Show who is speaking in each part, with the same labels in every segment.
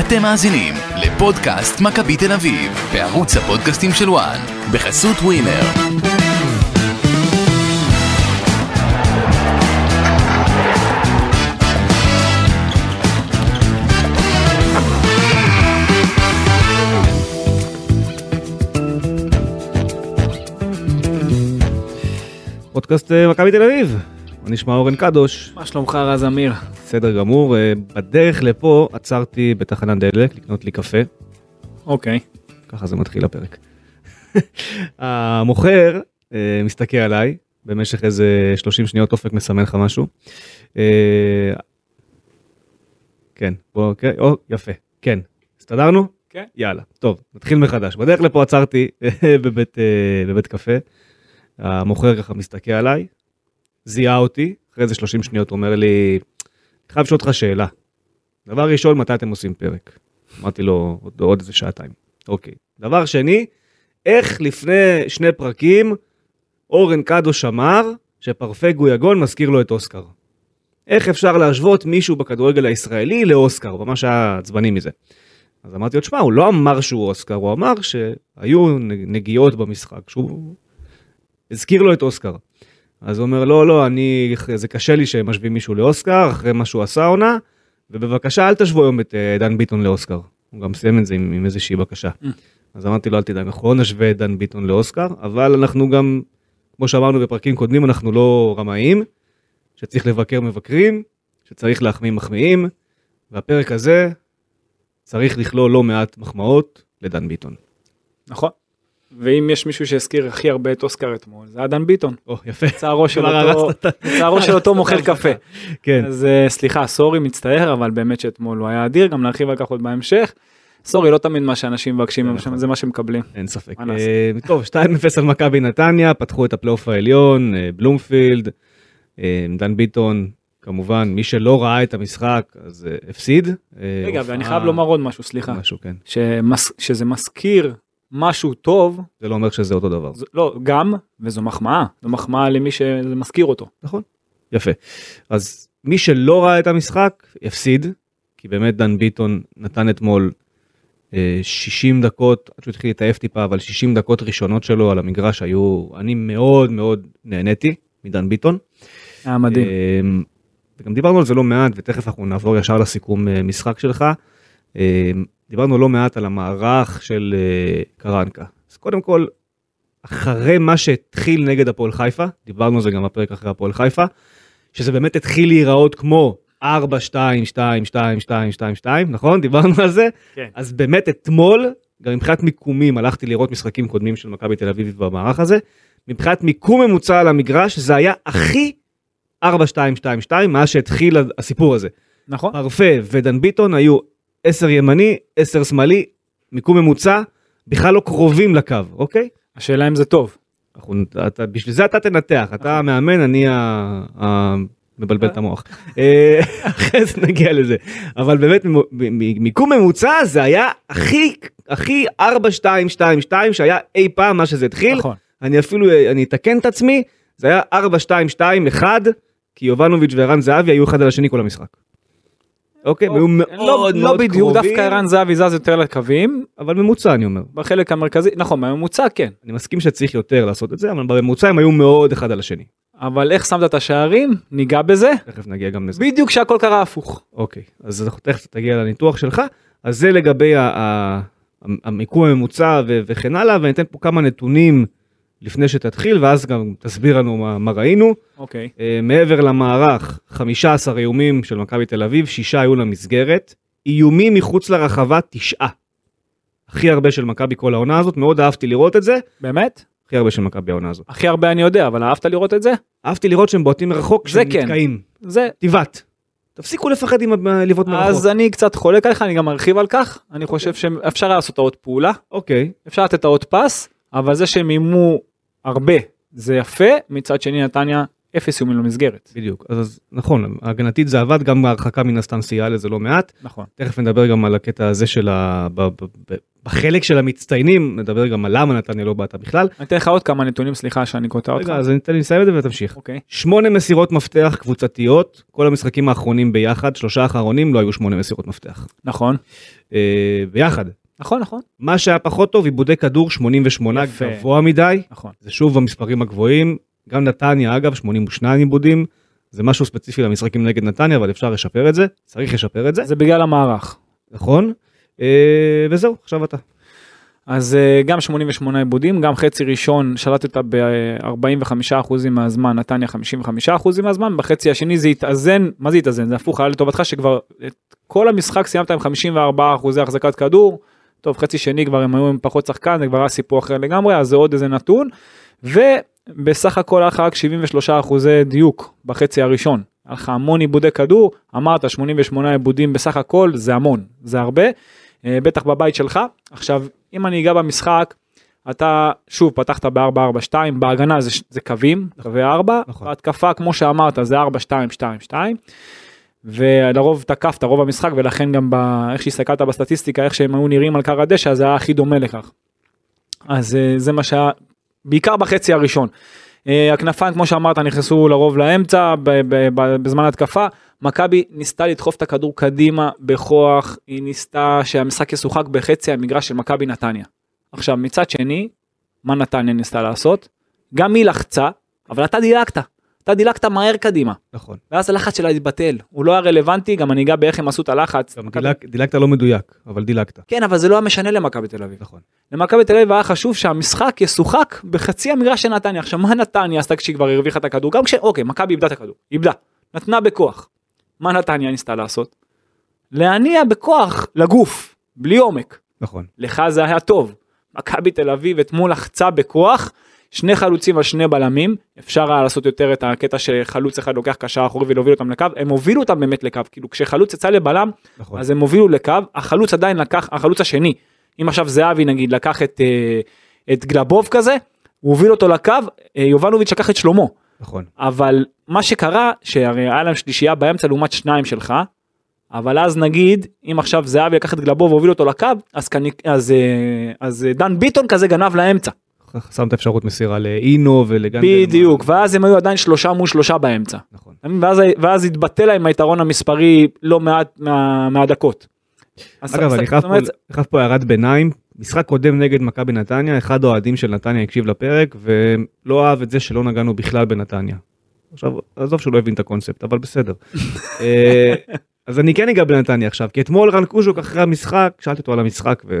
Speaker 1: אתם מאזינים לפודקאסט מכבי תל אביב, בערוץ הפודקאסטים של וואן, בחסות ווינר.
Speaker 2: פודקאסט אה, מכבי תל אביב, מה נשמע אורן קדוש,
Speaker 3: מה שלומך רז אמיר?
Speaker 2: בסדר גמור, אה, בדרך לפה עצרתי בתחנת דלק לקנות לי קפה,
Speaker 3: אוקיי.
Speaker 2: ככה זה מתחיל הפרק. המוכר אה, מסתכל עליי במשך איזה 30 שניות אופק מסמן לך משהו. אה, כן, בוא, כן, או, יפה, כן, הסתדרנו?
Speaker 3: כן.
Speaker 2: יאללה, טוב, נתחיל מחדש. בדרך לפה עצרתי בבית, אה, בבית קפה, המוכר ככה מסתכל עליי, זיהה אותי, אחרי איזה 30 שניות הוא אומר לי, "אני חייב לשאול אותך שאלה. דבר ראשון, מתי אתם עושים פרק? אמרתי לו, עוד, עוד איזה שעתיים. אוקיי. דבר שני, איך לפני שני פרקים אורן קדוש אמר שפרפגו יגון מזכיר לו את אוסקר. איך אפשר להשוות מישהו בכדורגל הישראלי לאוסקר? הוא ממש היה עצבני מזה. אז אמרתי לו, תשמע, הוא לא אמר שהוא אוסקר, הוא אמר שהיו נג- נגיעות במשחק, שהוא הזכיר לו את אוסקר. אז הוא אומר, לא, לא, אני, זה קשה לי שהם משווים מישהו לאוסקר, אחרי מה שהוא עשה עונה, ובבקשה אל תשוו היום את אה, דן ביטון לאוסקר. הוא גם סיים את זה עם, עם איזושהי בקשה.
Speaker 3: Mm.
Speaker 2: אז אמרתי לו, אל תדאג, אנחנו לא נשווה את דן ביטון לאוסקר, אבל אנחנו גם, כמו שאמרנו בפרקים קודמים, אנחנו לא רמאים, שצריך לבקר מבקרים, שצריך להחמיא מחמיאים, והפרק הזה צריך לכלול לא מעט מחמאות לדן ביטון.
Speaker 3: נכון. ואם יש מישהו שהזכיר הכי הרבה את אוסקר אתמול, זה היה דן ביטון.
Speaker 2: או, יפה.
Speaker 3: לצערו של
Speaker 2: כבר
Speaker 3: אותו-
Speaker 2: הרסת את ה-
Speaker 3: לצערו של אותו מוכר קפה.
Speaker 2: כן,
Speaker 3: אז אה, סליחה, סורי, מצטער, אבל באמת שאתמול הוא היה אדיר, גם נרחיב על כך עוד בהמשך. סורי, לא תמיד מה שאנשים מבקשים,
Speaker 2: זה
Speaker 3: הם-
Speaker 2: נכון.
Speaker 3: זה מה שמקבלים.
Speaker 2: אין ספק.
Speaker 3: מה נעשה?
Speaker 2: אה, טוב, 2-0 על מכבי נתניה, פתחו את הפלייאוף העליון, אה, בלומפילד, אה, דן ביטון, כמובן, מי שלא ראה את המשחק, אז אה, הפסיד. אה,
Speaker 3: רגע,
Speaker 2: הופעה-
Speaker 3: ואני חייב לומר עוד משהו, סליחה.
Speaker 2: משהו, כן.
Speaker 3: שמס- שזה מזכיר משהו טוב,
Speaker 2: זה לא אומר שזה אותו דבר.
Speaker 3: ז- לא, גם, וזו מחמאה. זו מחמאה למי שזה מזכיר אותו.
Speaker 2: יפה. אז מי שלא ראה את המשחק, הפסיד, כי באמת דן ביטון נתן אתמול אה, 60 דקות, עד שהוא התחיל להתעייף טיפה, אבל 60 דקות ראשונות שלו על המגרש היו, אני מאוד מאוד נהניתי מדן ביטון.
Speaker 3: היה מדהים.
Speaker 2: אמ, וגם דיברנו על זה לא מעט, ותכף אנחנו נעבור ישר לסיכום אה, משחק שלך. אמ, דיברנו לא מעט על המערך של אה, קרנקה. אז קודם כל, אחרי מה שהתחיל נגד הפועל חיפה, דיברנו על זה גם בפרק אחרי הפועל חיפה, שזה באמת התחיל להיראות כמו 4, 2, 2, 2, 2, 2, 2, נכון? דיברנו על זה?
Speaker 3: כן.
Speaker 2: אז באמת אתמול, גם מבחינת מיקומים, הלכתי לראות משחקים קודמים של מכבי תל אביב במערך הזה, מבחינת מיקום ממוצע על המגרש, זה היה הכי 4-2-2-2 מאז שהתחיל הסיפור הזה.
Speaker 3: נכון?
Speaker 2: פרפה ודן ביטון היו 10 ימני, 10 שמאלי, מיקום ממוצע, בכלל לא קרובים לקו, אוקיי?
Speaker 3: השאלה אם זה טוב.
Speaker 2: אנחנו, אתה, בשביל זה אתה תנתח, אתה המאמן, אני ה- ה- מבלבל את המוח. אה, אחרי זה נגיע לזה. אבל באמת, מ- מ- מיקום ממוצע זה היה הכי, הכי 4-2-2-2 שהיה אי פעם מה שזה התחיל.
Speaker 3: נכון.
Speaker 2: אני אפילו, אני אתקן את עצמי, זה היה 4-2-2-1, כי יובנוביץ' וערן זהבי היו אחד על השני כל המשחק. אוקיי, הם היו מאוד
Speaker 3: לא,
Speaker 2: מאוד
Speaker 3: לא בדיוק,
Speaker 2: קרובים,
Speaker 3: דווקא ערן זהבי זז יותר לקווים,
Speaker 2: אבל ממוצע אני אומר.
Speaker 3: בחלק המרכזי, נכון, בממוצע כן,
Speaker 2: אני מסכים שצריך יותר לעשות את זה, אבל בממוצע הם היו מאוד אחד על השני.
Speaker 3: אבל איך שמת את השערים, ניגע בזה,
Speaker 2: תכף נגיע גם לזה.
Speaker 3: בדיוק כשהכל קרה הפוך.
Speaker 2: אוקיי, אז אנחנו תכף תגיע לניתוח שלך. אז זה לגבי ה- ה- המ- המיקום הממוצע ו- וכן הלאה, ואני אתן פה כמה נתונים לפני שתתחיל, ואז גם תסביר לנו מה- מה ראינו.
Speaker 3: אוקיי,
Speaker 2: אה, מעבר למערך, 15 איומים של מכבי תל אביב, שישה היו למסגרת, איומים מחוץ לרחבה, תשעה. הכי הרבה של מכבי כל העונה הזאת, מאוד אהבתי לראות את זה,
Speaker 3: באמת?
Speaker 2: הכי הרבה של מכבי העונה הזאת.
Speaker 3: הכי הרבה אני יודע, אבל אהבת לראות את זה?
Speaker 2: אהבתי לראות שהם בועטים מרחוק,
Speaker 3: זה
Speaker 2: כשהם
Speaker 3: כן.
Speaker 2: נתקעים.
Speaker 3: זה.
Speaker 2: תיבת. תפסיקו לפחד עם הלבעוט מרחוק.
Speaker 3: אז אני קצת חולק עליך, אני גם ארחיב על כך, אני חושב שאפשר היה לעשות עוד פעולה,
Speaker 2: אוקיי,
Speaker 3: אפשר לתת עוד פס, אבל זה שהם איימו הרבה, זה יפה, מצד שני נתניה, אפס איומים למסגרת.
Speaker 2: בדיוק. אז- אז נכון, הגנתית זה עבד, גם ההרחקה מן הסתם סייעה לזה לא מעט.
Speaker 3: נכון.
Speaker 2: תכף נדבר גם על הקטע הזה של ה... ב- ב- ב- בחלק של המצטיינים, נדבר גם על למה נתניה לא בעטה בכלל.
Speaker 3: אני אתן לך עוד כמה נתונים, סליחה שאני קוטע אותך.
Speaker 2: רגע, אז אני- תן לי לסיים את זה ותמשיך.
Speaker 3: אוקיי.
Speaker 2: שמונה מסירות מפתח קבוצתיות, כל המשחקים האחרונים ביחד, שלושה האחרונים לא היו שמונה מסירות מפתח.
Speaker 3: נכון.
Speaker 2: אה, ביחד.
Speaker 3: נכון, נכון.
Speaker 2: מה שהיה פחות טוב, עיבודי כדור 88
Speaker 3: יפה.
Speaker 2: גבוה מדי,
Speaker 3: נכון.
Speaker 2: זה שוב המספרים הגבוהים, גם נתניה אגב 82 עיבודים, זה משהו ספציפי למשחקים נגד נתניה, אבל אפשר לשפר את זה, צריך לשפר את זה,
Speaker 3: זה בגלל המערך.
Speaker 2: נכון? אה, וזהו, עכשיו אתה.
Speaker 3: אז אה, גם 88 עיבודים, גם חצי ראשון שלטת ב-45% מהזמן, נתניה 55% מהזמן, בחצי השני זה התאזן, מה זה התאזן? זה הפוך היה לטובתך שכבר את כל המשחק סיימת עם 54% החזקת כדור, טוב חצי שני כבר הם היו עם פחות שחקן, זה כבר היה סיפור אחר לגמרי, אז זה עוד איזה נתון, ובסך הכל היה לך רק 73% דיוק בחצי הראשון. היה לך המון עיבודי כדור, אמרת 88 עיבודים בסך הכל, זה המון, זה הרבה. אה, בטח בבית שלך. עכשיו, אם אני אגע במשחק, אתה שוב פתחת ב-4-4-2, בהגנה זה, ש- זה קווים, קווי 4,
Speaker 2: נכון.
Speaker 3: בהתקפה כמו שאמרת זה 4-2-2-2, ולרוב תקפת רוב המשחק ולכן גם ב- איך שהסתכלת בסטטיסטיקה, איך שהם היו נראים על קר הדשא, זה היה הכי דומה לכך. אז אה, זה מה שהיה, בעיקר בחצי הראשון. אה, הכנפיים כמו שאמרת נכנסו לרוב לאמצע ב- ב- ב- בזמן התקפה. מכבי ניסתה לדחוף את הכדור קדימה בכוח, היא ניסתה שהמשחק ישוחק בחצי המגרש של מכבי נתניה. עכשיו מצד שני, מה נתניה ניסתה לעשות? גם היא לחצה, אבל אתה דילגת, אתה דילגת מהר קדימה,
Speaker 2: נכון.
Speaker 3: ואז הלחץ שלה התבטל, הוא לא היה רלוונטי, גם אני אגע באיך הם עשו את הלחץ.
Speaker 2: גם
Speaker 3: מכבי-
Speaker 2: דילג- דילגת לא מדויק, אבל דילגת.
Speaker 3: כן, אבל זה לא היה משנה למכבי תל אביב.
Speaker 2: נכון.
Speaker 3: למכבי תל אביב היה חשוב שהמשחק ישוחק בחצי המגרש של נתניה. עכשיו מה נתניה עשתה כשהיא כבר הרוויחה את הכדור? גם כש... אוקיי, מכבי איבדה את הכדור, איבדה, נתנה בכוח. מה נתניה ניסתה לעשות? להניע בכוח לגוף, בלי עומק.
Speaker 2: נכון.
Speaker 3: לך זה היה טוב. מכבי תל אביב אתמול לחצה בכוח, שני חלוצים על שני בלמים, אפשר היה לעשות יותר את הקטע שחלוץ אחד לוקח קשר אחורי ולהוביל אותם לקו, הם הובילו אותם באמת לקו, כאילו כשחלוץ יצא לבלם,
Speaker 2: נכון.
Speaker 3: אז הם הובילו לקו, החלוץ עדיין לקח, החלוץ השני, אם עכשיו זהבי נגיד לקח את, אה, את גלבוב כזה, הוא הוביל אותו לקו, אה, יובנוביץ' לקח את שלמה,
Speaker 2: נכון.
Speaker 3: אבל מה שקרה, שהרי היה להם שלישייה באמצע לעומת שניים שלך, אבל אז נגיד, אם עכשיו זהבי לקח את גלבוב והוביל אותו לקו, אז, כני, אז, אה, אז אה, דן ביטון כזה גנב לאמצע,
Speaker 2: חסמת אפשרות מסירה לאינו ולגנדלמן.
Speaker 3: בדיוק, ואז הם היו עדיין שלושה מול שלושה באמצע.
Speaker 2: נכון.
Speaker 3: ואז, ואז התבטא להם היתרון המספרי לא מעט מה, מהדקות. אז-
Speaker 2: אגב,
Speaker 3: אז-
Speaker 2: אני
Speaker 3: זאת
Speaker 2: חייב פה-
Speaker 3: אומרת,
Speaker 2: חייב פה הערת ביניים. משחק קודם נגד מכבי נתניה, אחד האוהדים של נתניה הקשיב לפרק ולא אהב את זה שלא נגענו בכלל בנתניה. עכשיו, עזוב שהוא לא הבין את הקונספט, אבל בסדר. אה, אז אני כן אגע בנתניה עכשיו, כי אתמול רן קוז'וק אחרי המשחק, שאלתי אותו על המשחק ועל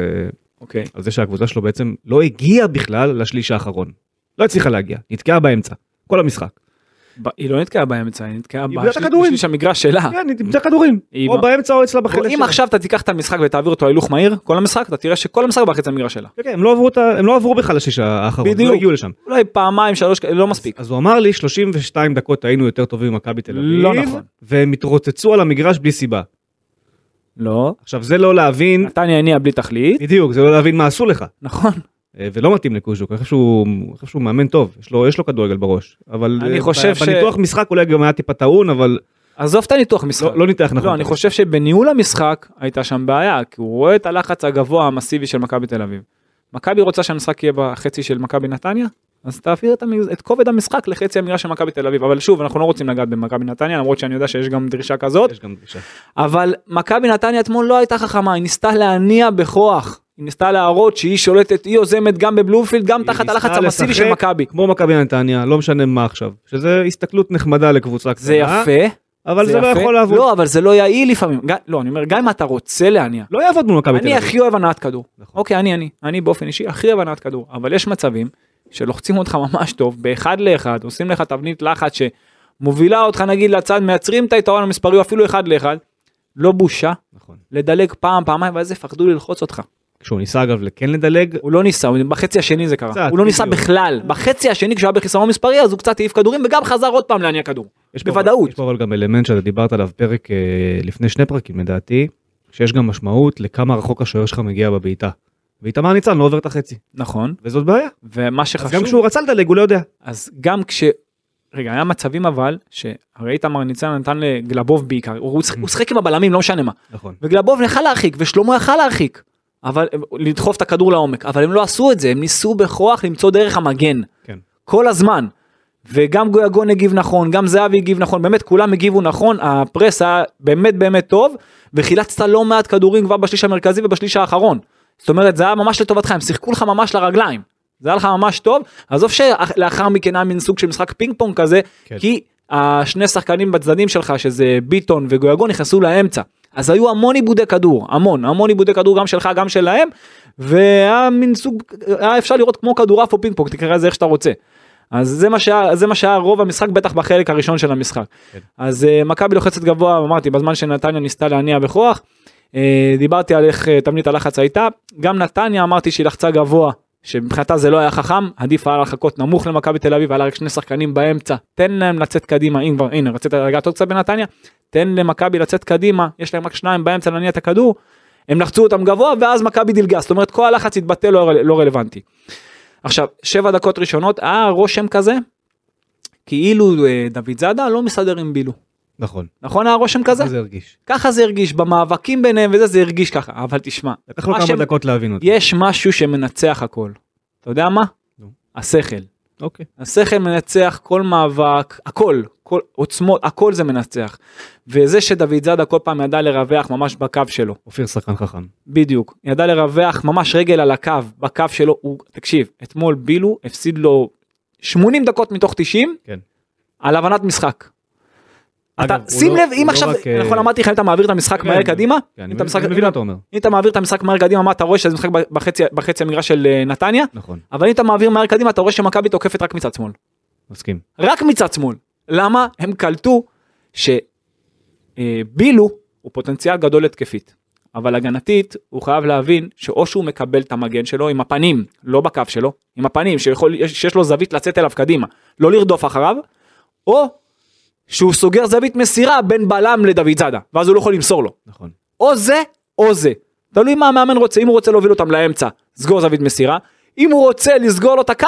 Speaker 3: אוקיי.
Speaker 2: זה שהקבוצה שלו בעצם לא הגיעה בכלל לשליש האחרון. לא הצליחה להגיע, נתקעה באמצע, כל המשחק.
Speaker 3: ב- היא לא נתקעה באמצע, היא נתקעה
Speaker 2: איבדה את
Speaker 3: בשליש-
Speaker 2: הכדורים.
Speaker 3: בשליש המגרש שלה.
Speaker 2: כן, היא תמצא כדורים,
Speaker 3: אה. היא-
Speaker 2: או באמצע או אצלה בחלק
Speaker 3: אם
Speaker 2: שלה.
Speaker 3: עכשיו אתה תיקח את המשחק ותעביר אותו הילוך מהיר, כל המשחק, אתה תראה שכל המשחק בחצי המגרש שלה.
Speaker 2: כן, כן, הם לא עברו את ה- הם לא עברו בכלל לשליש האחרון, הם
Speaker 3: בדיוק.
Speaker 2: לא הגיעו לשם.
Speaker 3: אולי פעמיים, שלוש, כאלה, לא מספיק.
Speaker 2: אז הוא אמר לי 32 דקות היינו יותר טובים ממכבי תל אביב,
Speaker 3: לא נכון.
Speaker 2: והם התרוצצו על המגרש בלי סיבה.
Speaker 3: לא.
Speaker 2: עכשיו זה לא להבין,
Speaker 3: נתניה הניעה בלי תכלית,
Speaker 2: בדיוק, זה לא להבין מה עשו לך,
Speaker 3: נכון.
Speaker 2: אה, ולא מתאים לקוז'וק, אני חושב שהוא, אני חושב שהוא מאמן טוב, יש לו, יש לו כדורגל בראש, אבל
Speaker 3: אני
Speaker 2: אה,
Speaker 3: חושב
Speaker 2: ב-
Speaker 3: ש-
Speaker 2: בניתוח משחק אולי גם היה טיפה טעון, אבל
Speaker 3: עזוב את הניתוח משחק.
Speaker 2: לא, לא ניתח נכון.
Speaker 3: לא, אני חושב שבניהול המשחק הייתה שם בעיה, כי הוא רואה את הלחץ הגבוה המסיבי של מכבי תל אביב. מכבי רוצה שהמשחק יהיה בחצי של מכבי נתניה, אז תעביר את, המג... את כובד המשחק לחצי המגרש של מכבי תל אביב. אבל שוב, אנחנו לא רוצים לגעת במכבי נתניה, למרות שאני יודע שיש גם דרישה כזאת.
Speaker 2: יש גם דרישה.
Speaker 3: אבל מכבי נתניה אתמול לא הייתה חכמה, היא ניסתה להניע בכוח. היא ניסתה להראות שהיא שולטת, היא יוזמת גם בבלומפילד, גם
Speaker 2: היא
Speaker 3: תחת
Speaker 2: ניסתה
Speaker 3: הלחץ המסיבי של
Speaker 2: לשחק
Speaker 3: מכבי.
Speaker 2: כמו מכבי נתניה, לא משנה מה עכשיו, שזה הסתכלות נחמדה לקבוצה קטנה,
Speaker 3: זה יפה,
Speaker 2: אה? אבל זה, לא
Speaker 3: יפה.
Speaker 2: יכול לעבוד,
Speaker 3: לא, אבל זה לא יעיל לפעמים. גם- לא, אני אומר, גם אם אתה רוצה להניע.
Speaker 2: לא יעבוד מול מכבי תל
Speaker 3: אני
Speaker 2: אביב.
Speaker 3: הכי אוהב הנעת כדור.
Speaker 2: נכון.
Speaker 3: אוקיי, אני, אני. אני באופן אישי הכי אוהב הנעת כדור. אבל יש מצבים שלוחצים אותך ממש טוב, באחד לאחד, עושים לך תבנית לחץ שמובילה אותך נגיד לצד, מייצרים את היתרון המספרי, או אפילו אחד לאחד. לא בושה,
Speaker 2: נכון.
Speaker 3: לדלג פעם, פעמיים, ואז יפחדו ללחוץ אותך.
Speaker 2: כשהוא ניסה אגב לכן לדלג,
Speaker 3: הוא לא ניסה, הוא- בחצי השני זה קרה.
Speaker 2: קצת,
Speaker 3: הוא לא ניסה
Speaker 2: בדיוק.
Speaker 3: בכלל. בחצי השני כשהוא היה בחיסרון מספרי אז הוא קצת העיף כדורים וגם חזר עוד פעם להניע כדור.
Speaker 2: יש פה-
Speaker 3: בוודאות.
Speaker 2: יש פה אבל גם אלמנט שאתה דיברת עליו פרק אה, לפני שני פרקים לדעתי, שיש גם משמעות לכמה רחוק השוער שלך מגיע בבעיטה. ואיתמר ניצן לא עובר את החצי,
Speaker 3: נכון,
Speaker 2: וזאת בעיה.
Speaker 3: ומה
Speaker 2: אז גם
Speaker 3: שחשוב,
Speaker 2: כשהוא רצה לדלג הוא לא יודע.
Speaker 3: אז גם כש... רגע, היה מצבים אבל, שהרי איתמר ניצן נתן לגלבוב בעיקר, הוא הוא שיחק- הוא שיחק עם הבלמים, לא משנה מה.
Speaker 2: נכון.
Speaker 3: וגלבוב יכל להרחיק, ושלמה יכל להרחיק. אבל הם- לדחוף את הכדור לעומק, אבל הם לא עשו את זה, הם ניסו בכוח למצוא דרך המגן.
Speaker 2: כן.
Speaker 3: כל הזמן. וגם גויגון הגיב נכון, גם זהבי הגיב נכון, באמת כולם הגיבו נכון, הפרס היה באמת באמת טוב, וחילצת לא מעט כדורים כבר בשליש המרכזי ובשליש האחרון. זאת אומרת זה היה ממש לטובתך, הם שיחקו לך ממש לרגליים. זה היה לך ממש טוב, עזוב שלאחר מכן היה מין סוג של משחק פינג פונג כזה,
Speaker 2: כן.
Speaker 3: כן. כי השני שחקנים בצדדים שלך, שזה ביטון וגויגון, נכנסו לאמצע. אז היו המון עיבודי כדור, המון, המון עיבודי כדור גם שלך, גם שלהם, והיה מין סוג, היה אפשר לראות כמו כדורעף או פינג פונג, תקרא לזה איך שאתה רוצה. אז זה מה שהיה, זה מה שהיה רוב המשחק, בטח בחלק הראשון של המשחק.
Speaker 2: כן.
Speaker 3: כן. אז אה, מכבי לוחצת גבוה, אמרתי, בזמן שנתניה ניסתה להניע בכוח. אה, דיברתי על איך אה, תבנית הלחץ הייתה, גם נתניה אמרתי שהיא לחצה גבוה, שמבחינתה זה לא היה חכם, עדיף היה לחכות נמוך למכבי תל אביב, היה לה רק שני שחקנים באמצע, תן להם לצאת קדימה, אם כבר, הנה, רצית לגעת עוד קצת בנתניה, תן למכבי לצאת קדימה, יש להם רק שניים באמצע להניע את הכדור, הם לחצו אותם גבוה, ואז מכבי דילגה, זאת אומרת כל הלחץ התבטא לא, רל- לא רלוונטי. עכשיו, שבע דקות ראשונות, היה רושם כזה, כאילו אה, דוד זאדה לא מסתדר עם בילו.
Speaker 2: נכון.
Speaker 3: נכון היה רושם כזה?
Speaker 2: איך זה הרגיש?
Speaker 3: ככה זה הרגיש במאבקים ביניהם וזה זה הרגיש ככה אבל תשמע
Speaker 2: לקח לו
Speaker 3: מה
Speaker 2: כמה
Speaker 3: שהם-
Speaker 2: דקות להבין אותי.
Speaker 3: יש משהו שמנצח הכל אתה יודע מה
Speaker 2: נו.
Speaker 3: השכל
Speaker 2: אוקיי.
Speaker 3: השכל מנצח כל מאבק הכל כל עוצמות הכל זה מנצח וזה שדוד זאדה כל פעם ידע לרווח ממש בקו שלו
Speaker 2: אופיר שחקן חכם.
Speaker 3: בדיוק ידע לרווח ממש רגל על הקו בקו שלו הוא תקשיב אתמול בילו הפסיד לו 80 דקות מתוך 90
Speaker 2: כן.
Speaker 3: על הבנת משחק. אתה,
Speaker 2: אגב, הוא
Speaker 3: שים
Speaker 2: לא-
Speaker 3: לב אם
Speaker 2: הוא לא
Speaker 3: עכשיו
Speaker 2: רק, אה,
Speaker 3: נכון אמרתי לך אם אתה מעביר את המשחק
Speaker 2: כן,
Speaker 3: מהר
Speaker 2: אני-
Speaker 3: קדימה
Speaker 2: כן,
Speaker 3: אם
Speaker 2: אני
Speaker 3: אתה
Speaker 2: מבין-
Speaker 3: משחק-
Speaker 2: אני מבין מה אתה אומר.
Speaker 3: אם אתה מעביר את המשחק מהר קדימה מה אתה רואה שזה משחק בחצי, בחצי המגרש של אה, נתניה
Speaker 2: נכון.
Speaker 3: אבל אם אתה מעביר מהר קדימה אתה רואה שמכבי תוקפת רק מצד שמאל
Speaker 2: מסכים.
Speaker 3: רק מצד שמאל למה הם קלטו שבילו הוא פוטנציאל גדול התקפית אבל הגנתית הוא חייב להבין שאו שהוא מקבל את המגן שלו עם הפנים לא בקו שלו עם הפנים שיכול יש- שיש לו זווית לצאת אליו קדימה לא לרדוף אחריו או שהוא סוגר זווית מסירה בין בלם לדוד זאדה ואז הוא לא יכול למסור לו
Speaker 2: נכון.
Speaker 3: או זה או זה. תלוי מה המאמן רוצה, אם הוא רוצה להוביל אותם לאמצע, סגור זווית מסירה, אם הוא רוצה לסגור לו את הקו,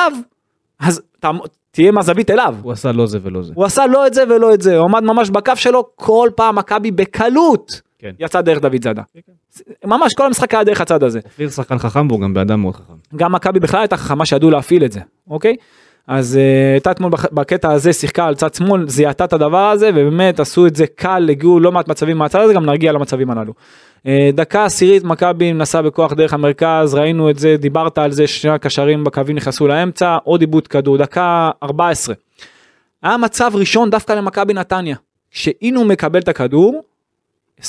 Speaker 3: אז ת, תהיה מהזווית אליו.
Speaker 2: הוא עשה לא זה ולא זה.
Speaker 3: הוא עשה לא את זה ולא את זה, הוא עמד ממש בקו שלו, כל פעם מכבי בקלות
Speaker 2: כן.
Speaker 3: יצא דרך דוד זאדה.
Speaker 2: כן, כן.
Speaker 3: ממש כל המשחק היה דרך הצד הזה.
Speaker 2: אופיר שחקן חכם והוא גם באדם מאוד חכם.
Speaker 3: גם מכבי בכלל הייתה חכמה שידעו להפעיל את זה, אוקיי? אז אה, הייתה אתמול בח- בקטע הזה שיחקה על צד שמאל, זיהתה את הדבר הזה, ובאמת עשו את זה קל, הגיעו לא מעט מצבים מהצד הזה, גם נרגיע למצבים הללו. אה, דקה עשירית מכבי נסעה בכוח דרך המרכז, ראינו את זה, דיברת על זה, שני הקשרים בקווים נכנסו לאמצע, עוד עיבוד כדור, דקה 14. היה מצב ראשון דווקא למכבי נתניה, שאינו מקבל את הכדור, 22-24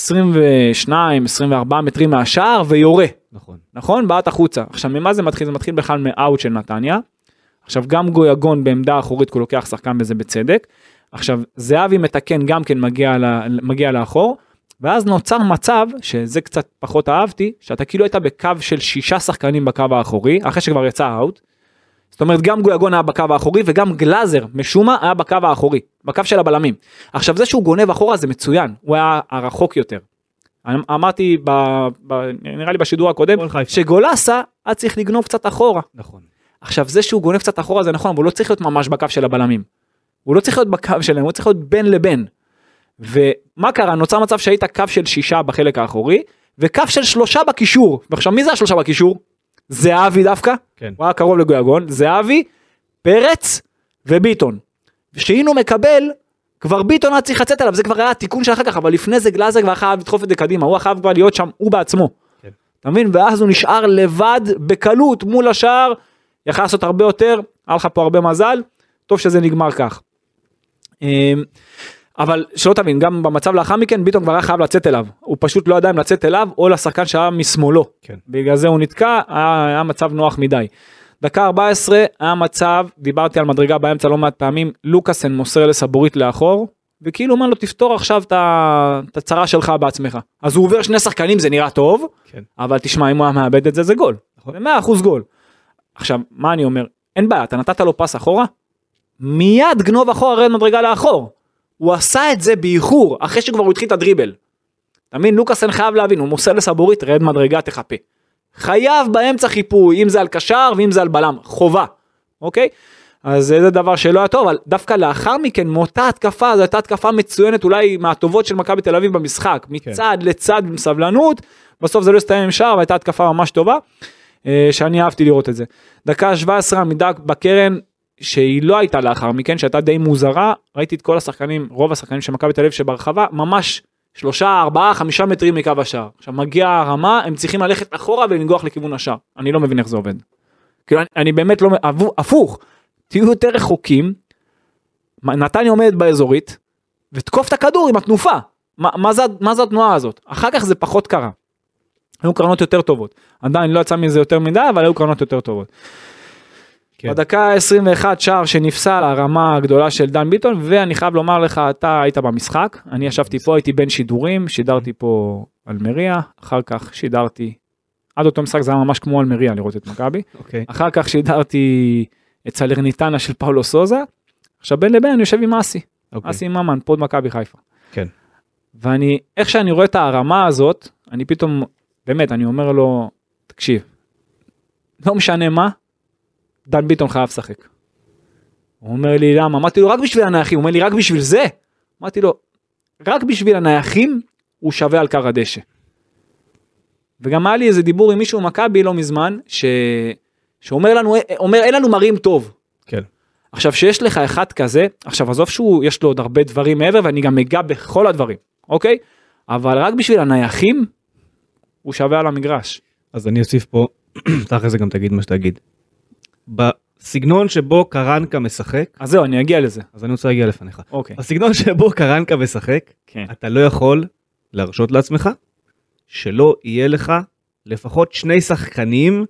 Speaker 3: מטרים מהשער ויורה.
Speaker 2: נכון.
Speaker 3: נכון? בעט החוצה. עכשיו ממה זה מתחיל? זה מתחיל בכלל מאאוט של נתניה. עכשיו גם גויגון בעמדה אחורית כי הוא לוקח שחקן וזה בצדק. עכשיו זהבי מתקן גם כן מגיע, ל- מגיע לאחור. ואז נוצר מצב שזה קצת פחות אהבתי שאתה כאילו היית בקו של שישה שחקנים בקו האחורי אחרי שכבר יצא האאוט. זאת אומרת גם גויגון היה בקו האחורי וגם גלאזר משום מה היה בקו האחורי בקו של הבלמים. עכשיו זה שהוא גונב אחורה זה מצוין הוא היה הרחוק יותר. אני- אמרתי ב, ב, נראה לי בשידור הקודם
Speaker 2: הפועל חיפה.
Speaker 3: שגולסה היה צריך לגנוב קצת אחורה.
Speaker 2: נכון.
Speaker 3: עכשיו זה שהוא גונב קצת אחורה זה נכון אבל הוא לא צריך להיות ממש בקו של הבלמים. הוא לא צריך להיות בקו שלהם הוא צריך להיות בין לבין. ומה קרה נוצר מצב שהיית קו של שישה בחלק האחורי וקו של שלושה בקישור ועכשיו מי זה השלושה בקישור? זהבי דווקא
Speaker 2: כן.
Speaker 3: הוא היה קרוב לגויגון זהבי פרץ וביטון. שאינו מקבל כבר ביטון היה צריך לצאת עליו זה כבר היה התיקון של אחר כך אבל לפני זה גלאזר כבר חייב לדחוף את זה קדימה הוא חייב כבר להיות שם הוא בעצמו.
Speaker 2: כן.
Speaker 3: אתה מבין ואז הוא נשאר לבד בקלות מול השער יכל לעשות הרבה יותר היה לך פה הרבה מזל טוב שזה נגמר כך. אמ, אבל שלא תבין גם במצב לאחר מכן ביטון כבר היה חייב לצאת אליו הוא פשוט לא ידע אם לצאת אליו או לשחקן שהיה משמאלו
Speaker 2: כן.
Speaker 3: בגלל זה הוא נתקע היה, היה מצב נוח מדי. דקה 14 היה מצב דיברתי על מדרגה באמצע לא מעט פעמים לוקאסן מוסר לסבורית לאחור וכאילו מה לו תפתור עכשיו את ה- את הצרה שלך בעצמך אז הוא עובר שני שחקנים זה נראה טוב
Speaker 2: כן.
Speaker 3: אבל תשמע אם הוא היה מאבד את זה זה גול.
Speaker 2: נכון.
Speaker 3: זה 100% גול. עכשיו מה אני אומר אין בעיה אתה נתת לו פס אחורה מיד גנוב אחורה רד מדרגה לאחור. הוא עשה את זה באיחור אחרי שכבר הוא התחיל את הדריבל. אתה מבין לוקאסן חייב להבין הוא מוסר לסבורית רד מדרגה תחפה. חייב באמצע חיפוי אם זה על קשר ואם זה על בלם חובה. אוקיי? אז זה זה דבר שלא היה טוב אבל דווקא לאחר מכן מאותה התקפה זו הייתה התקפה מצוינת אולי מהטובות של מכבי תל אביב במשחק מצד לצד עם סבלנות בסוף זה לא הסתיים עם שער והייתה התקפה ממש טובה, אה, שאני אהבתי לראות את זה. דקה 17 עמידה בקרן שהיא לא הייתה לאחר מכן, שהייתה די מוזרה, ראיתי את כל השחקנים, רוב השחקנים של מכבי תל אביב שברחבה, ממש שלושה, ארבעה, חמישה מטרים מקו השער. עכשיו מגיעה הרמה, הם צריכים ללכת אחורה ולנגוח לכיוון השער. אני לא מבין איך זה עובד. כאילו אני, אני באמת לא, מ- עבו- הפוך, תהיו יותר רחוקים, מה- נתניה עומדת באזורית, ותקוף את הכדור עם התנופה. מה, מה, זה, מה זה התנועה הזאת? אחר כך זה פחות קרה. היו קרנות יותר טובות. עדיין לא יצא מזה יותר מדי, אבל היו קרנות יותר טובות.
Speaker 2: כן.
Speaker 3: כן. בדקה ה-21 שער שנפסל הרמה הגדולה של דן ביטון ואני חייב לומר לך אתה היית במשחק אני ישבתי פה הייתי בין שידורים שידרתי פה אלמריה אחר כך שידרתי עד אותו משחק זה היה ממש כמו אלמריה לראות את מכבי
Speaker 2: אוקיי.
Speaker 3: אחר כך שידרתי את סלרניטנה של פאולו סוזה עכשיו בין לבין אני יושב עם אסי
Speaker 2: אוקיי.
Speaker 3: אסי ממן פוד מכבי חיפה.
Speaker 2: כן.
Speaker 3: ואני איך שאני רואה את הרמה הזאת אני פתאום באמת אני אומר לו תקשיב. לא משנה מה. דן ביטון חייב לשחק. הוא אומר לי למה אמרתי לו רק בשביל הנייחים הוא אומר לי רק בשביל זה. אמרתי לו רק בשביל הנייחים הוא שווה על כר הדשא. וגם היה לי איזה דיבור עם מישהו במכבי לא מזמן ש... שאומר לנו אומר אין לנו מראים טוב.
Speaker 2: כן.
Speaker 3: עכשיו שיש לך אחד כזה עכשיו עזוב שהוא יש לו עוד הרבה דברים מעבר ואני גם אגע בכל הדברים אוקיי אבל רק בשביל הנייחים הוא שווה על המגרש.
Speaker 2: אז אני אוסיף פה, אתה אחרי זה גם תגיד מה שתגיד. בסגנון שבו קרנקה משחק,
Speaker 3: אז זהו אני אגיע לזה
Speaker 2: אז אני רוצה להגיע לפניך.
Speaker 3: אוקיי
Speaker 2: בסגנון שבו קרנקה משחק,
Speaker 3: כן.
Speaker 2: אתה לא יכול להרשות לעצמך שלא יהיה לך לפחות שני שחקנים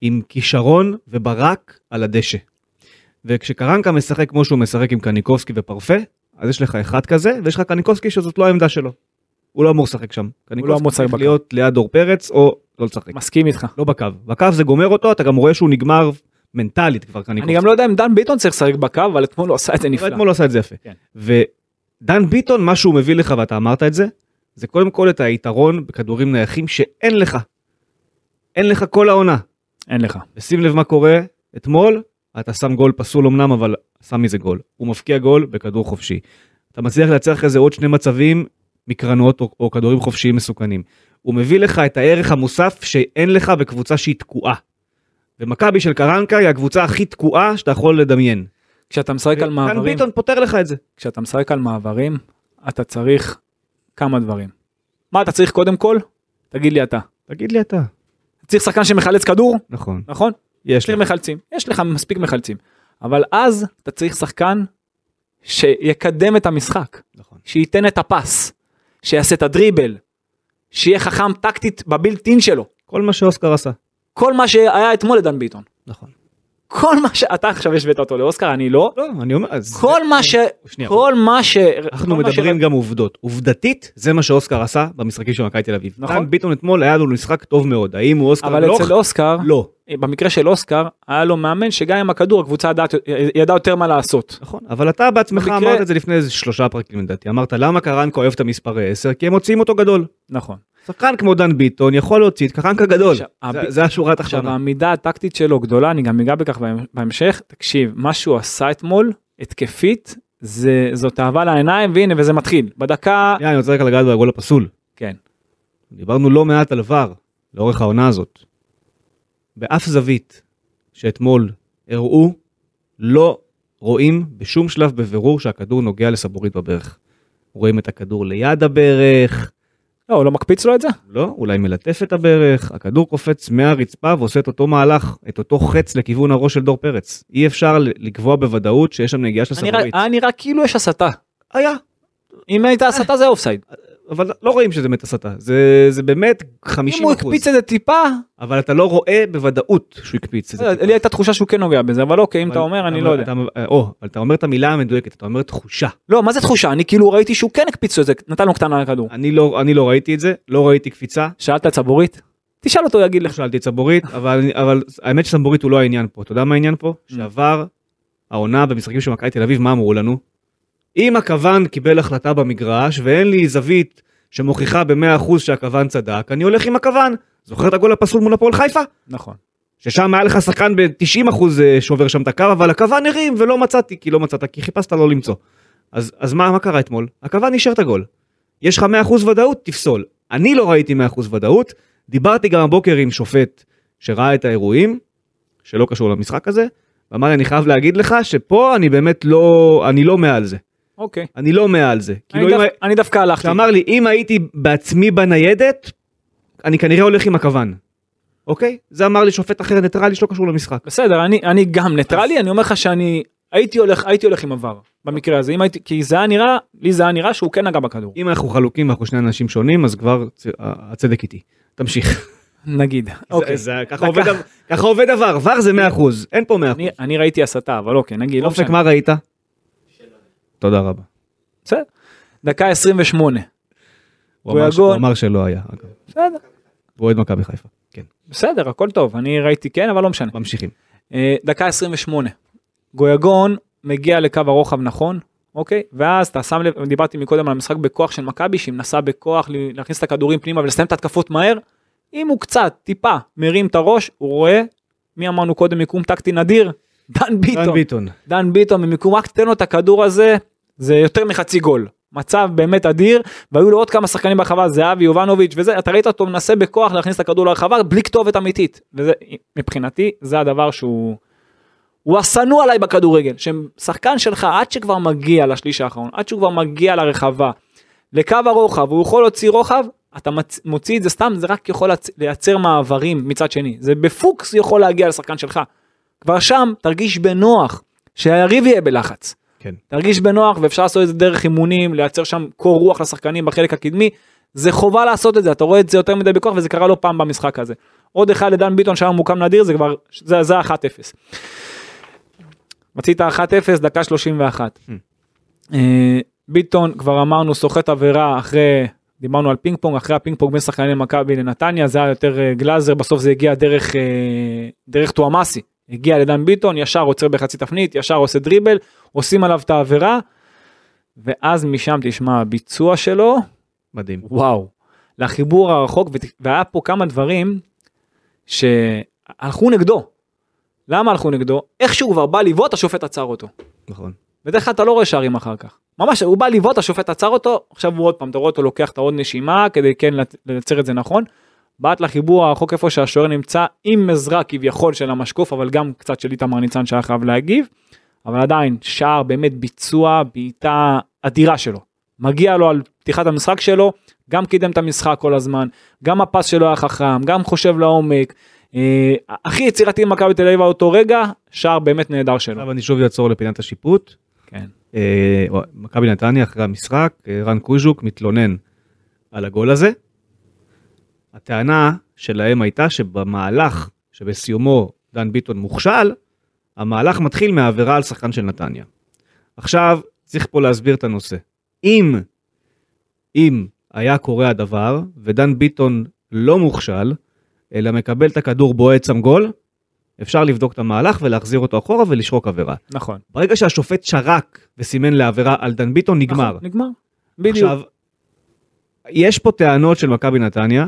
Speaker 2: עם כישרון וברק על הדשא. וכשקרנקה משחק כמו שהוא משחק עם קניקובסקי ופרפה, אז יש לך אחד כזה, ויש לך קניקובסקי שזאת לא העמדה שלו. הוא לא אמור לשחק שם. קניקובסקי
Speaker 3: לא אמור לשחק
Speaker 2: צריך
Speaker 3: בקו.
Speaker 2: להיות ליד דור פרץ או לא לשחק.
Speaker 3: מסכים איתך.
Speaker 2: לא בקו. בקו זה גומר אותו, אתה גם רואה שהוא נגמר מנטלית כבר קניקובסקי.
Speaker 3: אני גם לא יודע אם דן ביטון צריך לשחק בקו אבל אתמול הוא עשה את זה
Speaker 2: אבל
Speaker 3: נפלא.
Speaker 2: אתמול הוא עשה את זה יפה.
Speaker 3: כן.
Speaker 2: ודן ביטון, מה שהוא מביא לך, ואתה אמרת את זה, זה קודם כל את היתרון בכדורים נייחים שאין לך. אין לך כל העונה.
Speaker 3: אין לך.
Speaker 2: ושים לב מה קורה אתמול, אתה שם גול פסול אמנם, אבל שם מזה גול. הוא מבקיע גול בכדור חופשי. אתה מצליח לייצר אחרי זה עוד שני מצבים מקרנות או, או כדורים חופשיים מסוכנים. הוא מביא לך את הערך המוסף שאין לך בקבוצה שהיא תקועה. ומכבי של קרנקה היא הקבוצה הכי תקועה שאתה יכול לדמיין.
Speaker 3: כשאתה משחק על
Speaker 2: כאן
Speaker 3: מעברים
Speaker 2: ביטון פותר לך את זה.
Speaker 3: כשאתה משחק על מעברים אתה צריך כמה דברים. מה אתה צריך קודם כל? תגיד לי אתה.
Speaker 2: תגיד לי אתה.
Speaker 3: צריך שחקן שמחלץ כדור
Speaker 2: נכון.
Speaker 3: נכון?
Speaker 2: יש
Speaker 3: יש לך מחלצים, יש לך מספיק מחלצים, אבל אז אתה צריך שחקן שיקדם את המשחק,
Speaker 2: נכון.
Speaker 3: שייתן את הפס, שיעשה את הדריבל, שיהיה חכם טקטית בבילט אין שלו,
Speaker 2: כל מה שאוסקר עשה.
Speaker 3: כל מה שהיה אתמול לדן ביטון,
Speaker 2: נכון.
Speaker 3: כל מה שאתה עכשיו השווית אותו לאוסקר, אני לא,
Speaker 2: לא, אני אומר, אז...
Speaker 3: כל מה ש...
Speaker 2: שנייה.
Speaker 3: כל מה ש...
Speaker 2: אנחנו
Speaker 3: כל מה ש-
Speaker 2: מדברים גם עובדות. עובדתית, זה מה שאוסקר עשה במשחקים של מכבי תל אביב.
Speaker 3: נכון.
Speaker 2: נכון. ביטון אתמול היה לו משחק טוב מאוד. האם הוא אוסקר
Speaker 3: אבל
Speaker 2: גלוך?
Speaker 3: אצל אוסקר,
Speaker 2: לא.
Speaker 3: במקרה של אוסקר, היה לו מאמן שגם עם הכדור הקבוצה ידעת- ידעה יותר מה לעשות.
Speaker 2: נכון, אבל אתה בעצמך
Speaker 3: במקרה-
Speaker 2: אמרת את זה לפני איזה שלושה פרקים לדעתי. אמרת למה קרנקה אוהב את המספרי 10? כי הם מוציאים אותו גדול.
Speaker 3: נכון.
Speaker 2: שחקן כמו דן ביטון יכול להוציא את קרנקה גדול.
Speaker 3: עכשיו,
Speaker 2: זה-
Speaker 3: הב-
Speaker 2: זה השורה
Speaker 3: עכשיו
Speaker 2: התחתונה.
Speaker 3: העמידה הטקטית שלו גדולה אני גם אגע בכך בהמ- בהמשך תקשיב מה שהוא עשה אתמול התקפית זה זאת אהבה לעיניים והנה וזה מתחיל בדקה
Speaker 2: שנייה, אני רוצה רק לגעת בגול הפסול.
Speaker 3: כן
Speaker 2: דיברנו לא מעט על ור לאורך העונה הזאת. באף זווית שאתמול הראו, לא רואים בשום שלב בבירור שהכדור נוגע לסבורית בברך. רואים את הכדור ליד הברך,
Speaker 3: לא הוא לא מקפיץ לו את זה
Speaker 2: לא, אולי מלטף את הברך, הכדור קופץ מהרצפה ועושה את אותו מהלך, את אותו חץ לכיוון הראש של דור פרץ. אי אפשר ל- לקבוע בוודאות שיש שם נגיעה של
Speaker 3: אני רק-
Speaker 2: סבורית.
Speaker 3: היה נראה כאילו יש הסתה
Speaker 2: היה,
Speaker 3: אם הייתה הסתה זה אופסייד
Speaker 2: אבל לא רואים שזה באמת הסתה, זה, זה באמת 50%.
Speaker 3: אם הוא הקפיץ את זה טיפה
Speaker 2: אבל אתה לא רואה בוודאות שהוא הקפיץ את זה.
Speaker 3: לא,
Speaker 2: טיפה.
Speaker 3: לי הייתה תחושה שהוא כן נוגע בזה אבל אוקיי אם
Speaker 2: אבל
Speaker 3: אתה אומר אני לא יודע
Speaker 2: אתה- או, אבל אתה אומר את המילה המדויקת, אתה אומר תחושה.
Speaker 3: לא מה זה תחושה אני כאילו ראיתי שהוא כן הקפיץ לו את זה נתן לו קטנה על הכדור
Speaker 2: אני לא, אני לא ראיתי את זה, לא ראיתי קפיצה,
Speaker 3: שאלת צבורית תשאל אותו יגיד
Speaker 2: לא
Speaker 3: לך
Speaker 2: שאלתי את סבורית, אבל, אבל האמת שסבורית הוא לא העניין פה, אתה יודע מה העניין פה? שעבר העונה במשחקים של מכבי תל אביב, מה אמרו לנו? אם הכוון קיבל החלטה במגרש ואין לי זווית שמוכיחה ב-100% שהכוון צדק, אני הולך עם הכוון. זוכר את הגול הפסול מול הפועל חיפה?
Speaker 3: נכון
Speaker 2: ששם היה לך שחקן ב-90% שעובר שם את הקו, אבל הכוון הרים ולא מצאתי, כי לא מצאת, כי חיפשת לא למצוא. אז, אז מה, מה קרה אתמול? הכוון אישר את הגול. יש לך 100% ודאות, תפסול. אני לא ראיתי 100% ודאות. דיברתי גם הבוקר עם שופט שראה את האירועים, שלא קשור למשחק הזה, ואמר לי, אני חייב להגיד לך שפה אני באמת לא, אני לא מעל זה.
Speaker 3: אוקיי.
Speaker 2: אני לא מעל זה.
Speaker 3: אני
Speaker 2: כאילו, אם...
Speaker 3: דווקא- אני דווקא הלכתי.
Speaker 2: שאמר לי, אם הייתי בעצמי בניידת, אני כנראה הולך עם הכוון. אוקיי? זה אמר לי שופט אחר ניטרלי שלא קשור למשחק.
Speaker 3: בסדר, אני, אני גם ניטרלי, אני אומר לך שאני הייתי הולך, הייתי הולך עם עבר במקרה הזה, אם הייתי, כי זה היה נראה, לי זה היה נראה שהוא כן נגע בכדור,
Speaker 2: אם אנחנו חלוקים ואנחנו שני אנשים שונים, אז כבר צ- ה- הצדק איתי. תמשיך.
Speaker 3: נגיד. אוקיי.
Speaker 2: זה- זה- ככה עובד ה- ככה עובד עבר, ור זה 100%, אין פה 100%.
Speaker 3: אני, אני ראיתי הסתה, אבל אוקיי, נגיד, לא
Speaker 2: אופק,
Speaker 3: משנה.
Speaker 2: מה ראית? תודה רבה.
Speaker 3: בסדר. דקה 28.
Speaker 2: הוא אמר ש-
Speaker 3: יגון.
Speaker 2: הוא אמר שלא היה, אגב.
Speaker 3: בסדר.
Speaker 2: הוא אוהד מכבי חיפה. כן,
Speaker 3: בסדר, הכל טוב, אני ראיתי כן, אבל לא משנה.
Speaker 2: ממשיכים.
Speaker 3: אה, דקה 28. גויגון מגיע לקו הרוחב נכון, אוקיי? ואז אתה שם לב, דיברתי מקודם על המשחק בכוח של מכבי, שהיא מנסה בכוח ל- להכניס את הכדורים פנימה ולסיים את התקפות מהר. אם הוא קצת, טיפה, מרים את הראש, הוא רואה, מי אמרנו קודם, מיקום טקטי נדיר? דן ביטון.
Speaker 2: דן ביטון.
Speaker 3: דן ביטון במיקום, רק תן לו את הכדור הזה, זה יותר מחצי גול. מצב באמת אדיר, והיו לו עוד כמה שחקנים ברחבה, זהבי, יובנוביץ' וזה, אתה ראית אותו מנסה בכוח להכניס את הכדור לרחבה בלי כתובת אמיתית. וזה, מבחינתי, זה הדבר שהוא... הוא השנוא עליי בכדורגל, ששחקן שלך עד שכבר מגיע לשליש האחרון, עד שהוא כבר מגיע לרחבה, לקו הרוחב, הוא יכול להוציא רוחב, אתה מצ- מוציא את זה סתם, זה רק יכול לצ- לייצר מעברים מצד שני. זה בפוקס יכול להגיע לשחקן שלך. כבר שם תרגיש בנוח, שהיריב יהיה בלחץ.
Speaker 2: כן.
Speaker 3: תרגיש בנוח ואפשר לעשות את זה דרך אימונים, לייצר שם קור רוח לשחקנים בחלק הקדמי. זה חובה לעשות את זה, אתה רואה את זה יותר מדי בכוח וזה קרה לא פעם במשחק הזה. עוד אחד לדן ביטון שהיה מוקם נדיר, זה כבר, זה, זה 1-0. מצית 1-0, דקה 31. אה, ביטון כבר אמרנו סוחט עבירה אחרי דיברנו על פינג פונג אחרי הפינג פונג בין שחקני מכבי לנתניה זה היה יותר אה, גלאזר בסוף זה הגיע דרך אה, דרך טועמאסי הגיע לדן ביטון ישר עוצר בחצי תפנית ישר עושה דריבל עושים עליו את העבירה. ואז משם תשמע הביצוע שלו
Speaker 2: מדהים.
Speaker 3: וואו לחיבור הרחוק ות- והיה פה כמה דברים שהלכו נגדו. למה הלכו נגדו? איך שהוא כבר בא לבעוט השופט עצר אותו.
Speaker 2: נכון.
Speaker 3: בדרך כלל אתה לא רואה שערים אחר כך. ממש, הוא בא לבעוט, השופט עצר אותו, עכשיו הוא עוד פעם, אתה רואה אותו לוקח את העוד נשימה כדי כן לת- לייצר את זה נכון. בעט לחיבור הרחוק איפה שהשוער נמצא, עם עזרה כביכול של המשקוף, אבל גם קצת של איתמר ניצן שהיה חייב להגיב. אבל עדיין, שער באמת ביצוע בעיטה אדירה שלו. מגיע לו על פתיחת המשחק שלו, גם קידם את המשחק כל הזמן, גם הפס שלו היה חכם, גם חושב לעומק. אה, הכי יצירתי במכבי תל אביב היה אותו רגע, שער באמת נהדר שלו.
Speaker 2: עכשיו אני שוב אעצור לפינת השיפוט.
Speaker 3: כן.
Speaker 2: אה, מכבי נתניה אחרי המשחק, אה, רן קוז'וק מתלונן על הגול הזה. הטענה שלהם הייתה שבמהלך שבסיומו דן ביטון מוכשל, המהלך מתחיל מהעבירה על שחקן של נתניה. עכשיו, צריך פה להסביר את הנושא. אם, אם היה קורה הדבר, ודן ביטון לא מוכשל, אלא מקבל את הכדור בועט שם גול, אפשר לבדוק את המהלך ולהחזיר אותו אחורה ולשרוק עבירה.
Speaker 3: נכון.
Speaker 2: ברגע שהשופט שרק וסימן לעבירה על דן ביטון, נגמר.
Speaker 3: נכון, נגמר. בדיוק.
Speaker 2: עכשיו, יש פה טענות של מכבי נתניה,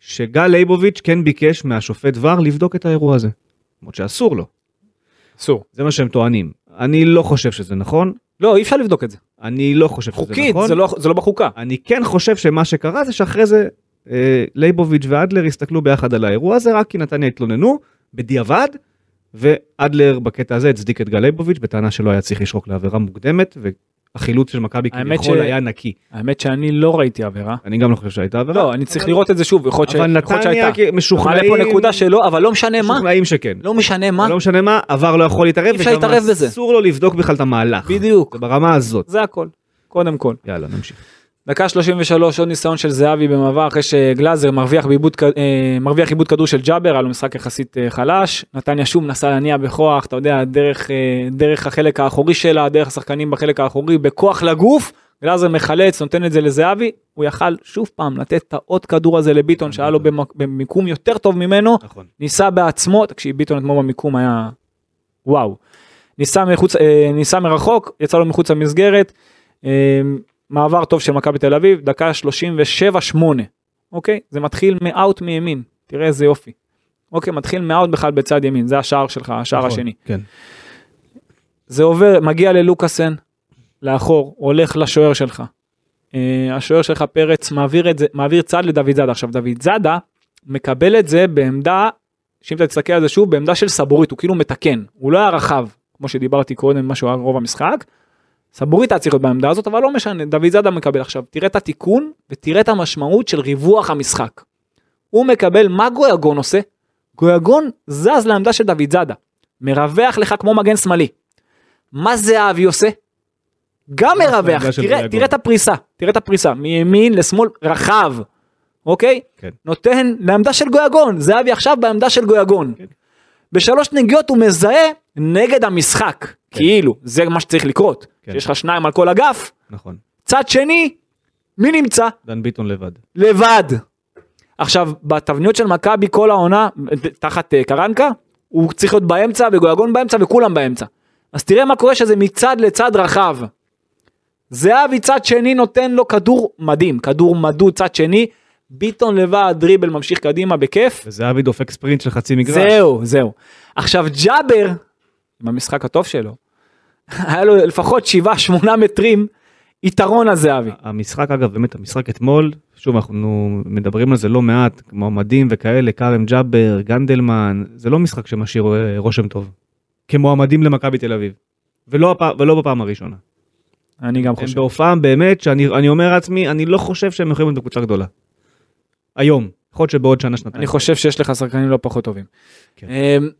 Speaker 2: שגל ליבוביץ' כן ביקש מהשופט ור לבדוק את האירוע הזה. למרות שאסור לו,
Speaker 3: אסור.
Speaker 2: זה מה שהם טוענים. אני לא חושב שזה נכון,
Speaker 3: לא, אי אפשר לבדוק את זה.
Speaker 2: אני לא חושב שזה
Speaker 3: חוקית,
Speaker 2: נכון.
Speaker 3: זה לא- זה לא בחוקה.
Speaker 2: אני כן חושב שמה שקרה זה שאחרי זה אה, ליבוביץ' ואדלר הסתכלו ביחד על האירוע הזה, רק כי נתניה התלוננו, בדיעבד, ואדלר בקטע הזה הצדיק את גל ליבוביץ' בטענה שלא היה צריך לשרוק לעבירה מוקדמת, והחילוץ של מכבי
Speaker 3: האמת
Speaker 2: כביכול
Speaker 3: ש-
Speaker 2: היה נקי.
Speaker 3: האמת שאני לא ראיתי עבירה.
Speaker 2: אני גם לא חושב שהייתה עבירה.
Speaker 3: לא, כאילו אני צריך לראות את זה שוב, יכול להיות ש-
Speaker 2: אבל
Speaker 3: יכול להיות שהייתה.
Speaker 2: נתניה כי-
Speaker 3: אתה מעלה
Speaker 2: משוכנעים,
Speaker 3: פה נקודה שלא, אבל לא משנה מה.
Speaker 2: משוכנעים שכן.
Speaker 3: לא משנה מה.
Speaker 2: לא משנה מה, עבר לא יכול להתערב,
Speaker 3: אי אפשר להתערב בזה.
Speaker 2: אסור לו לבדוק בכלל את המהלך.
Speaker 3: בדיוק.
Speaker 2: זה ברמה הזאת.
Speaker 3: זה הכל. קודם כל.
Speaker 2: יאללה, נמשיך.
Speaker 3: דקה 33 עוד ניסיון של זהבי במעבר אחרי שגלאזר מרוויח בעיבוד כ- אה, מרוויח עיבוד כדור של ג'אבר היה לו משחק יחסית אה, חלש נתניה שוב נסע להניע בכוח אתה יודע דרך אה, דרך החלק האחורי שלה דרך השחקנים בחלק האחורי בכוח לגוף גלאזר מחלץ נותן את זה לזהבי הוא יכל שוב פעם לתת את העוד כדור הזה לביטון שהיה לו במק- במיקום יותר טוב ממנו
Speaker 2: נכון.
Speaker 3: ניסה בעצמו, תקשיב ביטון אתמול במיקום היה וואו. ניסה, מחוץ, אה, ניסה מרחוק, יצא לו מחוץ למסגרת, אה, מעבר טוב של מכבי תל אביב, דקה 37-8, אוקיי? זה מתחיל מאאוט מימין, תראה איזה יופי. אוקיי, מתחיל מאאוט בכלל בצד ימין, זה השער שלך, השער
Speaker 2: נכון,
Speaker 3: השני.
Speaker 2: כן.
Speaker 3: זה עובר, מגיע ללוקאסן, לאחור, הולך לשוער שלך. אה, השוער שלך פרץ מעביר את זה, מעביר צד לדוד זאדה. עכשיו דוד זאדה מקבל את זה בעמדה, שאם אתה תסתכל על זה שוב, בעמדה של סבורית, הוא כאילו מתקן, הוא לא היה רחב, כמו שדיברתי קודם, מה שהוא היה רוב המשחק. סבורית היה צריך להיות בעמדה הזאת, אבל לא משנה, דוד זאדה מקבל עכשיו. תראה את התיקון ותראה את המשמעות של ריווח המשחק. הוא מקבל, מה גויגון עושה? גויגון זז לעמדה של דוד זאדה. מרווח לך כמו מגן שמאלי. מה זה אבי עושה? גם
Speaker 2: מה זה
Speaker 3: מרווח,
Speaker 2: העמדה של
Speaker 3: תראה,
Speaker 2: גויגון?
Speaker 3: תראה את הפריסה, תראה את הפריסה, מימין לשמאל רחב, אוקיי?
Speaker 2: כן.
Speaker 3: נותן לעמדה של גויגון, זהבי עכשיו בעמדה של גויגון. בשלוש נגיעות הוא מזהה נגד המשחק, כאילו, זה מה שצריך לקרות.
Speaker 2: כן.
Speaker 3: שיש לך שניים על כל אגף,
Speaker 2: נכון.
Speaker 3: צד שני, מי נמצא?
Speaker 2: דן ביטון לבד.
Speaker 3: לבד. עכשיו, בתבניות של מכבי כל העונה, תחת אה, קרנקה, הוא צריך להיות באמצע וגויגון באמצע וכולם באמצע. אז תראה מה קורה שזה מצד לצד רחב. זהבי צד שני נותן לו כדור מדהים, כדור מדוד צד שני, ביטון לבד, דריבל ממשיך קדימה בכיף.
Speaker 2: וזהבי דופק ספרינט של חצי מגרש.
Speaker 3: זהו, זהו. עכשיו ג'אבר, במשחק הטוב שלו, היה לו לפחות 7-8 מטרים יתרון על זהבי.
Speaker 2: המשחק אגב באמת המשחק אתמול שוב אנחנו מדברים על זה לא מעט כמו מדים וכאלה כרם ג'אבר גנדלמן זה לא משחק שמשאיר אה, רושם טוב. כמועמדים למכבי תל אביב. ולא, הפ... ולא בפעם הראשונה.
Speaker 3: אני גם
Speaker 2: הם
Speaker 3: חושב.
Speaker 2: בהופעה באמת שאני אני אומר לעצמי אני לא חושב שהם יכולים להיות בקבוצה גדולה. היום. יכול להיות שבעוד שנה שנתיים.
Speaker 3: אני חושב שיש לך שחקנים לא פחות טובים.
Speaker 2: כן.
Speaker 3: אמ,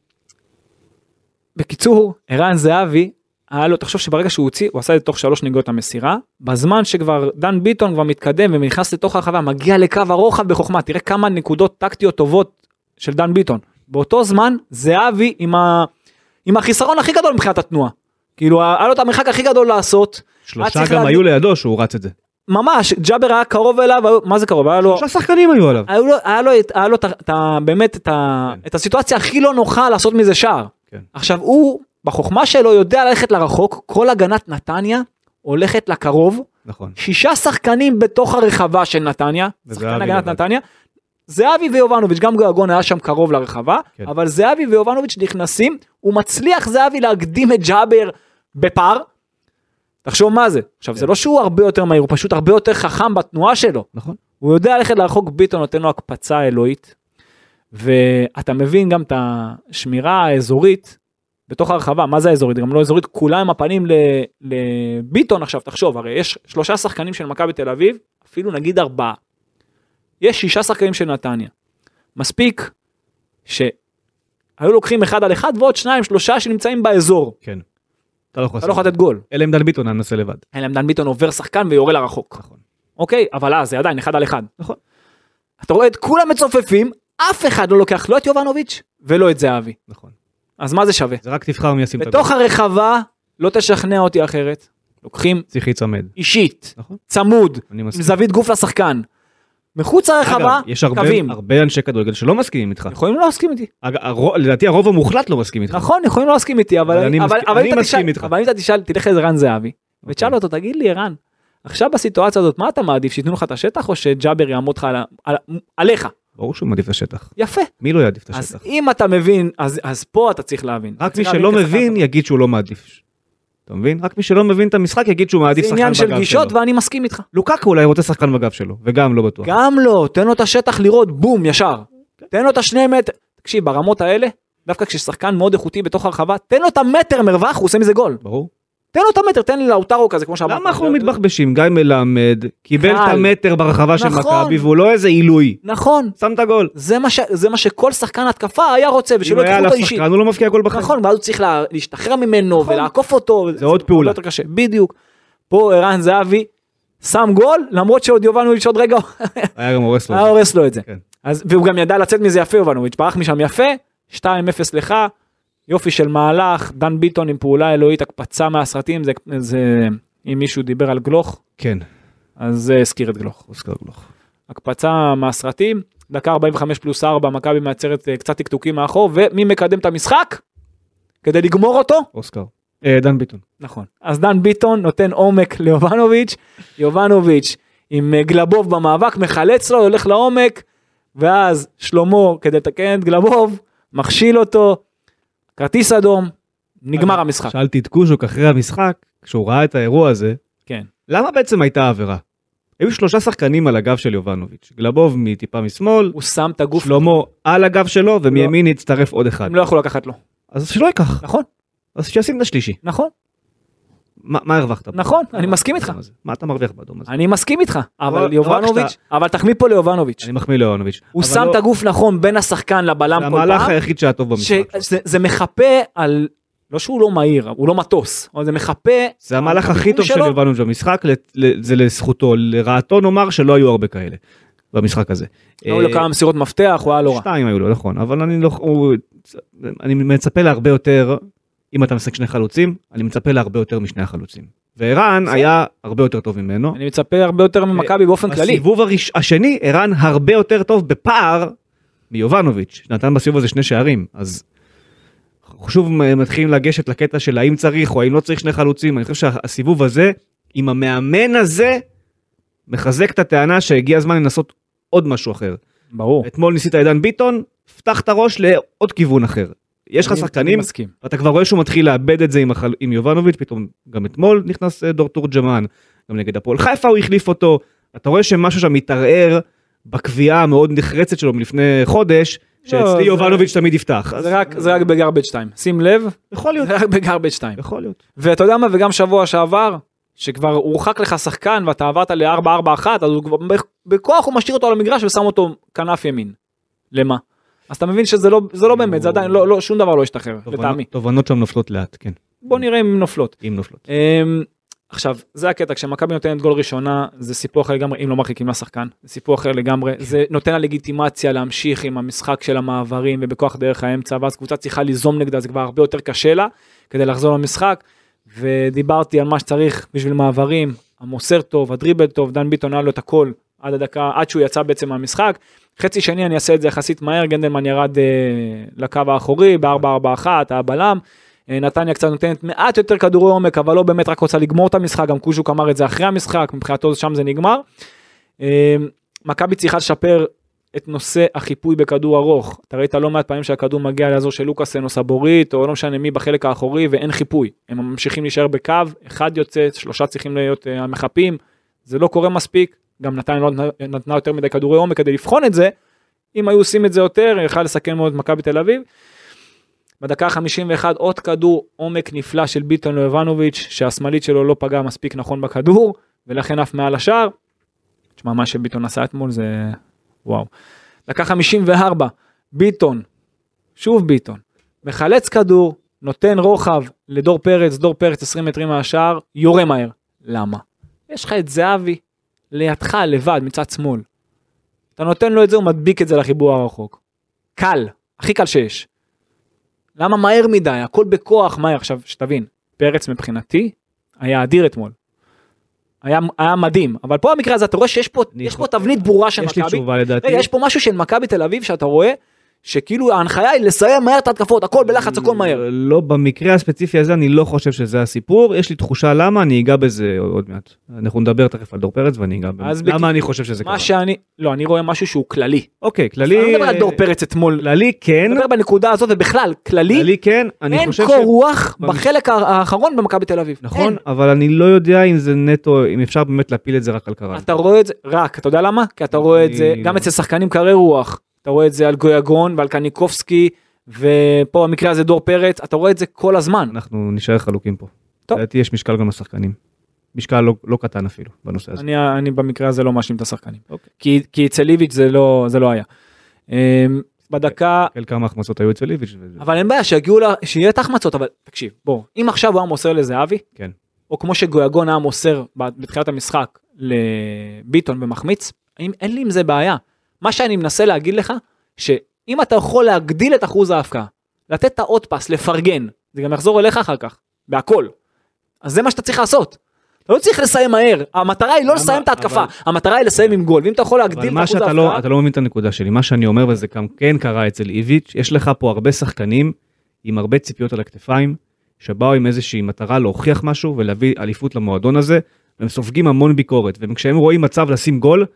Speaker 3: בקיצור, ערן זהבי, היה לו, תחשוב שברגע שהוא הוציא, הוא עשה את זה תוך שלוש נגיעות המסירה, בזמן שכבר דן ביטון כבר מתקדם ונכנס לתוך הרחבה, מגיע לקו הרוחב בחוכמה, תראה כמה נקודות טקטיות טובות של דן ביטון. באותו זמן, זהבי עם, ה... עם החיסרון הכי גדול מבחינת התנועה. כאילו, היה לו את המרחק הכי גדול לעשות, היה
Speaker 2: שלושה
Speaker 3: אה, צריך
Speaker 2: גם
Speaker 3: להגיד-
Speaker 2: היו לידו שהוא רץ את זה.
Speaker 3: ממש, ג'אבר היה קרוב אליו, היו- מה זה קרוב? היה לו...
Speaker 2: שלושה שחקנים היו עליו.
Speaker 3: היה לו, היה לו, את- היה לו את ה- את ה- באמת את, ה,
Speaker 2: כן.
Speaker 3: את הסיטואציה הכי לא נוחה לעשות מזה שער.
Speaker 2: כן.
Speaker 3: עכשיו הוא בחוכמה שלו יודע ללכת לרחוק, כל הגנת נתניה הולכת לקרוב,
Speaker 2: נכון.
Speaker 3: שישה שחקנים בתוך הרחבה של נתניה,
Speaker 2: וזהבי
Speaker 3: שחקן הגנת
Speaker 2: לבד.
Speaker 3: נתניה, זהבי ויובנוביץ', גם גויגון היה שם קרוב לרחבה,
Speaker 2: כן.
Speaker 3: אבל זהבי ויובנוביץ' נכנסים, הוא מצליח זהבי להקדים את ג'אבר בפער. תחשוב מה זה, עכשיו זה
Speaker 2: כן.
Speaker 3: לא שהוא הרבה יותר מהיר, הוא פשוט הרבה יותר חכם בתנועה שלו.
Speaker 2: נכון.
Speaker 3: הוא יודע ללכת לרחוק, ביטון נותן לו הקפצה אלוהית. ואתה מבין גם את השמירה האזורית בתוך הרחבה, מה זה האזורית? גם לא אזורית, כולה עם הפנים ל- לביטון עכשיו, תחשוב, הרי יש שלושה שחקנים של מכבי תל אביב, אפילו נגיד ארבעה. יש שישה שחקנים של נתניה. מספיק שהיו לוקחים אחד על אחד ועוד שניים, שלושה שנמצאים באזור.
Speaker 2: כן. אתה לא יכול
Speaker 3: אתה לא יכול
Speaker 2: לעשות את
Speaker 3: לתת גול.
Speaker 2: זה. אלא אם דן ביטון היה מנסה לבד.
Speaker 3: אלא אם דן ביטון עובר שחקן ויורה לרחוק.
Speaker 2: נכון.
Speaker 3: אוקיי? אבל אז זה עדיין אחד על אחד.
Speaker 2: נכון.
Speaker 3: אתה רואה את כולם מצופפים, אף אחד לא לוקח לא את יובנוביץ' ולא את זהבי.
Speaker 2: נכון.
Speaker 3: אז מה זה שווה?
Speaker 2: זה רק תבחר מי ישים את
Speaker 3: בתוך הרחבה לא תשכנע אותי אחרת. לוקחים
Speaker 2: צריך להיצמד.
Speaker 3: אישית,
Speaker 2: נכון.
Speaker 3: צמוד,
Speaker 2: אני
Speaker 3: עם
Speaker 2: מסכים.
Speaker 3: זווית גוף לשחקן. מחוץ לרחבה,
Speaker 2: אגב, יש הרבה,
Speaker 3: קווים.
Speaker 2: הרבה אנשי כדורגל שלא מסכימים איתך.
Speaker 3: יכולים לא להסכים איתי.
Speaker 2: אג, הרו, לדעתי הרוב המוחלט לא מסכים איתך.
Speaker 3: נכון, יכולים לא להסכים איתי, אבל
Speaker 2: אבל אני
Speaker 3: אבל-
Speaker 2: מסכים-
Speaker 3: אבל
Speaker 2: אני
Speaker 3: אם אתה
Speaker 2: מסכים
Speaker 3: תשאל-
Speaker 2: איתך.
Speaker 3: אבל אם אתה תשאל, תלך לערן זהבי,
Speaker 2: אוקיי.
Speaker 3: ותשאל אותו, תגיד לי, ערן, עכשיו בסיטואציה הזאת, מה אתה מעדיף, שייתנו לך את השטח, או שג'אבר יעמוד לך על ה- על ה- עליך?
Speaker 2: ברור שהוא מעדיף את השטח.
Speaker 3: יפה.
Speaker 2: מי לא יעדיף את
Speaker 3: אז
Speaker 2: השטח?
Speaker 3: אם אתה מבין, אז, אז פה אתה צריך להבין.
Speaker 2: רק
Speaker 3: אתה
Speaker 2: מי
Speaker 3: צריך
Speaker 2: שלא
Speaker 3: להבין
Speaker 2: מבין
Speaker 3: כשחקן.
Speaker 2: יגיד שהוא לא מעדיף. אתה מבין? רק מי שלא מבין את המשחק יגיד שהוא מעדיף
Speaker 3: זה
Speaker 2: שחקן
Speaker 3: עניין
Speaker 2: בגב שלו.
Speaker 3: של גישות ואני מסכים איתך.
Speaker 2: לוקקו אולי רוצה שחקן בגב שלו, וגם לא בטוח.
Speaker 3: גם לא, תן לו את השטח לראות, בום, ישר.
Speaker 2: כן.
Speaker 3: תן לו את השני מטר. תקשיב, ברמות האלה, דווקא כששחקן מאוד איכותי בתוך הרחבה, תן לו את המטר מרווח, הוא עושה מזה גול.
Speaker 2: ברור.
Speaker 3: תן לו את המטר, תן לי לאוטרו כזה, כמו שאמרת.
Speaker 2: למה אנחנו מתבחבשים? גיא מלמד קיבל את
Speaker 3: קל.
Speaker 2: המטר ברחבה של
Speaker 3: נכון.
Speaker 2: מכבי והוא לא איזה עילוי.
Speaker 3: נכון,
Speaker 2: שם את הגול.
Speaker 3: זה מה, ש... זה מה שכל שחקן התקפה היה רוצה,
Speaker 2: אם
Speaker 3: ושלא
Speaker 2: היה
Speaker 3: ייקחו
Speaker 2: עליו
Speaker 3: אותו אישית.
Speaker 2: שחקן הוא לא מבקיע גול בחיים.
Speaker 3: נכון, ואז הוא צריך לה... להשתחרר ממנו
Speaker 2: נכון.
Speaker 3: ולעקוף אותו.
Speaker 2: זה עוד פעולה.
Speaker 3: יותר קשה, בדיוק. פה ערן זהבי שם גול, למרות שעוד יובנוביץ' עוד רגע
Speaker 2: היה גם הורס לו.
Speaker 3: היה הורס לו את זה.
Speaker 2: כן.
Speaker 3: אז, והוא גם ידע לצאת מזה יפה יובנוביץ', ברח משם יפה, 2-0 לך, יופי של מהלך, דן ביטון עם פעולה אלוהית, הקפצה מהסרטים, זה, זה אם מישהו דיבר על גלוך,
Speaker 2: כן.
Speaker 3: אז זה הזכיר את גלוך.
Speaker 2: אוסקר גלוך.
Speaker 3: הקפצה מהסרטים, דקה 45 פלוס 4, מכבי מייצרת אה, קצת טקטוקים מאחור, ומי מקדם את המשחק? כדי לגמור אותו?
Speaker 2: אוסקר. אה, דן ביטון.
Speaker 3: נכון. אז דן ביטון נותן עומק ליובנוביץ', יובנוביץ' עם אה, גלבוב במאבק, מחלץ לו, הולך לעומק, ואז שלמה, כדי לתקן את גלבוב, מכשיל אותו, כרטיס אדום, נגמר המשחק.
Speaker 2: שאלתי את קוז'וק אחרי המשחק, כשהוא ראה את האירוע הזה,
Speaker 3: כן.
Speaker 2: למה בעצם הייתה עבירה? היו שלושה שחקנים על הגב של יובנוביץ', גלבוב מטיפה משמאל,
Speaker 3: הוא שם את הגוף,
Speaker 2: שלמה על הגב שלו, ומימין הצטרף עוד אחד.
Speaker 3: הם לא יכלו לקחת לו.
Speaker 2: אז שלא ייקח,
Speaker 3: נכון,
Speaker 2: אז שישים את השלישי.
Speaker 3: נכון,
Speaker 2: מה מה הרווחת? פה?
Speaker 3: נכון, אני
Speaker 2: מה
Speaker 3: מסכים איתך.
Speaker 2: באדום הזה? מה אתה מרוויח באדום הזה?
Speaker 3: אני מסכים איתך, אבל
Speaker 2: אבל רק
Speaker 3: יובנוביץ', אבל תחמיא פה ליובנוביץ'.
Speaker 2: אני מחמיא ליובנוביץ'.
Speaker 3: הוא
Speaker 2: אבל
Speaker 3: שם
Speaker 2: לא-
Speaker 3: את הגוף נכון בין השחקן לבלם
Speaker 2: זה
Speaker 3: כל
Speaker 2: המהלך
Speaker 3: פעם.
Speaker 2: היחיד שהיה טוב
Speaker 3: ש-
Speaker 2: במשחק.
Speaker 3: זה- זה מחפה על, לא שהוא לא מהיר, הוא לא מטוס, אבל זה מחפה,
Speaker 2: זה המהלך הכי טוב של
Speaker 3: שלו.
Speaker 2: יובנוביץ' במשחק, לת- ל- זה לזכותו, לרעתו נאמר שלא היו הרבה כאלה במשחק הזה.
Speaker 3: היו לו
Speaker 2: אה,
Speaker 3: לא, כמה מסירות מפתח, הוא היה לא רע.
Speaker 2: שתיים היו לו, נכון, אבל אני לא, הוא, אני מצפה להרבה יותר, אם אתה משחק שני חלוצים, אני מצפה להרבה יותר משני החלוצים. וערן היה הרבה יותר טוב ממנו.
Speaker 3: אני מצפה הרבה
Speaker 2: אה,
Speaker 3: יותר ממכבי באופן כללי.
Speaker 2: בסיבוב הראש- השני, ערן הרבה יותר טוב בפער מיובנוביץ', שנתן בסיבוב הזה שני שערים, אז שוב אה, מתחילים לגשת לקטע של האם צריך או האם לא צריך שני חלוצים, אני חושב שהסיבוב הזה, עם המאמן הזה, מחזק את הטענה שהגיע הזמן לנסות עוד משהו אחר.
Speaker 3: ברור.
Speaker 2: אתמול ניסית עידן ביטון, פתח את הראש לעוד כיוון אחר. יש לך
Speaker 3: אני- אני
Speaker 2: שחקנים,
Speaker 3: מסכים.
Speaker 2: ואתה כבר רואה שהוא מתחיל לאבד את זה עם, החל... עם יובנוביץ', פתאום גם אתמול נכנס אה, דור תורג'מן, גם נגד הפועל חיפה הוא החליף אותו, אתה רואה שמשהו שם מתערער בקביעה המאוד נחרצת שלו מלפני חודש,
Speaker 3: לא, זה-
Speaker 2: שאצלי יובנוביץ' תמיד יפתח. אז
Speaker 3: זה רק- זה רק בגרבג' 2. שים לב,
Speaker 2: יכול להיות,
Speaker 3: זה רק בגרבג' 2.
Speaker 2: יכול להיות.
Speaker 3: ואתה יודע מה, וגם שבוע שעבר, שכבר הורחק לך שחקן ואתה עברת ל-4-4-1, אז הוא כבר בכ- בכוח הוא משאיר אותו על המגרש ושם אותו כנף ימין. למה? אז אתה מבין שזה לא, זה לא באמת, זה עדיין, לא, לא, שום דבר לא השתחרר, לטעמי.
Speaker 2: תובנות- תובנות שם נופלות לאט, כן,
Speaker 3: בוא נראה אם נופלות.
Speaker 2: אם נופלות.
Speaker 3: אמ, עכשיו, זה הקטע, כשמכבי נותנת גול ראשונה, זה סיפור אחר לגמרי, אם לא מרחיקים לשחקן, זה סיפור אחר לגמרי, זה נותן לה לגיטימציה להמשיך עם המשחק של המעברים ובכוח דרך האמצע, ואז קבוצה צריכה ליזום נגדה, זה כבר הרבה יותר קשה לה, כדי לחזור למשחק, ודיברתי על מה שצריך בשביל מעברים, המוסר טוב, הדריבל טוב, דן ביטון היה לו את הכל עד הדקה, עד שהוא יצא בעצם מהמשחק. חצי שני אני אעשה את זה יחסית מהר, גנדלמן ירד אה, לקו האחורי, ב-4-4-1, היה בלם. אה, נתניה קצת נותנת מעט יותר כדורי עומק, אבל לא באמת רק רוצה לגמור את המשחק, גם קוז'וק אמר את זה אחרי המשחק, מבחינתו שם זה נגמר. אה, מכבי צריכה לשפר את נושא החיפוי בכדור ארוך. אתה ראית לא מעט פעמים שהכדור מגיע לאזור של לוקאסן או סבורית, או לא משנה מי בחלק האחורי, ואין חיפוי. הם ממשיכים להישאר בקו, אחד יוצא, שלושה צריכים להיות אה, המחפים. זה לא קורה מספיק, גם נתניה לא נת- נתנה יותר מדי כדורי עומק כדי לבחון את זה. אם היו עושים את זה יותר, יכל לסכן מאוד את מכבי תל אביב. בדקה ה-51 עוד כדור עומק נפלא של ביטון ליובנוביץ', שהשמאלית שלו לא פגעה מספיק נכון בכדור, ולכן אף מעל השער. תשמע, מה שביטון עשה אתמול זה... וואו. דקה 54, ביטון, שוב ביטון, מחלץ כדור, נותן רוחב לדור פרץ, דור פרץ 20 מטרים מהשער, יורה מהר. למה? יש לך את זהבי לידך, לבד, מצד שמאל. אתה נותן לו את זה, הוא מדביק את זה לחיבור הרחוק. קל, הכי קל שיש. למה מהר מדי? הכל בכוח, מהר. עכשיו, שתבין, פרץ מבחינתי היה אדיר אתמול. היה, היה מדהים, אבל פה המקרה הזה, אתה רואה שיש פה,
Speaker 2: אני
Speaker 3: יש פה
Speaker 2: חו-
Speaker 3: תבנית ברורה של
Speaker 2: יש לי
Speaker 3: מכבי.
Speaker 2: תשובה לדעתי.
Speaker 3: רגע, יש פה משהו של מכבי תל אביב שאתה רואה, שכאילו ההנחיה היא לסיים מהר את ההתקפות, הכל בלחץ, הכל מהר.
Speaker 2: לא, במקרה הספציפי הזה אני לא חושב שזה הסיפור, יש לי תחושה למה, אני אגע בזה עוד מעט. אנחנו נדבר תכף על דור פרץ ואני אגע בזה.
Speaker 3: אז בכ-
Speaker 2: למה אני חושב שזה קרה.
Speaker 3: מה שאני, לא, אני רואה משהו שהוא כללי.
Speaker 2: אוקיי,
Speaker 3: אני
Speaker 2: כללי...
Speaker 3: לא מדבר על דור פרץ אתמול,
Speaker 2: כללי כן,
Speaker 3: אני מדבר בנקודה הזאת ובכלל, כללי,
Speaker 2: כללי כן, אני
Speaker 3: אין
Speaker 2: חושב
Speaker 3: קור רוח
Speaker 2: במש-
Speaker 3: בחלק הא- האחרון במכבי תל אביב.
Speaker 2: נכון, אבל אני לא יודע אם זה נטו, אם אפשר באמת להפיל את זה רק על קרן.
Speaker 3: אין. אתה רואה את זה, רק, אתה יודע למה? כי אתה רואה את זה
Speaker 2: אני
Speaker 3: גם
Speaker 2: לא.
Speaker 3: אצל שחקנים קרי רוח, אתה רואה את זה על גויגון ועל קניקובסקי, ופה במקרה הזה דור פרץ, אתה רואה את זה כל הזמן.
Speaker 2: אנחנו נישאר חלוקים פה.
Speaker 3: טוב.
Speaker 2: לדעתי יש משקל גם לשחקנים. משקל לא- לא קטן אפילו בנושא הזה.
Speaker 3: אני, אני במקרה הזה לא מאשים את השחקנים.
Speaker 2: אוקיי.
Speaker 3: כי, כי אצל איביץ' זה לא, זה לא היה. אמ, בדקה,
Speaker 2: כן, כמה החמצות היו אצל איביץ'. וזה-
Speaker 3: אבל אין בעיה שיגיעו, לה, שיהיה את ההחמצות, אבל תקשיב, בוא, אם עכשיו הוא היה מוסר לזהבי,
Speaker 2: כן.
Speaker 3: או כמו שגויגון היה מוסר ב- בתחילת המשחק לביטון ומחמיץ, אין, אין לי עם זה בעיה. מה שאני מנסה להגיד לך, שאם אתה יכול להגדיל את אחוז ההפקעה, לתת את העוד פס, לפרגן, זה גם יחזור אליך אחר כך, בהכל. אז זה מה שאתה צריך לעשות. אתה לא צריך לסיים מהר, המטרה היא לא
Speaker 2: למה-
Speaker 3: לסיים את ההתקפה,
Speaker 2: אבל-
Speaker 3: המטרה היא לסיים עם גול, ואם אתה יכול
Speaker 2: אבל
Speaker 3: להגדיל את
Speaker 2: מה
Speaker 3: אחוז
Speaker 2: שאתה
Speaker 3: ההפקעה,
Speaker 2: לא, אתה לא מבין את הנקודה שלי, מה שאני אומר וזה גם כן קרה אצל איביץ', יש לך פה הרבה שחקנים עם הרבה ציפיות על הכתפיים, שבאו עם איזושהי מטרה להוכיח משהו ולהביא אליפות למועדון הזה, והם סופגים המון ביקורת, וכשהם רואים מצב לשים גול,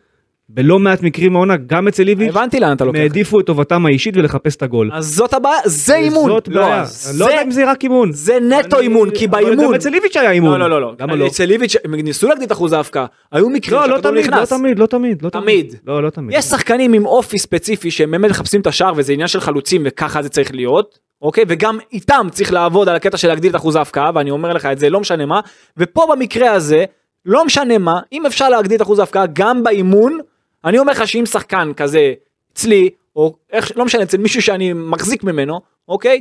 Speaker 2: בלא מעט מקרים העונה, גם אצל איביץ',
Speaker 3: הבנתי לאן אתה
Speaker 2: הם
Speaker 3: לוקח.
Speaker 2: העדיפו את טובתם האישית ולחפש את הגול.
Speaker 3: אז זאת הבעיה, זה אימון.
Speaker 2: זאת
Speaker 3: לא,
Speaker 2: בעיה.
Speaker 3: אז
Speaker 2: אני לא יודע אם זה רק אימון.
Speaker 3: זה נטו
Speaker 2: אני-
Speaker 3: אימון, כי
Speaker 2: אבל גם
Speaker 3: באימון...
Speaker 2: אצל איביץ' היה אימון.
Speaker 3: לא, לא, לא, לא.
Speaker 2: למה לא?
Speaker 3: אצל איביץ', הם ניסו להגדיל את אחוז ההפקעה, היו מקרים
Speaker 2: לא, לא
Speaker 3: שהכדור
Speaker 2: תמיד, לא
Speaker 3: נכנס.
Speaker 2: תמיד, לא תמיד, לא
Speaker 3: תמיד.
Speaker 2: לא, לא תמיד.
Speaker 3: יש שחקנים עם אופי ספציפי שהם באמת מחפשים את השער וזה עניין של חלוצים וככה זה צריך להיות, אוקיי? וגם איתם צריך לעבוד על הקטע של להגדיל את אחוז ההפקעה, ואני אומר לך את זה, לא משנה מה. ופה במקרה הזה, לא משנה מה, אם אפשר להגדיל את אחוז ההפקעה גם באימון, אני אומר לך שאם שחקן כזה אצלי, או איך, לא משנה, אצל מישהו שאני מחזיק ממנו, אוקיי?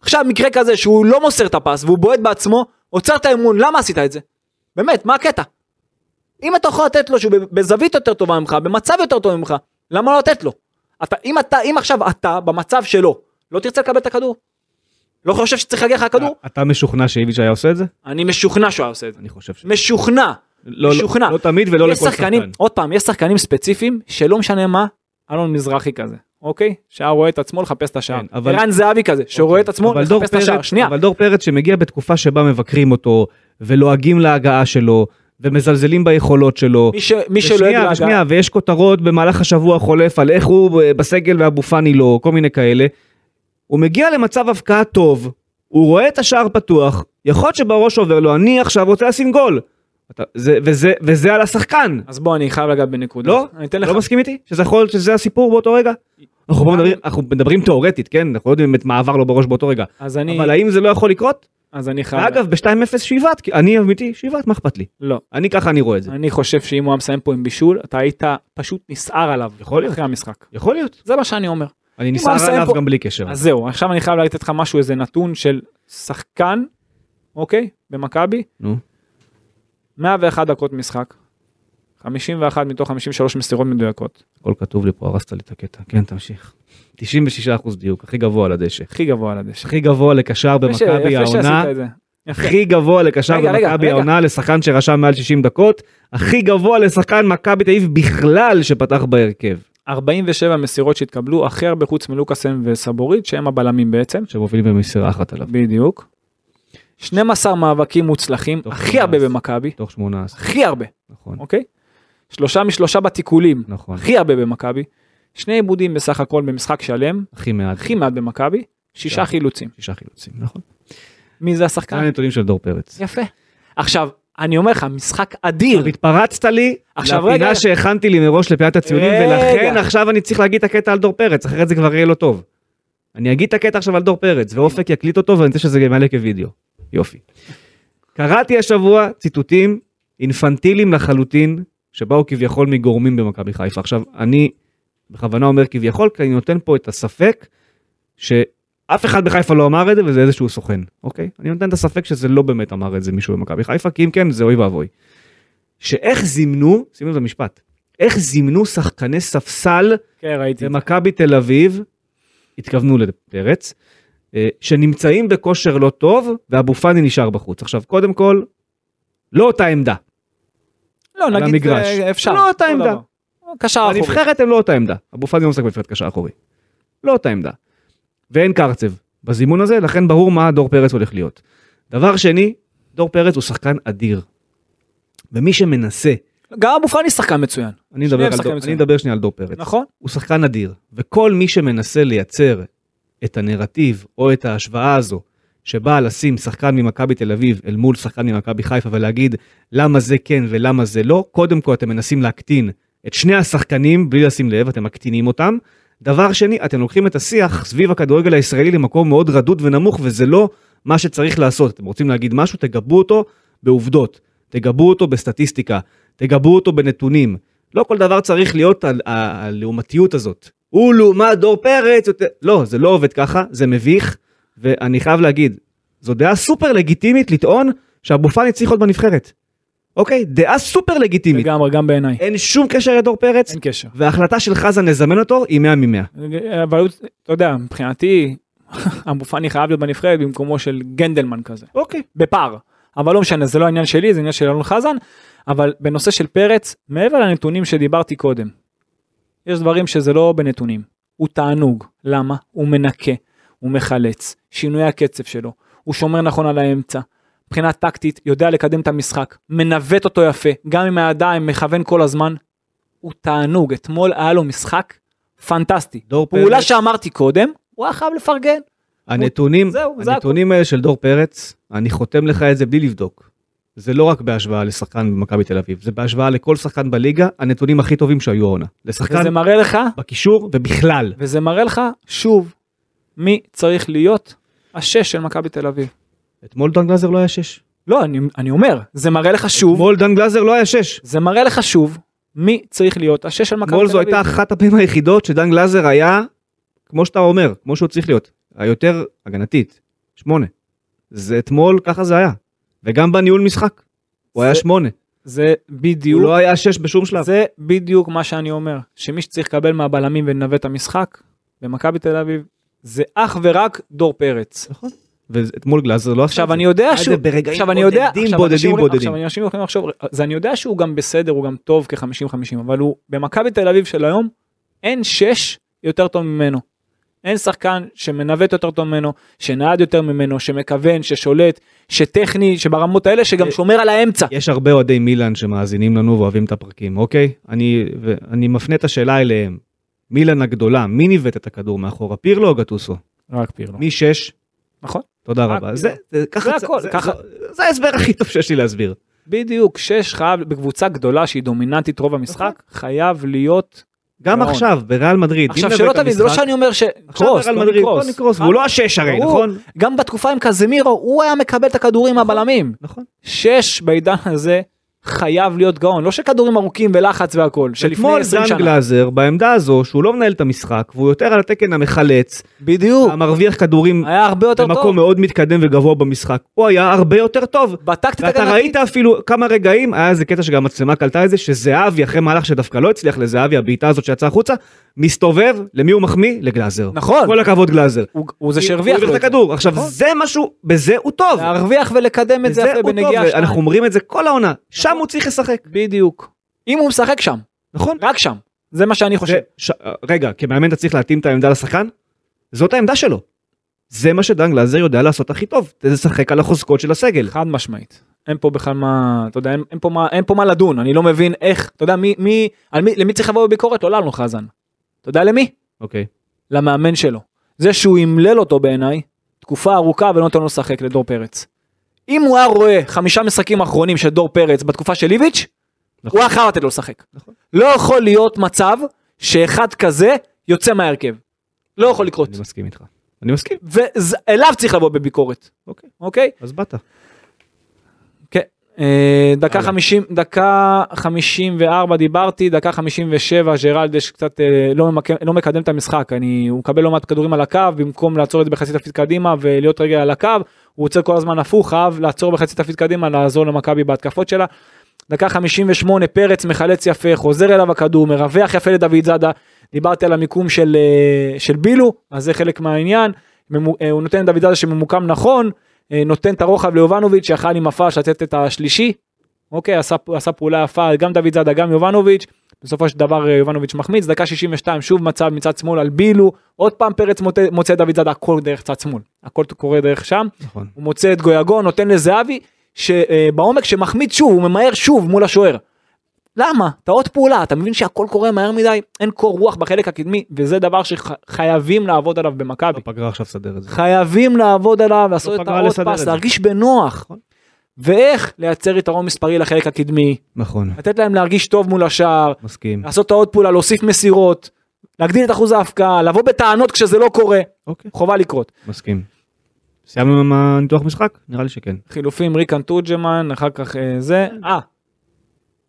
Speaker 3: עכשיו מקרה כזה שהוא לא מוסר את הפס והוא בועט בעצמו, עוצר את האימון, למה עשית את זה? באמת, מה הקטע? אם אתה יכול לתת לו שהוא בזווית יותר טובה ממך, במצב יותר טוב ממך, למה לא לתת לו? אתה, אם, אתה, אם עכשיו אתה במצב שלו, לא תרצה לקבל את הכדור? לא חושב שצריך להגיע לך הכדור?
Speaker 2: אתה משוכנע שאיביץ' היה עושה את זה?
Speaker 3: אני משוכנע שהוא היה עושה את זה.
Speaker 2: אני חושב ש...
Speaker 3: משוכנע.
Speaker 2: לא, לא,
Speaker 3: משוכנע.
Speaker 2: לא תמיד ולא
Speaker 3: יש
Speaker 2: לכל
Speaker 3: שחקנים,
Speaker 2: שחקן.
Speaker 3: עוד פעם, יש שחקנים ספציפיים שלא משנה מה, אלון מזרחי כזה, אוקיי? שהיה רואה את עצמו לחפש את השער.
Speaker 2: כן, אבל- אוקיי,
Speaker 3: ערן זהבי כזה, שרואה את עצמו
Speaker 2: אבל דור
Speaker 3: לחפש את השער.
Speaker 2: פרץ-
Speaker 3: שנייה,
Speaker 2: אבל דור פרץ שמגיע בתקופה שבה מבקרים אותו, ולועגים להגעה שלו, ומזלזלים ביכולות שלו.
Speaker 3: מי ש- מי שלא
Speaker 2: ושנייה,
Speaker 3: ידע...
Speaker 2: שנייה, ויש כותרות במהלך השבוע החולף על איך הוא אה, בסגל ואבו פאני לא, כל מיני כאלה. הוא מגיע למצב הבקעה טוב, הוא רואה את השער פתוח, יכול להיות שבראש עובר לו, אני עכשיו רוצה לשים גול. אתה, זה, וזה, וזה על השחקן,
Speaker 3: אז בוא, אני חייב לגעת בנקודה.
Speaker 2: לא?
Speaker 3: אני אתן לך...
Speaker 2: לא מסכים איתי? שזה יכול להיות שזה הסיפור באותו רגע? אנחנו, פה מדברים, אנחנו מדברים תיאורטית, כן? אנחנו לא יודעים באמת מה עבר לו בראש באותו רגע.
Speaker 3: אז אני...
Speaker 2: אבל האם זה לא יכול לקרות?
Speaker 3: אז אני חייב...
Speaker 2: אגב, ב-2-0 שיבעט, כי אני אמיתי, שיבעט, מה אכפת לי?
Speaker 3: לא.
Speaker 2: אני ככה אני רואה את זה.
Speaker 3: אני חושב שאם הוא היה מסיים פה עם בישול, אתה היית פשוט נסער עליו.
Speaker 2: יכול להיות.
Speaker 3: אחרי המשחק.
Speaker 2: יכול להיות.
Speaker 3: זה מה שאני אומר.
Speaker 2: אני
Speaker 3: הוא
Speaker 2: נסער
Speaker 3: מסיים
Speaker 2: עליו
Speaker 3: פה-
Speaker 2: גם בלי קשר.
Speaker 3: אז זהו, עכשיו אני חייב לתת לך משהו, איזה נתון של שחקן, אוקיי? במכבי,
Speaker 2: נו.
Speaker 3: 101 דקות משחק. 51 מתוך 53 מסירות מדויקות.
Speaker 2: הכל כתוב לי פה, הרסת לי את הקטע. כן, תמשיך. 96% דיוק, הכי גבוה על הדשא.
Speaker 3: הכי גבוה על הדשא.
Speaker 2: הכי גבוה לקשר
Speaker 3: יפה ש-
Speaker 2: במכבי
Speaker 3: יפה שעשית
Speaker 2: העונה.
Speaker 3: את זה. יפה.
Speaker 2: הכי גבוה לקשר
Speaker 3: רגע, רגע,
Speaker 2: במכבי
Speaker 3: רגע.
Speaker 2: העונה לשחקן שרשם מעל 60 דקות. הכי גבוה לשחקן מכבי תל אביב בכלל שפתח בהרכב.
Speaker 3: 47 מסירות שהתקבלו, הכי הרבה חוץ מלוקאסן וסבורית, שהם הבלמים בעצם.
Speaker 2: שמובילים במסירה אחת עליו.
Speaker 3: בדיוק. 12 מאבקים מוצלחים,
Speaker 2: טוב,
Speaker 3: הכי הרבה
Speaker 2: אז-
Speaker 3: במכבי.
Speaker 2: תוך 18.
Speaker 3: הכי הרבה.
Speaker 2: נכון.
Speaker 3: אוקיי? שלושה משלושה בתיקולים,
Speaker 2: נכון.
Speaker 3: הכי הרבה במכבי, שני עיבודים בסך הכל במשחק שלם,
Speaker 2: הכי מעט.
Speaker 3: הכי מעט במכבי, שישה
Speaker 2: כן.
Speaker 3: חילוצים.
Speaker 2: שישה חילוצים. נכון.
Speaker 3: מי זה
Speaker 2: זה
Speaker 3: השחקן?
Speaker 2: הנתונים של דור פרץ.
Speaker 3: יפה. עכשיו, אני אומר לך, משחק אדיר.
Speaker 2: התפרצת לי
Speaker 3: עכשיו,
Speaker 2: לפינה
Speaker 3: רגע.
Speaker 2: שהכנתי לי מראש לפינת הציונים
Speaker 3: רגע.
Speaker 2: ולכן עכשיו אני צריך להגיד את הקטע על דור פרץ אחרת זה כבר יהיה לא טוב. אני אגיד את הקטע עכשיו על דור פרץ ואופק יקליט אותו ואני רוצה שזה גם יעלה כווידאו. יופי. קראתי השבוע ציטוטים אינפנטיליים לחלוטין שבאו כביכול מגורמים במכבי חיפה. עכשיו אני בכוונה אומר כביכול כי אני נותן פה את הספק שאף אחד בחיפה לא אמר את זה וזה איזשהו סוכן אוקיי אני נותן את הספק שזה לא באמת אמר את זה מישהו במכבי חיפה כי אם כן זה אוי ואבוי. שאיך זימנו שימו לב למשפט איך זימנו שחקני ספסל
Speaker 3: כן, ראיתי.
Speaker 2: במכבי תל אביב התכוונו לפרץ אה, שנמצאים בכושר לא טוב ואבו פאני נשאר בחוץ עכשיו קודם כל לא אותה עמדה
Speaker 3: לא,
Speaker 2: על
Speaker 3: נגיד,
Speaker 2: המגרש.
Speaker 3: אה, אפשר.
Speaker 2: לא אותה
Speaker 3: כל
Speaker 2: עמדה.
Speaker 3: דבר. קשר אחורי.
Speaker 2: הנבחרת הם לא אותה עמדה. אבו פאני לא משחק בנבחרת קשר אחורי. לא אותה עמדה. ואין קרצב בזימון הזה, לכן ברור מה דור פרץ הולך להיות. דבר שני, דור פרץ הוא שחקן אדיר. ומי שמנסה,
Speaker 3: גם אבו פאני שחקן מצוין,
Speaker 2: אני מדבר, על
Speaker 3: שחקנים
Speaker 2: דור, אני
Speaker 3: מצוינים.
Speaker 2: מדבר שנייה על דור פרץ,
Speaker 3: נכון?
Speaker 2: הוא שחקן אדיר. וכל מי שמנסה לייצר את הנרטיב או את ההשוואה הזו, שבאה לשים שחקן ממכבי תל אביב אל מול שחקן ממכבי חיפה ולהגיד למה זה כן ולמה זה לא, קודם כל אתם מנסים להקטין את שני השחקנים בלי לשים לב, אתם מקטינים אותם. דבר שני, אתם לוקחים את השיח סביב הכדורגל הישראלי למקום מאוד רדוד ונמוך, וזה לא מה שצריך לעשות. אתם רוצים להגיד משהו, תגבו אותו בעובדות, תגבו אותו בסטטיסטיקה, תגבו אותו בנתונים. לא כל דבר צריך להיות על- ה- הלעומתיות הזאת. הוא לעומת דור פרץ, יותר... לא, זה לא עובד ככה, זה מביך, ואני חייב להגיד, זו דעה סופר לגיטימית לטעון שאבו פאני צריך להיות בנבחרת. אוקיי? דעה סופר לגיטימית.
Speaker 3: לגמרי, גם בעיניי.
Speaker 2: אין שום קשר לדור פרץ,
Speaker 3: אין קשר.
Speaker 2: וההחלטה של חזן לזמן אותו היא 100 מ-100.
Speaker 3: אבל הוא- אתה יודע, מבחינתי, אבו פאני חייב להיות בנבחרת במקומו של גנדלמן כזה.
Speaker 2: אוקיי.
Speaker 3: בפער. אבל לא משנה, זה לא עניין שלי, זה עניין של אלון חזן. אבל בנושא של פרץ, מעבר לנתונים שדיברתי קודם, יש דברים שזה לא בנתונים. הוא תענוג. למה? הוא מנקה, הוא מחלץ, שינוי הקצב שלו, הוא שומר נכון על האמצע. מבחינה טקטית, יודע לקדם את המשחק, מנווט אותו יפה, גם עם הידיים, מכוון כל הזמן. הוא תענוג, אתמול היה לו משחק פנטסטי.
Speaker 2: דור
Speaker 3: פעולה
Speaker 2: פרץ.
Speaker 3: שאמרתי קודם, הוא היה חייב לפרגן.
Speaker 2: הנתונים,
Speaker 3: זהו, זה
Speaker 2: הנתונים האלה של דור פרץ, אני חותם לך את זה בלי לבדוק. זה לא רק בהשוואה לשחקן במכבי תל אביב, זה בהשוואה לכל שחקן בליגה, הנתונים הכי טובים שהיו העונה. לשחקן
Speaker 3: וזה מראה לך,
Speaker 2: בקישור ובכלל.
Speaker 3: וזה מראה לך, שוב, מי צריך להיות השש של מכבי תל אביב.
Speaker 2: אתמול דן גלזר לא היה שש.
Speaker 3: לא, אני, אני אומר, זה מראה לך שוב,
Speaker 2: אתמול דן גלזר לא היה שש.
Speaker 3: זה מראה לך שוב, מי צריך להיות השש של מכבי תל
Speaker 2: אתמול
Speaker 3: אביב.
Speaker 2: זו הייתה אחת הפעמים היחידות שדן גלזר היה, כמו שאתה אומר, כמו שהוא צריך להיות, היותר הגנתית, שמונה. זה אתמול, ככה זה היה. וגם בניהול משחק, הוא
Speaker 3: זה-
Speaker 2: היה שמונה.
Speaker 3: זה
Speaker 2: הוא
Speaker 3: בדיוק,
Speaker 2: לא היה שש בשום שלב.
Speaker 3: זה בדיוק מה שאני אומר, שמי שצריך לקבל מהבלמים ולנווט את המשחק, במכבי תל אביב, זה אך ורק דור פרץ.
Speaker 2: נכון. ואתמול גלאזר לא
Speaker 3: עכשיו אני יודע
Speaker 2: היה זה
Speaker 3: שהוא,
Speaker 2: ברגעים
Speaker 3: עכשיו אני יודע,
Speaker 2: בודדים,
Speaker 3: עכשיו
Speaker 2: בודדים,
Speaker 3: אנשים אומרים-
Speaker 2: בודדים.
Speaker 3: עכשיו אנשים יכולים לחשוב, אז אני יודע שהוא גם בסדר, הוא גם טוב כ-50-50, אבל הוא במכבי תל אביב של היום, אין שש יותר טוב ממנו. אין שחקן שמנווט יותר טוב ממנו, שנעד יותר ממנו, שמכוון, ששולט, שטכני, שברמות האלה, שגם
Speaker 2: אה,
Speaker 3: שומר על האמצע.
Speaker 2: יש הרבה אוהדי מילאן שמאזינים לנו ואוהבים את הפרקים, אוקיי? אני, אני מפנה את השאלה אליהם. מילאן הגדולה, מי ניווט את הכדור מאחורה? פירלו או גטוסו?
Speaker 3: רק פירלו.
Speaker 2: מי שש?
Speaker 3: נכון.
Speaker 2: תודה
Speaker 3: רק
Speaker 2: רבה.
Speaker 3: פירלו.
Speaker 2: זה, זה, ככה,
Speaker 3: זה הכל,
Speaker 2: זה,
Speaker 3: ככה.
Speaker 2: זה, זה ההסבר הכי טוב שיש לי להסביר.
Speaker 3: בדיוק, שש חייב, בקבוצה גדולה שהיא דומיננטית רוב המשחק,
Speaker 2: נכון.
Speaker 3: חייב להיות...
Speaker 2: גם
Speaker 3: גאון.
Speaker 2: עכשיו, בריאל מדריד.
Speaker 3: נכון. עכשיו
Speaker 2: מי
Speaker 3: שלא
Speaker 2: מנווט את
Speaker 3: תבין, זה לא
Speaker 2: המשחק?
Speaker 3: שאני אומר ש...
Speaker 2: עכשיו
Speaker 3: קרוס, אה?
Speaker 2: בריאל
Speaker 3: טוני
Speaker 2: מדריד,
Speaker 3: קרוס.
Speaker 2: טוני קרוס, והוא לא השש הרי,
Speaker 3: ברור.
Speaker 2: נכון?
Speaker 3: גם בתקופה עם קזמירו, הוא היה מקבל את הכדורים מהבלמים.
Speaker 2: נכון.
Speaker 3: שש בעידן הזה חייב להיות גאון, לא שכדורים ארוכים ולחץ והכל, שלפני
Speaker 2: אתמול
Speaker 3: 20
Speaker 2: דן
Speaker 3: שנה.
Speaker 2: גלאזר בעמדה הזו שהוא לא מנהל את המשחק והוא יותר על התקן המחלץ,
Speaker 3: בדיוק,
Speaker 2: המרוויח כדורים
Speaker 3: היה הרבה יותר טוב.
Speaker 2: אמ, במקום מאוד מתקדם וגבוה במשחק, הוא היה הרבה יותר טוב.
Speaker 3: בטקטית
Speaker 2: ואתה
Speaker 3: הגנתית,
Speaker 2: ראית אפילו כמה רגעים, היה איזה קטע שגם המצלמה קלטה את זה, שזהבי אחרי מהלך שדווקא לא הצליח לזהבי, הבעיטה הזאת שיצאה החוצה, מסתובב, למי הוא מחמיא? לגלאזר.
Speaker 3: נכון,
Speaker 2: כל הכבוד גלאזר.
Speaker 3: הוא- הוא זה
Speaker 2: כי
Speaker 3: שהרוויח
Speaker 2: הוא
Speaker 3: לו
Speaker 2: הביא
Speaker 3: את
Speaker 2: את
Speaker 3: זה.
Speaker 2: הכדור. עכשיו
Speaker 3: נכון.
Speaker 2: זה משהו, בזה הוא טוב.
Speaker 3: להרוויח ולקדם את זה
Speaker 2: בזה
Speaker 3: יפה
Speaker 2: הוא טוב,
Speaker 3: בנגיעה שתיים.
Speaker 2: אנחנו אומרים את זה כל העונה, שם הוא צריך לשחק,
Speaker 3: בדיוק. אם הוא משחק שם,
Speaker 2: נכון?
Speaker 3: רק שם, זה מה שאני חושב.
Speaker 2: זה- ש- רגע, כמאמן אתה צריך להתאים את העמדה לשחקן? זאת העמדה שלו. זה מה שדן גלאזר יודע לעשות הכי טוב, זה לשחק על החוזקות של הסגל.
Speaker 3: חד משמעית. אין פה בכלל מה, אתה יודע, אין, אין, פה מה, אין פה מה לדון, אני לא מבין איך, אתה יודע, מי, מי, על מי, למי צריך לבוא בביקורת? לא לנו חזן. אתה יודע למי?
Speaker 2: אוקיי.
Speaker 3: למאמן שלו. זה שהוא אמלל אותו בעיניי, תקופה ארוכה ולא נותן לו לשחק לדור פרץ. אם הוא היה רואה חמישה משחקים אחרונים של דור פרץ בתקופה של איביץ',
Speaker 2: נכון.
Speaker 3: הוא היה חייב לתת לו לשחק.
Speaker 2: נכון.
Speaker 3: לא יכול להיות מצב שאחד כזה יוצא מההרכב. לא יכול לקרות.
Speaker 2: אני מסכים איתך. אני מסכים.
Speaker 3: ואליו צריך לבוא בביקורת,
Speaker 2: אוקיי.
Speaker 3: אוקיי?
Speaker 2: אז באת.
Speaker 3: כן. אה, דקה
Speaker 2: הלאה.
Speaker 3: 50 דקה 54 דיברתי דקה 57 ג'רלדש קצת אה, לא, ממק... לא מקדם את המשחק אני הוא מקבל לא מעט כדורים על הקו במקום לעצור את זה בחצי תפקיד קדימה ולהיות רגע על הקו הוא יוצא כל הזמן הפוך חייב לעצור בחצי תפקיד קדימה לעזור למכבי בהתקפות שלה. דקה 58 פרץ מחלץ יפה חוזר אליו הכדור מרווח יפה לדוד זאדה דיברתי על המיקום של אה, של בילו אז זה חלק מהעניין ממו- אה, הוא נותן לדוד זאדה שממוקם נכון אה, נותן את הרוחב ליובנוביץ' שיכל עם הפאש לתת את השלישי. אוקיי עשה, עשה פעולה יפה גם דוד זאדה גם יובנוביץ' בסופו של דבר אה, יובנוביץ' מחמיץ דקה 62 שוב מצב מצד שמאל על בילו עוד פעם פרץ מוצא, מוצא את דוד זאדה הכל דרך צד שמאל הכל קורה דרך שם
Speaker 2: נכון.
Speaker 3: הוא מוצא את גויגון נותן לזהבי שבעומק שמחמיץ שוב הוא ממהר שוב מול השוער. למה אתה עוד פעולה אתה מבין שהכל קורה מהר מדי אין קור רוח בחלק הקדמי וזה דבר שחייבים לעבוד עליו במכבי.
Speaker 2: בפגרה עכשיו סדר את זה.
Speaker 3: חייבים לעבוד עליו, לעשות את
Speaker 2: פגרה
Speaker 3: העוד
Speaker 2: לא לסדר את
Speaker 3: פס,
Speaker 2: זה.
Speaker 3: להרגיש בנוח.
Speaker 2: נכון.
Speaker 3: ואיך לייצר יתרון מספרי לחלק הקדמי,
Speaker 2: נכון.
Speaker 3: לתת להם להרגיש טוב מול השער,
Speaker 2: מסכים.
Speaker 3: לעשות את העוד פעולה, להוסיף מסירות, להגדיל את אחוז ההפקעה, לבוא בטענות כשזה לא קורה,
Speaker 2: אוקיי.
Speaker 3: חובה לקרות.
Speaker 2: מסכים. סיימנו עם הניתוח משחק? נראה לי שכן.
Speaker 3: חילופים ריקן תורג'מן, אחר כך אה, זה, אה,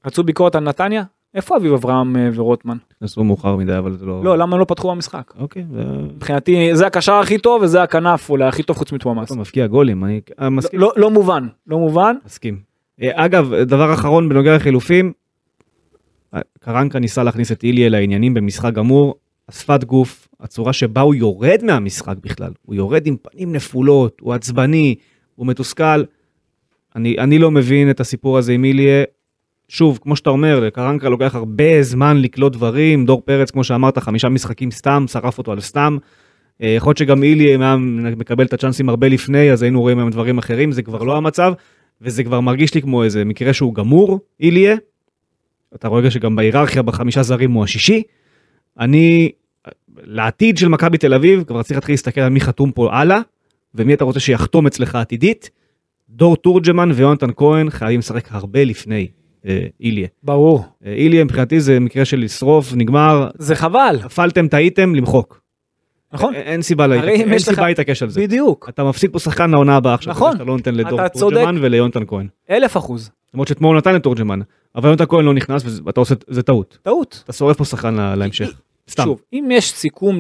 Speaker 3: רצו ביקורת על נתניה? איפה אביב אברהם אה, ורוטמן?
Speaker 2: נכנסו מאוחר מדי אבל זה לא...
Speaker 3: לא, למה הם לא פתחו במשחק?
Speaker 2: אוקיי. זה-
Speaker 3: מבחינתי זה הקשר הכי טוב וזה הכנף אולי הכי טוב חוץ מטוואמאס.
Speaker 2: אתה מפקיע גולים. אני אה, מסכים.
Speaker 3: לא לא מובן, לא מובן.
Speaker 2: מסכים. אה, אגב, דבר אחרון בנוגע לחילופים. אה, קרנקה ניסה להכניס את איליה לעניינים במשחק גמור. השפת גוף, הצורה שבה הוא יורד מהמשחק בכלל. הוא יורד עם פנים נפולות, הוא עצבני, הוא מתוסכל. אני, אני לא מבין את הסיפור הזה עם איליה. שוב, כמו שאתה אומר, לקרנקה לוקח הרבה זמן לקלוט דברים, דור פרץ, כמו שאמרת, חמישה משחקים סתם, שרף אותו על סתם. אה, יכול להיות שגם אילי אם היה מקבל את הצ'אנסים הרבה לפני, אז היינו רואים היום דברים אחרים, זה כבר לא המצב, וזה כבר מרגיש לי כמו איזה מקרה שהוא גמור, איליה, אתה רואה שגם בהיררכיה בחמישה זרים הוא השישי. אני, לעתיד של מכבי תל אביב, כבר צריך להתחיל להסתכל על מי חתום פה הלאה, ומי אתה רוצה שיחתום אצלך עתידית. דור תורג'מן ויונתן כהן חייבים לשחק הרבה לפני אה, איליה.
Speaker 3: ברור.
Speaker 2: אה, איליה מבחינתי זה מקרה של לשרוף, נגמר,
Speaker 3: זה חבל,
Speaker 2: נפלתם, טעיתם, למחוק.
Speaker 3: נכון?
Speaker 2: אין- אין סיבה להתעקש-
Speaker 3: הרי אם
Speaker 2: אין
Speaker 3: יש לך-
Speaker 2: סיבה להתעקש על אה, זה.
Speaker 3: בדיוק,
Speaker 2: אתה מפסיד פה שחקן לעונה הבאה עכשיו,
Speaker 3: נכון.
Speaker 2: נכון, אתה לא נותן לדור
Speaker 3: אתה צודק.
Speaker 2: תורג'מן וליונתן כהן.
Speaker 3: אלף אחוז,
Speaker 2: למרות שאתמול הוא נתן לתורג'מן, אבל יונתן כהן לא נכנס ואתה עושה, זה טעות.
Speaker 3: טעות.
Speaker 2: אתה שורף פה שחקן לה- להמשך. סתם.
Speaker 3: שוב, אם יש סיכום,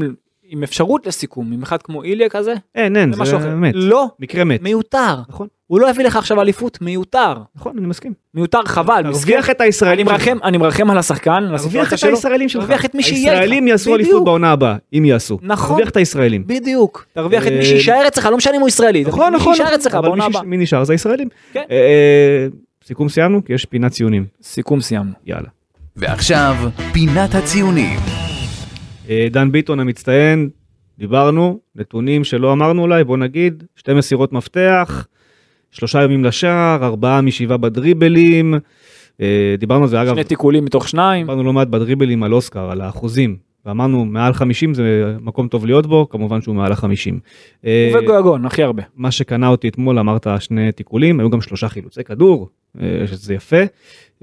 Speaker 3: עם אפשרות לסיכום, עם אחד כמו איליה כזה,
Speaker 2: אין, אין,
Speaker 3: זה משהו
Speaker 2: כן, זה
Speaker 3: אחר.
Speaker 2: מת.
Speaker 3: לא,
Speaker 2: מקרה מת.
Speaker 3: מיותר.
Speaker 2: נכון.
Speaker 3: הוא לא יביא לך עכשיו אליפות, מיותר.
Speaker 2: נכון, אני מסכים.
Speaker 3: מיותר, חבל.
Speaker 2: תרוויח
Speaker 3: מסכן.
Speaker 2: את הישראלים
Speaker 3: אני מרחם, אני מרחם על השחקן, על
Speaker 2: תרוויח
Speaker 3: הסיטואציה
Speaker 2: את
Speaker 3: שלו.
Speaker 2: הישראלים שלך.
Speaker 3: תרוויח את מי שיהיה איתך.
Speaker 2: הישראלים יעשו
Speaker 3: בדיוק.
Speaker 2: אליפות בעונה הבאה, אם יעשו.
Speaker 3: נכון.
Speaker 2: תרוויח את הישראלים.
Speaker 3: בדיוק. תרוויח את
Speaker 2: אה,
Speaker 3: מי שיישאר אצלך, לא משנה אם הוא ישראלי.
Speaker 2: נכון,
Speaker 3: מי
Speaker 2: נכון.
Speaker 3: שיישאר אצלך
Speaker 2: אבל
Speaker 3: בעונה
Speaker 2: מי ש-
Speaker 3: הבאה.
Speaker 2: מי נשאר זה הישראלים.
Speaker 3: כן.
Speaker 2: אה, אה, סיכום סיימנו, כי יש פינת ציונים.
Speaker 3: סיכום סיימנו.
Speaker 2: יאללה.
Speaker 1: ועכשיו, פינת הציונים.
Speaker 2: אה, דן ביטון המצטיין, דיברנו, נתונים שלא אמרנו אולי, בוא נגיד, שתי מסירות מפתח, שלושה ימים לשער, ארבעה משבעה בדריבלים, אה, דיברנו על זה אגב,
Speaker 3: שני תיקולים מתוך שניים.
Speaker 2: דיברנו לא מעט בדריבלים על אוסקר, על האחוזים, ואמרנו מעל 50 זה מקום טוב להיות בו, כמובן שהוא מעל החמישים. אה,
Speaker 3: וגויגון, הכי הרבה.
Speaker 2: מה שקנה אותי אתמול אמרת שני תיקולים היו גם שלושה חילוצי כדור אה, שזה יפה.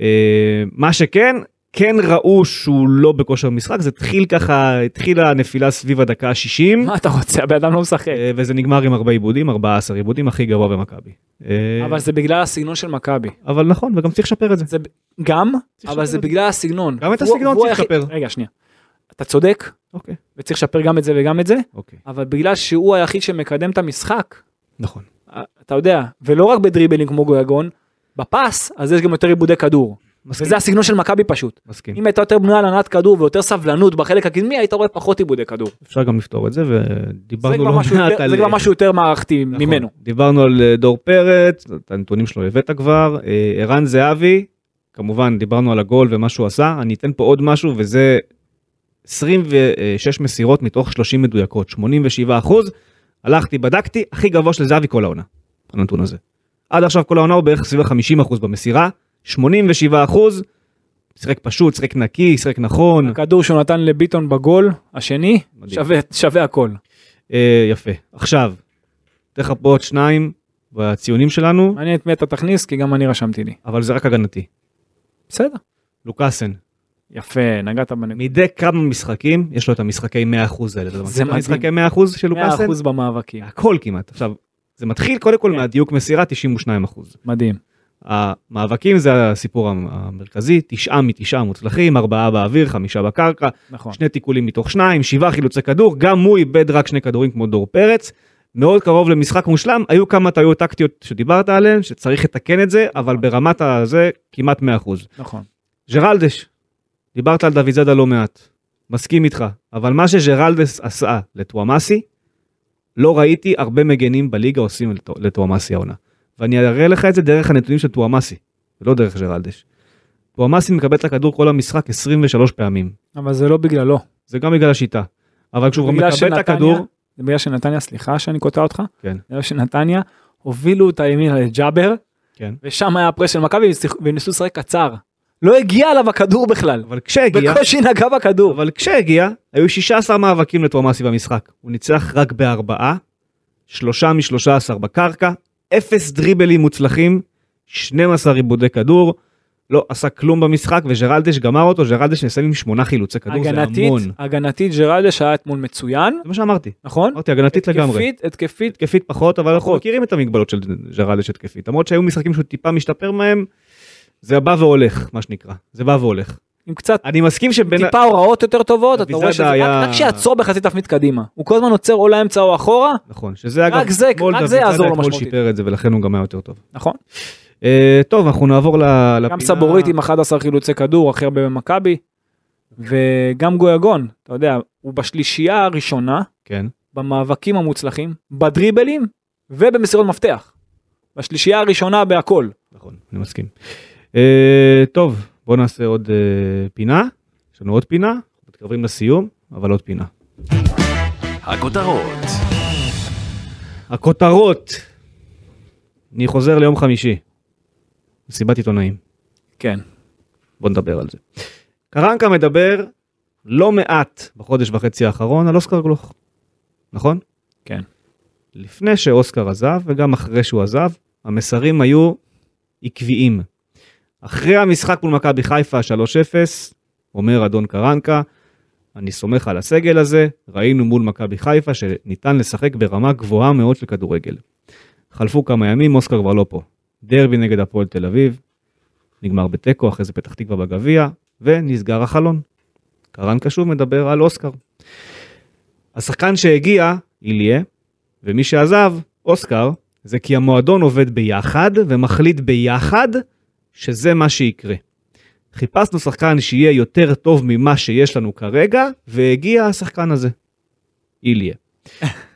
Speaker 2: אה, מה שכן כן ראו שהוא לא בכושר משחק זה התחיל ככה התחילה הנפילה סביב הדקה ה-60
Speaker 3: מה אתה רוצה? הבן אדם לא משחק.
Speaker 2: וזה נגמר עם הרבה עיבודים 14 עיבודים הכי גבוה במכבי. אה,
Speaker 3: אבל זה בגלל הסגנון של מכבי.
Speaker 2: אבל נכון וגם צריך לשפר את זה.
Speaker 3: זה גם,
Speaker 2: צריך
Speaker 3: אבל
Speaker 2: לשפר
Speaker 3: זה
Speaker 2: את זה.
Speaker 3: בגלל הסגנון.
Speaker 2: גם את
Speaker 3: והוא-
Speaker 2: הסגנון
Speaker 3: והוא
Speaker 2: צריך
Speaker 3: היחיד-
Speaker 2: לשפר.
Speaker 3: רגע, שנייה. אתה צודק,
Speaker 2: אוקיי
Speaker 3: וצריך לשפר גם את זה וגם את זה,
Speaker 2: אוקיי
Speaker 3: אבל בגלל שהוא היחיד שמקדם את המשחק, אה,
Speaker 2: נכון.
Speaker 3: אתה יודע, ולא רק בדריבלים כמו גויגון, בפס, אז יש גם יותר עיבודי כדור.
Speaker 2: מסכים.
Speaker 3: וזה הסגנון של מכבי פשוט.
Speaker 2: מסכים.
Speaker 3: אם הייתה יותר בנויה על הנעת כדור ויותר סבלנות בחלק הקדמי, היית רואה פחות עיבודי כדור.
Speaker 2: אפשר גם לפתור את זה
Speaker 3: זה
Speaker 2: ודיברנו
Speaker 3: כבר
Speaker 2: לא
Speaker 3: משהו
Speaker 2: מעט
Speaker 3: יותר-
Speaker 2: על
Speaker 3: זה כבר משהו יותר מערכתי
Speaker 2: נכון.
Speaker 3: ממנו.
Speaker 2: דיברנו על אה, דור פרץ, את הנתונים שלו הבאת כבר, אה, ערן זהבי, כמובן דיברנו על הגול ומה שהוא עשה, אני אתן פה עוד משהו וזה 26 מסירות מתוך 30 מדויקות, 87 אחוז, הלכתי בדקתי, הכי גבוה של זהבי כל העונה, הנתון הזה. עד עכשיו כל העונה הוא בערך סביב ה-50 אחוז במסירה, 87 אחוז, שיחק פשוט, שיחק נקי, שיחק נכון,
Speaker 3: הכדור שהוא נתן לביטון בגול, השני,
Speaker 2: מדהים.
Speaker 3: שווה- שווה הכל.
Speaker 2: אה, יפה. עכשיו, אתן לך פה עוד שניים בציונים שלנו,
Speaker 3: מעניין את מי אתה תכניס, כי גם אני רשמתי לי.
Speaker 2: אבל זה רק הגנתי.
Speaker 3: בסדר.
Speaker 2: לוקאסן,
Speaker 3: יפה, נגעת בנקודה.
Speaker 2: מדי כמה משחקים יש לו את המשחקי 100% האלה. אתה מכיר את
Speaker 3: מדהים.
Speaker 2: המשחקי 100% של לוקאסן?
Speaker 3: 100% במאבקים.
Speaker 2: הכל כמעט. עכשיו, זה מתחיל קודם כל
Speaker 3: כן.
Speaker 2: מהדיוק מסירה 92%.
Speaker 3: מדהים.
Speaker 2: המאבקים זה הסיפור המ- המרכזי, תשעה מתשעה מוצלחים, ארבעה באוויר, חמישה בקרקע,
Speaker 3: נכון.
Speaker 2: שני תיקולים מתוך שניים, שבעה חילוצי כדור, גם הוא איבד רק שני כדורים כמו דור פרץ. מאוד קרוב למשחק מושלם, היו כמה טעויות טקטיות שדיברת עליהן, שצריך לתקן את זה, אבל ברמת הזה כמעט 100%.
Speaker 3: נכון.
Speaker 2: ג'רלדש, דיברת על דויזדה לא מעט, מסכים איתך, אבל מה שג'רלדס עשה לטוואמאסי, לא ראיתי הרבה מגנים בליגה עושים לטו- לטוואמאסי העונה. ואני אראה לך את זה דרך הנתונים של טוואמאסי, ולא דרך ג'רלדש. טוואמאסי מקבל את הכדור כל המשחק 23 פעמים,
Speaker 3: אבל זה לא בגללו.
Speaker 2: זה גם בגלל השיטה. אבל כשהוא כבר
Speaker 3: בגלל
Speaker 2: מקבל את
Speaker 3: שנתניה-
Speaker 2: הכדור,
Speaker 3: זה בגלל שנתניה, סליחה שאני קוטע אותך,
Speaker 2: כן.
Speaker 3: זה בגלל שנתניה הובילו את הימין לג'אבר,
Speaker 2: כן.
Speaker 3: ושם היה הפרס של מכבי והם שיחק- והם ניסו לשחק קצר. לא הגיע אליו הכדור בכלל,
Speaker 2: אבל כשהגיע,
Speaker 3: בקושי נגע בכדור.
Speaker 2: אבל כשהגיע, היו 16 מאבקים לטוואמאסי במשחק. הוא ניצח רק בארבעה, שלושה משלושה עשר בקרקע, אפס דריבלים מוצלחים, 12 עיבודי כדור, לא עשה כלום במשחק, וג'רלדש גמר אותו, ג'רלדש נסיים עם שמונה חילוצי כדור, זה
Speaker 3: הגנתית,
Speaker 2: המון.
Speaker 3: הגנתית ג'רלדש היה אתמול מצוין,
Speaker 2: זה מה שאמרתי,
Speaker 3: נכון?
Speaker 2: אמרתי הגנתית לגמרי.
Speaker 3: התקפית, התקפית,
Speaker 2: התקפית פחות, אבל אנחנו
Speaker 3: פחות.
Speaker 2: מכירים את המגבלות של ג'רלדש התקפית. למרות שהיו משחקים שהוא טיפה משתפר מהם, זה בא והולך, מה שנקרא. זה בא והולך.
Speaker 3: עם קצת
Speaker 2: אני מסכים שבין...
Speaker 3: טיפה הוראות יותר טובות, אתה רואה
Speaker 2: דויזאדה
Speaker 3: שזה
Speaker 2: היה-
Speaker 3: רק- רק שיעצור בחצי תפנית קדימה. הוא כל הזמן עוצר או לאמצע או אחורה,
Speaker 2: נכון, שזה אגב,
Speaker 3: רק זה-
Speaker 2: אתמול
Speaker 3: רק
Speaker 2: דוד
Speaker 3: זה
Speaker 2: זאדה
Speaker 3: יעזור לו
Speaker 2: אתמול
Speaker 3: משמעותית.
Speaker 2: שיפר את זה ולכן הוא גם היה יותר טוב.
Speaker 3: נכון?
Speaker 2: אה, טוב, אנחנו נעבור ל- לפינה.
Speaker 3: גם סבורית עם 11 חילוצי כדור, הכי הרבה במכבי, וגם גויגון, אתה יודע, הוא בשלישייה הראשונה,
Speaker 2: כן,
Speaker 3: במאבקים המוצלחים, בדריבלים ובמסירות מפתח. בשלישייה הראשונה בהכל.
Speaker 2: נכון, אני מסכים. אה, טוב, בואו נעשה עוד אה, פינה. יש לנו עוד פינה, אנחנו מתקרבים לסיום, אבל עוד פינה.
Speaker 1: הכותרות.
Speaker 2: הכותרות. אני חוזר ליום חמישי. מסיבת עיתונאים.
Speaker 3: כן.
Speaker 2: בוא נדבר על זה. קרנקה מדבר לא מעט בחודש וחצי האחרון על אוסקר גלוך, נכון?
Speaker 3: כן.
Speaker 2: לפני שאוסקר עזב וגם אחרי שהוא עזב, המסרים היו עקביים. אחרי המשחק מול מכבי חיפה 3-0, אומר אדון קרנקה, אני סומך על הסגל הזה, ראינו מול מכבי חיפה שניתן לשחק ברמה גבוהה מאוד של כדורגל. חלפו כמה ימים, אוסקר כבר לא פה. דרבי נגד הפועל תל אביב, נגמר בתיקו, אחרי זה פתח תקווה בגביע, ונסגר החלון. קרנקה שוב מדבר על אוסקר. השחקן שהגיע, איליה, ומי שעזב, אוסקר, זה כי המועדון עובד ביחד ומחליט ביחד שזה מה שיקרה. חיפשנו שחקן שיהיה יותר טוב ממה שיש לנו כרגע, והגיע השחקן הזה. איליה.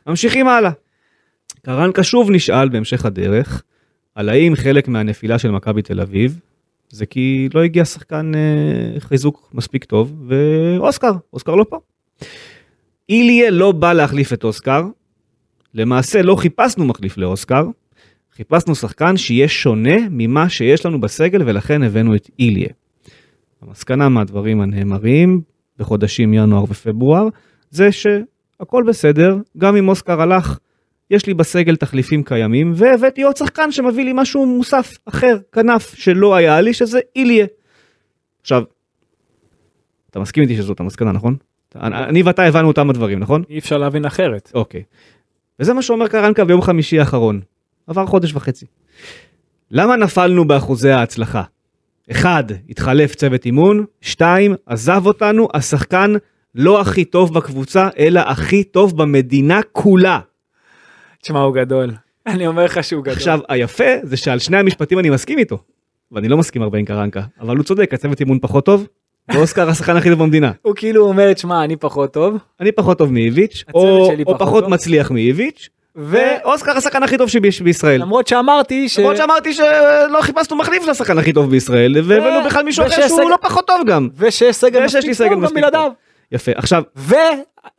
Speaker 2: ממשיכים הלאה. קרנקה שוב נשאל בהמשך הדרך, על האם חלק מהנפילה של מכבי תל אביב, זה כי לא הגיע שחקן אה, חיזוק מספיק טוב, ואוסקר, אוסקר לא פה. איליה לא בא להחליף את אוסקר, למעשה לא חיפשנו מחליף לאוסקר, חיפשנו שחקן שיהיה שונה ממה שיש לנו בסגל ולכן הבאנו את איליה. המסקנה מהדברים הנאמרים בחודשים ינואר ופברואר זה שהכל בסדר, גם אם אוסקר הלך, יש לי בסגל תחליפים קיימים והבאתי עוד שחקן שמביא לי משהו מוסף אחר, כנף, שלא היה לי, שזה איליה. עכשיו, אתה מסכים איתי שזאת המסקנה, נכון? אני אני ואתה הבנו אותם הדברים, נכון?
Speaker 3: אי אפשר להבין אחרת.
Speaker 2: אוקיי. וזה מה שאומר קרנקה ביום חמישי האחרון. עבר חודש וחצי. למה נפלנו באחוזי ההצלחה? 1. התחלף צוות אימון, 2. עזב אותנו השחקן לא הכי טוב בקבוצה, אלא הכי טוב במדינה כולה.
Speaker 3: תשמע, הוא גדול. אני אומר לך שהוא גדול.
Speaker 2: עכשיו, היפה זה שעל שני המשפטים אני מסכים איתו, ואני לא מסכים הרבה עם קרנקה, אבל הוא צודק, הצוות אימון פחות טוב, ואוסקר השחקן הכי טוב במדינה.
Speaker 3: הוא כאילו אומר, תשמע, אני פחות טוב,
Speaker 2: אני פחות טוב מאיביץ',
Speaker 3: הצוות
Speaker 2: או,
Speaker 3: שלי
Speaker 2: או
Speaker 3: פחות
Speaker 2: פחות
Speaker 3: טוב.
Speaker 2: מצליח מאיביץ', ואוסקר השחקן הכי טוב שביש- בישראל.
Speaker 3: ולמרות שאמרתי ש...
Speaker 2: למרות שאמרתי שלא חיפשנו מחליף לשחקן הכי טוב בישראל, והבאנו בכלל מישהו אחר
Speaker 3: ושיש
Speaker 2: שהוא
Speaker 3: סגל-
Speaker 2: לא פחות טוב גם.
Speaker 3: ושיש סגל
Speaker 2: ושיש לי
Speaker 3: מספיק
Speaker 2: סגל
Speaker 3: טוב גם
Speaker 2: מספיק טוב.
Speaker 3: בלעדיו.
Speaker 2: יפה, עכשיו,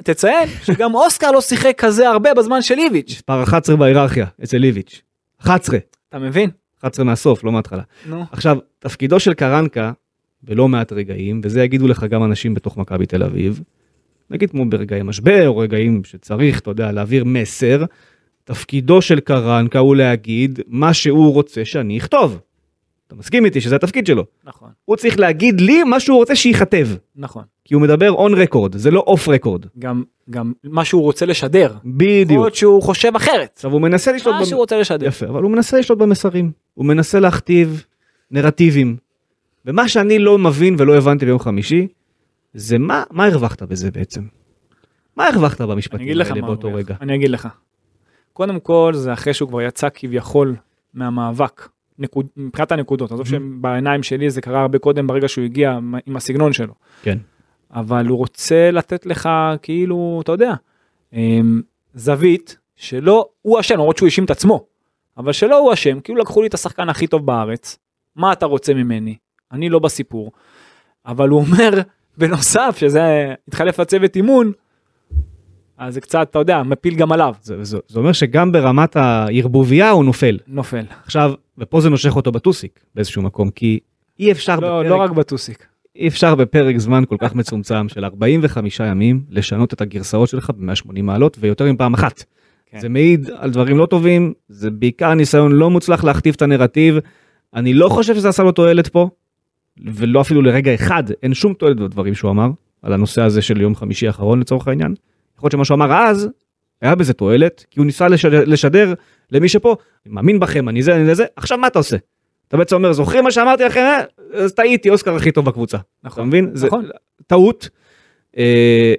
Speaker 3: ותציין שגם אוסקר לא שיחק כזה הרבה בזמן של איביץ'.
Speaker 2: מספר 11 בהיררכיה, אצל איביץ'. 11,
Speaker 3: אתה מבין?
Speaker 2: 11 מהסוף, לא מההתחלה.
Speaker 3: נו.
Speaker 2: עכשיו, תפקידו של קרנקה, בלא מעט רגעים, וזה יגידו לך גם אנשים בתוך מכבי תל אביב, נגיד כמו ברגעי משבר, או רגעים שצריך, אתה יודע, להעביר מסר, תפקידו של קרנקה הוא להגיד מה שהוא רוצה שאני אכתוב. אתה מסכים איתי שזה התפקיד שלו.
Speaker 3: נכון,
Speaker 2: הוא צריך להגיד לי מה שהוא רוצה שייכתב.
Speaker 3: נכון.
Speaker 2: כי הוא מדבר און רקורד, זה לא אוף רקורד.
Speaker 3: גם, גם מה שהוא רוצה לשדר. יכול
Speaker 2: בדיוק.
Speaker 3: להיות שהוא חושב אחרת.
Speaker 2: עכשיו הוא מנסה לשלוט...
Speaker 3: מה
Speaker 2: במ-
Speaker 3: אה, שהוא רוצה לשדר.
Speaker 2: יפה, אבל הוא מנסה לשלוט במסרים. הוא מנסה להכתיב נרטיבים. ומה שאני לא מבין ולא הבנתי ביום חמישי, זה מה, מה הרווחת בזה בעצם? מה הרווחת
Speaker 3: אני אגיד
Speaker 2: במשפטים
Speaker 3: לך
Speaker 2: האלה
Speaker 3: מה
Speaker 2: באותו
Speaker 3: הוא
Speaker 2: רגע?
Speaker 3: אומר. אני אגיד לך. קודם כל זה אחרי שהוא כבר יצא כביכול מהמאבק. נקוד, מבחינת הנקודות, עזוב שבעיניים שלי זה קרה הרבה קודם ברגע שהוא הגיע עם הסגנון שלו.
Speaker 2: כן.
Speaker 3: אבל הוא רוצה לתת לך כאילו אתה יודע אמ, זווית שלא הוא אשם למרות שהוא האשים את עצמו אבל שלא הוא אשם כאילו לקחו לי את השחקן הכי טוב בארץ מה אתה רוצה ממני אני לא בסיפור אבל הוא אומר בנוסף שזה התחלף לצוות אימון אז זה קצת אתה יודע מפיל גם עליו
Speaker 2: זה, זה, זה אומר שגם ברמת הערבוביה הוא נופל.
Speaker 3: נופל
Speaker 2: עכשיו, ופה זה נושך אותו בטוסיק באיזשהו מקום, כי אי אפשר
Speaker 3: לא,
Speaker 2: בפרק
Speaker 3: לא רק בטוסיק
Speaker 2: אי אפשר בפרק זמן כל כך מצומצם של 45 ימים לשנות את הגרסאות שלך ב-180 מעלות ויותר מפעם אחת.
Speaker 3: כן.
Speaker 2: זה מעיד על דברים לא טובים, זה בעיקר ניסיון לא מוצלח להכתיב את הנרטיב. אני לא חושב שזה עשה לו תועלת פה, ולא אפילו לרגע אחד, אין שום תועלת בדברים שהוא אמר, על הנושא הזה של יום חמישי האחרון לצורך העניין. יכול להיות שמה שהוא אמר אז, היה בזה תועלת, כי הוא ניסה לשדר, לשדר למי שפה, אני מאמין בכם, אני זה, אני זה, עכשיו מה אתה עושה? אתה בעצם אומר, זוכרים מה שאמרתי לכם? אה? אז טעיתי, אוסקר הכי טוב בקבוצה. אתה
Speaker 3: נכון
Speaker 2: מבין? זה
Speaker 3: נכון
Speaker 2: טעות. אה,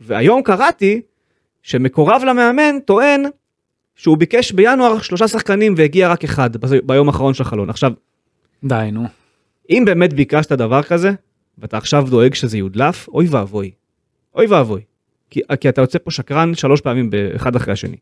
Speaker 2: והיום קראתי שמקורב למאמן טוען שהוא ביקש בינואר שלושה שחקנים והגיע רק אחד בז- ביום האחרון של החלון. עכשיו,
Speaker 3: די נו
Speaker 2: אם באמת ביקשת דבר כזה, ואתה עכשיו דואג שזה יודלף, אוי ואבוי. אוי ואבוי. כי, כי אתה יוצא פה שקרן שלוש פעמים באחד אחרי השני.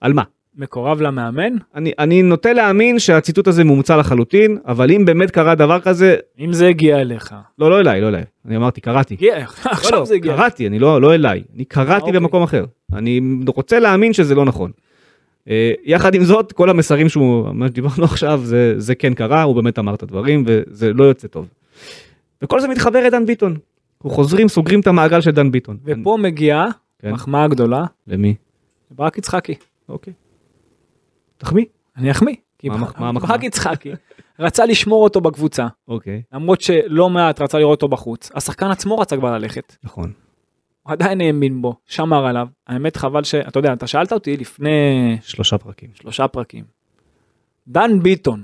Speaker 2: על מה?
Speaker 3: מקורב למאמן
Speaker 2: אני, אני נוטה להאמין שהציטוט הזה מומצא לחלוטין, אבל אם באמת קרה דבר כזה,
Speaker 3: אם זה הגיע אליך
Speaker 2: לא, לא אליי, לא אליי. אני אמרתי, קראתי.
Speaker 3: הגיע
Speaker 2: לא,
Speaker 3: עכשיו
Speaker 2: לא,
Speaker 3: זה הגיע
Speaker 2: קראתי, אני לא, לא אליי. אני קראתי
Speaker 3: אוקיי.
Speaker 2: במקום אחר. אני רוצה להאמין שזה לא נכון. אה, יחד עם זאת, כל המסרים שהוא, מה שדיברנו עכשיו, זה, זה כן קרה, הוא באמת אמר את הדברים, וזה לא יוצא טוב. וכל זה מתחבר לדן ביטון. אנחנו חוזרים, סוגרים את המעגל של דן ביטון.
Speaker 3: ופה מגיעה
Speaker 2: כן.
Speaker 3: מחמאה גדולה
Speaker 2: למי?
Speaker 3: לברק יצחקי.
Speaker 2: אוקיי. תחמיא.
Speaker 3: אני אחמיא. כי
Speaker 2: מה המח- מה המחמאה?
Speaker 3: ברק יצחקי רצה לשמור אותו בקבוצה,
Speaker 2: אוקיי.
Speaker 3: למרות שלא מעט רצה לראות אותו בחוץ. השחקן עצמו רצה כבר ללכת.
Speaker 2: נכון.
Speaker 3: הוא עדיין האמין בו, שמר עליו. האמת חבל ש... אתה יודע, אתה שאלת אותי לפני
Speaker 2: שלושה פרקים.
Speaker 3: שלושה פרקים. דן ביטון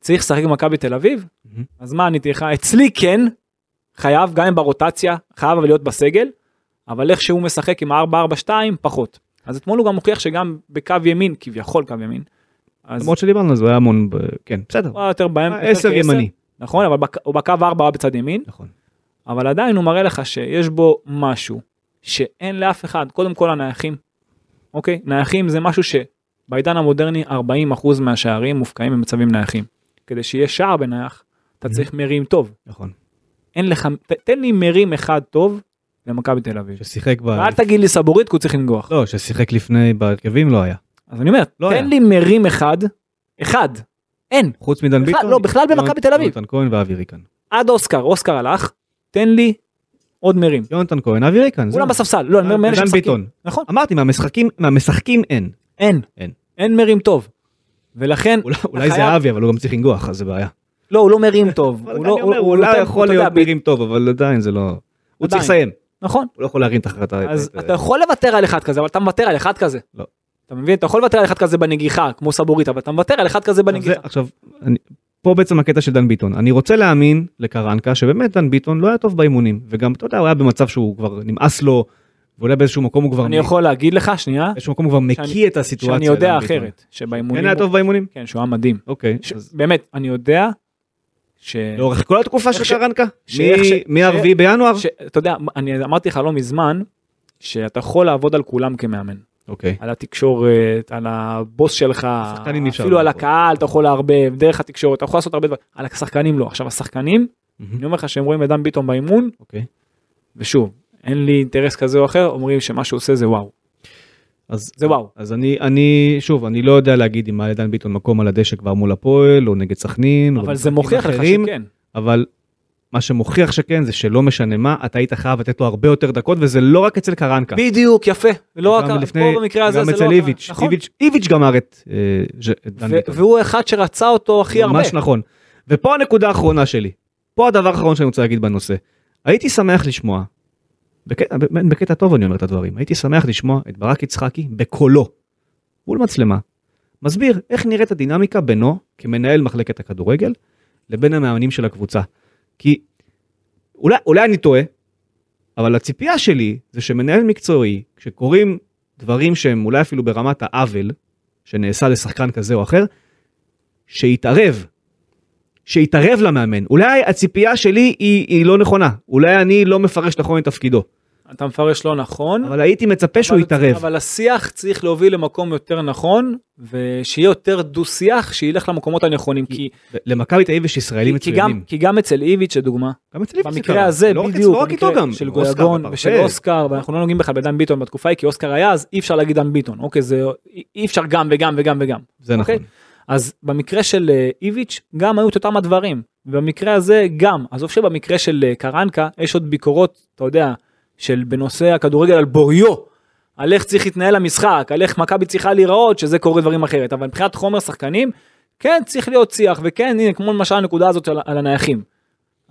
Speaker 3: צריך לשחק במכבי תל אביב?
Speaker 2: מהמם.
Speaker 3: אז מה עניתי לך? אצלי כן, חייב, גם אם ברוטציה, חייב אבל להיות בסגל, אבל איך שהוא משחק עם ה-4-4-2 פחות. אז אתמול הוא גם הוכיח שגם בקו ימין, כביכול קו ימין, אז
Speaker 2: למרות שדיברנו על זה, הוא היה המון, ב- כן, בסדר.
Speaker 3: הוא היה יותר באמצע, יותר
Speaker 2: עשר
Speaker 3: כעשר.
Speaker 2: ימני.
Speaker 3: נכון, אבל בק- הוא בקו 4 בצד ימין,
Speaker 2: נכון.
Speaker 3: אבל עדיין הוא מראה לך שיש בו משהו שאין לאף אחד, קודם כל הנייחים. אוקיי? נייחים זה משהו שבעידן המודרני 40% מהשערים מופקעים במצבים נייחים. כדי שיהיה שער בנייח, אתה
Speaker 2: Mm-hmm.
Speaker 3: צריך מרים טוב.
Speaker 2: נכון.
Speaker 3: אין לך, ת, תן לי מרים אחד טוב למכבי תל אביב.
Speaker 2: ששיחק ב...
Speaker 3: ואל תגיד לי סבורית כי הוא צריך לנגוח.
Speaker 2: לא, ששיחק לפני בהרכבים לא היה.
Speaker 3: אז אני אומר,
Speaker 2: לא היה.
Speaker 3: תן לי מרים אחד, אחד, אין,
Speaker 2: חוץ מדן
Speaker 3: בכלל-
Speaker 2: ביטון.
Speaker 3: לא, בכלל
Speaker 2: יונ-
Speaker 3: במכבי תל אביב.
Speaker 2: יונתן כהן ואבירי כאן.
Speaker 3: עד אוסקר, אוסקר הלך, תן לי עוד מרים.
Speaker 2: יונתן כהן, אבירי כאן. זהו.
Speaker 3: כולם בספסל, לא, אני אומר מאלה
Speaker 2: דן
Speaker 3: שמשחקים.
Speaker 2: ביטון.
Speaker 3: נכון.
Speaker 2: אמרתי, מהמשחקים, מהמשחקים אין.
Speaker 3: אין.
Speaker 2: אין.
Speaker 3: אין מרים טוב. ולכן,
Speaker 2: אולי- אולי
Speaker 3: חייב-
Speaker 2: זה אבי, אבל הוא גם צריך לנגוח, אז זה בעיה.
Speaker 3: לא, הוא לא מרים טוב.
Speaker 2: אבל אני אומר, הוא
Speaker 3: נותן-
Speaker 2: אולי יכול
Speaker 3: אתה יודע,
Speaker 2: להיות
Speaker 3: ב-
Speaker 2: מירים טוב, אבל עדיין זה לא... הוא צריך
Speaker 3: עדיין.
Speaker 2: לסיים.
Speaker 3: נכון.
Speaker 2: הוא לא יכול להרים את החלטה.
Speaker 3: אז אתה יכול לוותר על אחד כזה, אבל אתה מוותר על אחד כזה.
Speaker 2: אה, לא.
Speaker 3: אתה מבין? אתה יכול לוותר על אחד כזה בנגיחה, כמו סבורית, אבל אתה מוותר על אחד כזה
Speaker 2: עכשיו, זה-
Speaker 3: בנגיחה.
Speaker 2: עכשיו, אני- פה בעצם הקטע של דן ביטון. אני רוצה להאמין לקרנקה שבאמת דן ביטון לא היה טוב באימונים, וגם, אתה יודע, הוא היה במצב שהוא כבר נמאס לו, ואולי באיזשהו מקום הוא כבר...
Speaker 3: אני
Speaker 2: מ-
Speaker 3: יכול להגיד לך, שנייה,
Speaker 2: באיזשהו מקום הוא כבר מקיא את הסיטואציה.
Speaker 3: שאני יודע
Speaker 2: דן ביטון.
Speaker 3: אחרת, שבאימונים...
Speaker 2: כן היה
Speaker 3: הוא-
Speaker 2: טוב באימונים?
Speaker 3: כן, שהוא היה מדהים.
Speaker 2: אוקיי.
Speaker 3: ש-
Speaker 2: אז לא.
Speaker 3: באמת, אני יודע ש...
Speaker 2: לאורך כל התקופה
Speaker 3: איך ש-
Speaker 2: של קרנקה?
Speaker 3: ש- איך ש-
Speaker 2: מ-4 בינואר?
Speaker 3: ש- אתה יודע, אני אמרתי לך לא מזמן, שאתה יכול לעבוד על כולם כמאמן.
Speaker 2: אוקיי.
Speaker 3: על התקשורת, על הבוס שלך,
Speaker 2: השחקנים אי אפשר
Speaker 3: אפילו על
Speaker 2: לעבוד.
Speaker 3: הקהל אתה יכול לערבב, דרך התקשורת, אתה יכול לעשות הרבה דברים, על השחקנים לא. עכשיו השחקנים, אני אומר לך שהם רואים את דן ביטון באימון,
Speaker 2: אוקיי.
Speaker 3: ושוב, אין לי אינטרס כזה או אחר, אומרים שמה שהוא עושה זה וואו.
Speaker 2: אז
Speaker 3: זה וואו.
Speaker 2: אז אני, אני, שוב, אני לא יודע להגיד אם היה לדן ביטון מקום על הדשא כבר מול הפועל, או נגד סכנין, או
Speaker 3: אבל זה
Speaker 2: במשחקים
Speaker 3: מוכיח לך
Speaker 2: אחרים,
Speaker 3: שכן.
Speaker 2: אבל מה שמוכיח שכן, זה שלא משנה מה, אתה היית חייב לתת לו הרבה יותר דקות, וזה לא רק אצל קרנקה.
Speaker 3: בדיוק, יפה. לא רק,
Speaker 2: גם
Speaker 3: פה
Speaker 2: לפני-
Speaker 3: במקרה הזה
Speaker 2: גם
Speaker 3: זה לא...
Speaker 2: אצל
Speaker 3: רק-
Speaker 2: איביץ',
Speaker 3: נכון.
Speaker 2: איביץ', איביץ' גמר את אה, ז'- את דן
Speaker 3: ו-
Speaker 2: ביטון.
Speaker 3: והוא האחד שרצה אותו הכי הרבה.
Speaker 2: ממש נכון. ופה הנקודה האחרונה שלי. פה הדבר האחרון שאני רוצה להגיד בנושא. הייתי שמח לשמוע, בקטע, באמת בקטע טוב אני אומר את הדברים, הייתי שמח לשמוע את ברק יצחקי בקולו, מול מצלמה, מסביר איך נראית הדינמיקה בינו, כמנהל מחלקת הכדורגל, לבין המאמנים של הקבוצה. כי אולי, אולי אני טועה, אבל הציפייה שלי זה שמנהל מקצועי, כשקורים דברים שהם אולי אפילו ברמת העוול, שנעשה לשחקן כזה או אחר, שיתערב. שיתערב למאמן. אולי הציפייה שלי היא, היא לא נכונה. אולי אני לא מפרש נכון את תפקידו.
Speaker 3: אתה מפרש לא נכון.
Speaker 2: אבל הייתי מצפה שהוא
Speaker 3: אבל-
Speaker 2: יתערב.
Speaker 3: אבל השיח צריך להוביל למקום יותר נכון, ושיהיה יותר דו-שיח, שילך למקומות הנכונים. כי
Speaker 2: למכבי תל אביב יש ישראלים
Speaker 3: כי גם,
Speaker 2: מצוינים.
Speaker 3: כי גם אצל איביץ' לדוגמה,
Speaker 2: גם אצלי זה
Speaker 3: במקרה
Speaker 2: קרה.
Speaker 3: הזה
Speaker 2: לא רק אצל-
Speaker 3: בדיוק,
Speaker 2: לא רק
Speaker 3: במקרה
Speaker 2: איתו גם.
Speaker 3: של
Speaker 2: עם אוסקר
Speaker 3: גויגון
Speaker 2: ופרפה.
Speaker 3: ושל אוסקר, ואנחנו לא נוגעים בכלל בדן ביטון בתקופה ההיא, כי אוסקר היה אז אי אפשר להגיד דן ביטון, אוקיי זה אי- אי אפשר גם וגם וגם וגם.
Speaker 2: זה נכון.
Speaker 3: אוקיי? אז במקרה של אה, איביץ' גם היו את אותם הדברים, במקרה הזה גם, עזוב שבמקרה של אה, קרנקה יש עוד ביקורות, אתה יודע, של בנושא הכדורגל על בוריו, על איך צריך להתנהל המשחק, על איך מכבי צריכה להיראות, שזה קורה דברים אחרת, אבל מבחינת חומר שחקנים, כן צריך להיות שיח, וכן הנה כמו למשל הנקודה הזאת על, על הנייחים.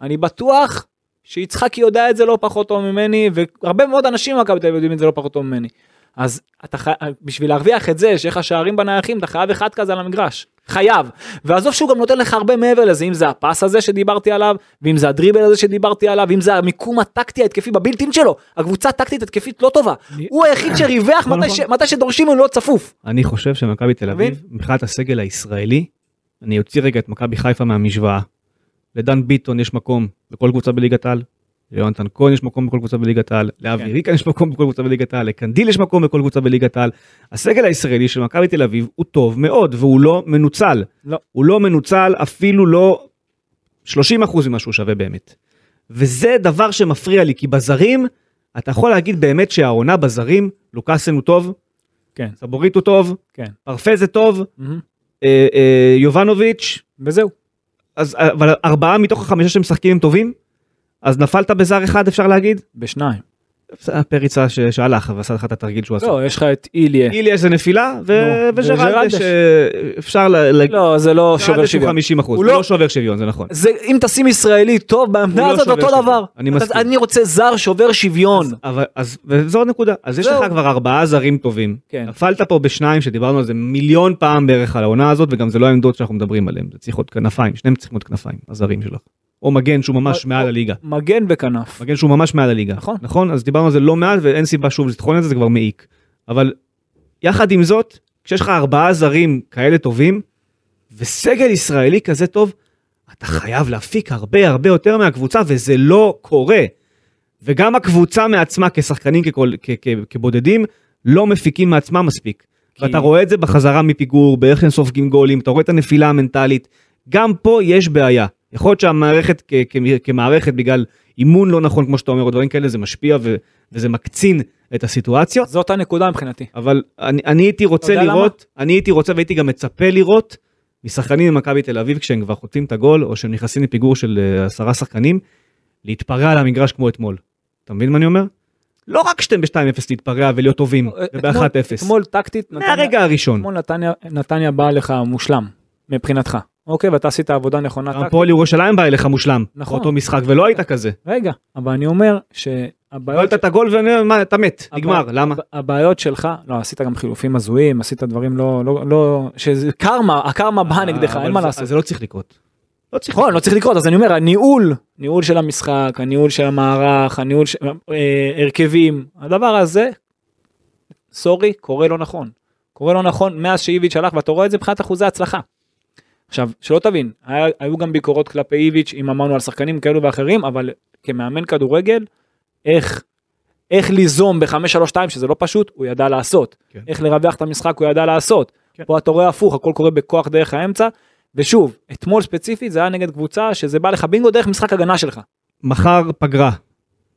Speaker 3: אני בטוח שיצחקי יודע את זה לא פחות טוב ממני, והרבה מאוד אנשים במכבי תל אביב יודעים את זה לא פחות טוב ממני. אז אתה חי... בשביל להרוויח את זה שיהיה לך שערים בנייחים אתה חייב אחד כזה על המגרש חייב ועזוב שהוא גם נותן לך הרבה מעבר לזה אם זה הפס הזה שדיברתי עליו ואם זה הדריבל הזה שדיברתי עליו ואם זה המיקום הטקטי ההתקפי בבילטין שלו הקבוצה הטקטית התקפית לא טובה הוא היחיד שריווח
Speaker 2: נכון,
Speaker 3: מתי
Speaker 2: נכון.
Speaker 3: ש- מתי שדורשים ממנו להיות צפוף.
Speaker 2: אני חושב שמכבי תל אביב, מבחינת הסגל הישראלי, אני אוציא רגע את מכבי חיפה מהמשוואה. לדן ביטון יש מקום בכל קבוצה בליגת העל, ליונתן כהן יש מקום בכל קבוצה בליגת העל, לאבי
Speaker 3: כן.
Speaker 2: ריקן יש מקום בכל קבוצה בליגת העל, לקנדיל יש מקום בכל קבוצה בליגת העל. הסגל הישראלי של מכבי תל אביב הוא טוב מאוד והוא לא מנוצל.
Speaker 3: לא.
Speaker 2: הוא לא מנוצל אפילו לא 30% ממה שהוא שווה באמת. וזה דבר שמפריע לי, כי בזרים, אתה יכול להגיד באמת שהעונה בזרים, לוקאסן הוא טוב,
Speaker 3: כן.
Speaker 2: סבורית הוא טוב,
Speaker 3: כן.
Speaker 2: פרפה זה טוב, אה, אה, יובנוביץ',
Speaker 3: וזהו.
Speaker 2: אז, אבל ארבעה מתוך החמישה שמשחקים הם טובים, אז נפלת בזר אחד אפשר להגיד?
Speaker 3: בשניים.
Speaker 2: פריצה ש- שהלך ועשה לך את התרגיל שהוא עשה.
Speaker 3: לא, יש לך את איליה.
Speaker 2: איליה זה נפילה, ו-
Speaker 3: נו,
Speaker 2: וז'רלדה
Speaker 3: וז'רלדה ש-
Speaker 2: שאפשר להגיד,
Speaker 3: לא, זה לא שובר
Speaker 2: ז'רלדה שהוא
Speaker 3: שוויון.
Speaker 2: 50 אחוז,
Speaker 3: הוא
Speaker 2: הוא
Speaker 3: לא-
Speaker 2: לא שובר שוויון, זה נכון.
Speaker 3: זה אם תשים ישראלי טוב בעמדה
Speaker 2: הוא לא
Speaker 3: הזאת
Speaker 2: שובר
Speaker 3: אותו
Speaker 2: שוויון.
Speaker 3: דבר.
Speaker 2: אני
Speaker 3: אתה-
Speaker 2: מסכים.
Speaker 3: אני רוצה זר שובר שוויון.
Speaker 2: אבל, אז, וזו עוד נקודה, אז יש
Speaker 3: זהו.
Speaker 2: לך כבר ארבעה זרים טובים.
Speaker 3: כן.
Speaker 2: נפלת פה בשניים שדיברנו על זה מיליון פעם בערך על העונה הזאת, וגם זה לא העמדות שאנחנו מדברים עליהן, זה צריך עוד כנפיים, שניהם צריכים עוד כנפיים, הזרים שלך. או מגן שהוא ממש
Speaker 3: או-
Speaker 2: מעל
Speaker 3: או-
Speaker 2: הליגה.
Speaker 3: מגן וכנף.
Speaker 2: מגן שהוא ממש מעל הליגה.
Speaker 3: נכון.
Speaker 2: נכון? אז דיברנו על זה לא מעט, ואין סיבה שוב לטחון את זה, זה כבר מעיק. אבל יחד עם זאת, כשיש לך ארבעה זרים כאלה טובים, וסגל ישראלי כזה טוב, אתה חייב להפיק הרבה הרבה יותר מהקבוצה, וזה לא קורה. וגם הקבוצה מעצמה כשחקנים ככל, כ, כ, כבודדים לא מפיקים מעצמם מספיק.
Speaker 3: כי-
Speaker 2: כי... ואתה רואה את זה בחזרה מפיגור, באיך הם סופגים גולים, אתה רואה את הנפילה המנטלית. גם פה יש בעיה. יכול להיות שהמערכת כ, כ, כמערכת בגלל אימון לא נכון כמו שאתה אומר, או דברים כאלה, זה משפיע ו, וזה מקצין את הסיטואציות.
Speaker 3: זאת הנקודה מבחינתי.
Speaker 2: אבל אני, אני הייתי רוצה
Speaker 3: יודע
Speaker 2: לראות, למה? אני הייתי רוצה והייתי גם מצפה לראות משחקנים ממכבי תל אביב כשהם כבר חוטפים את הגול או שהם נכנסים לפיגור של אה, עשרה שחקנים, להתפרע על המגרש כמו אתמול. אתה מבין מה אני אומר? לא רק שאתם ב-2-0 להתפרע ולהיות טובים, וב-1-0.
Speaker 3: אה, אתמול טקטית נתניה-
Speaker 2: מהרגע הראשון.
Speaker 3: אתמול נתניה- נתניה באה לך מושלם מבחינתך. אוקיי ואתה עשית עבודה נכונה.
Speaker 2: גם
Speaker 3: טקטית.
Speaker 2: הפועל ירושלים בא אליך מושלם.
Speaker 3: נכון.
Speaker 2: נכון. אותו משחק ולא היית כזה.
Speaker 3: רגע אבל אני אומר
Speaker 2: לא
Speaker 3: שהבעיות
Speaker 2: היית את הגול ואתה מת, נגמר,
Speaker 3: הבע-
Speaker 2: למה?
Speaker 3: הבעיות שלך לא עשית גם חילופים הזויים עשית דברים לא לא לא שזה קרמה הקרמה באה אה, נגדך
Speaker 2: אה, אבל
Speaker 3: אין מה
Speaker 2: זה-
Speaker 3: לעשות.
Speaker 2: זה לא צריך לקרות. לא צריך
Speaker 3: נכון לא צריך לקרות אז אני אומר הניהול ניהול של המשחק הניהול של המערך הניהול של אה, הרכבים הדבר הזה. סורי קורה לא נכון קורה לא נכון מאז שאיביץ' הלך ואתה רואה את זה מבחינת אחוזי הצלחה. עכשיו שלא תבין היה, היו גם ביקורות כלפי איביץ' אם אמרנו על שחקנים כאלו ואחרים אבל כמאמן כדורגל איך איך ליזום ב-532 שזה לא פשוט הוא ידע לעשות
Speaker 2: כן.
Speaker 3: איך לרווח את המשחק הוא ידע לעשות
Speaker 2: כן.
Speaker 3: פה אתה רואה הפוך הכל קורה בכוח דרך האמצע ושוב אתמול ספציפית זה היה נגד קבוצה שזה בא לך בינגו דרך משחק הגנה שלך.
Speaker 2: מחר פגרה,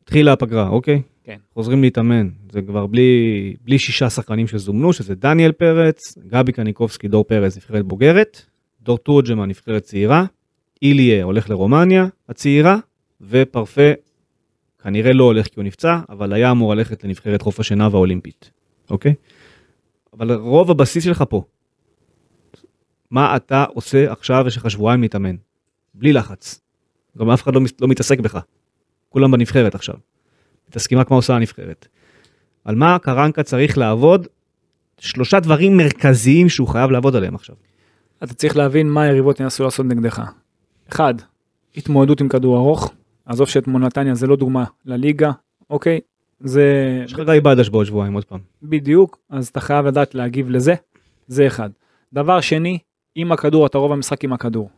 Speaker 2: התחילה הפגרה, אוקיי?
Speaker 3: כן.
Speaker 2: חוזרים להתאמן, זה כבר בלי, בלי שישה שחקנים שזומנו, שזה דניאל פרץ, גבי קניקובסקי, דור פרץ, נבחרת בוגרת, דור תורג'מן, נבחרת צעירה, איליה הולך לרומניה הצעירה, ופרפה כנראה לא הולך כי הוא נפצע, אבל היה אמור ללכת לנבחרת חוף השנהב האולימפית, אוקיי? אבל רוב הבסיס שלך פה. מה אתה עושה עכשיו, יש לך שבועיים להתאמן, בלי לחץ. גם אף אחד לא, מס- לא מתעסק בך. כולם בנבחרת עכשיו. מתעסקים רק מה עושה הנבחרת. על מה קרנקה צריך לעבוד? שלושה דברים מרכזיים שהוא חייב לעבוד עליהם עכשיו.
Speaker 3: אתה צריך להבין מה היריבות ינסו לעשות נגדך. אחד, התמודדות עם כדור ארוך. עזוב שאתמול נתניה זה לא דוגמה לליגה, אוקיי? זה
Speaker 2: יש לך גיא בדש בעוד שבועיים עוד פעם.
Speaker 3: בדיוק, אז אתה חייב לדעת להגיב לזה, זה אחד. דבר שני, עם הכדור, אתה רוב המשחק עם הכדור.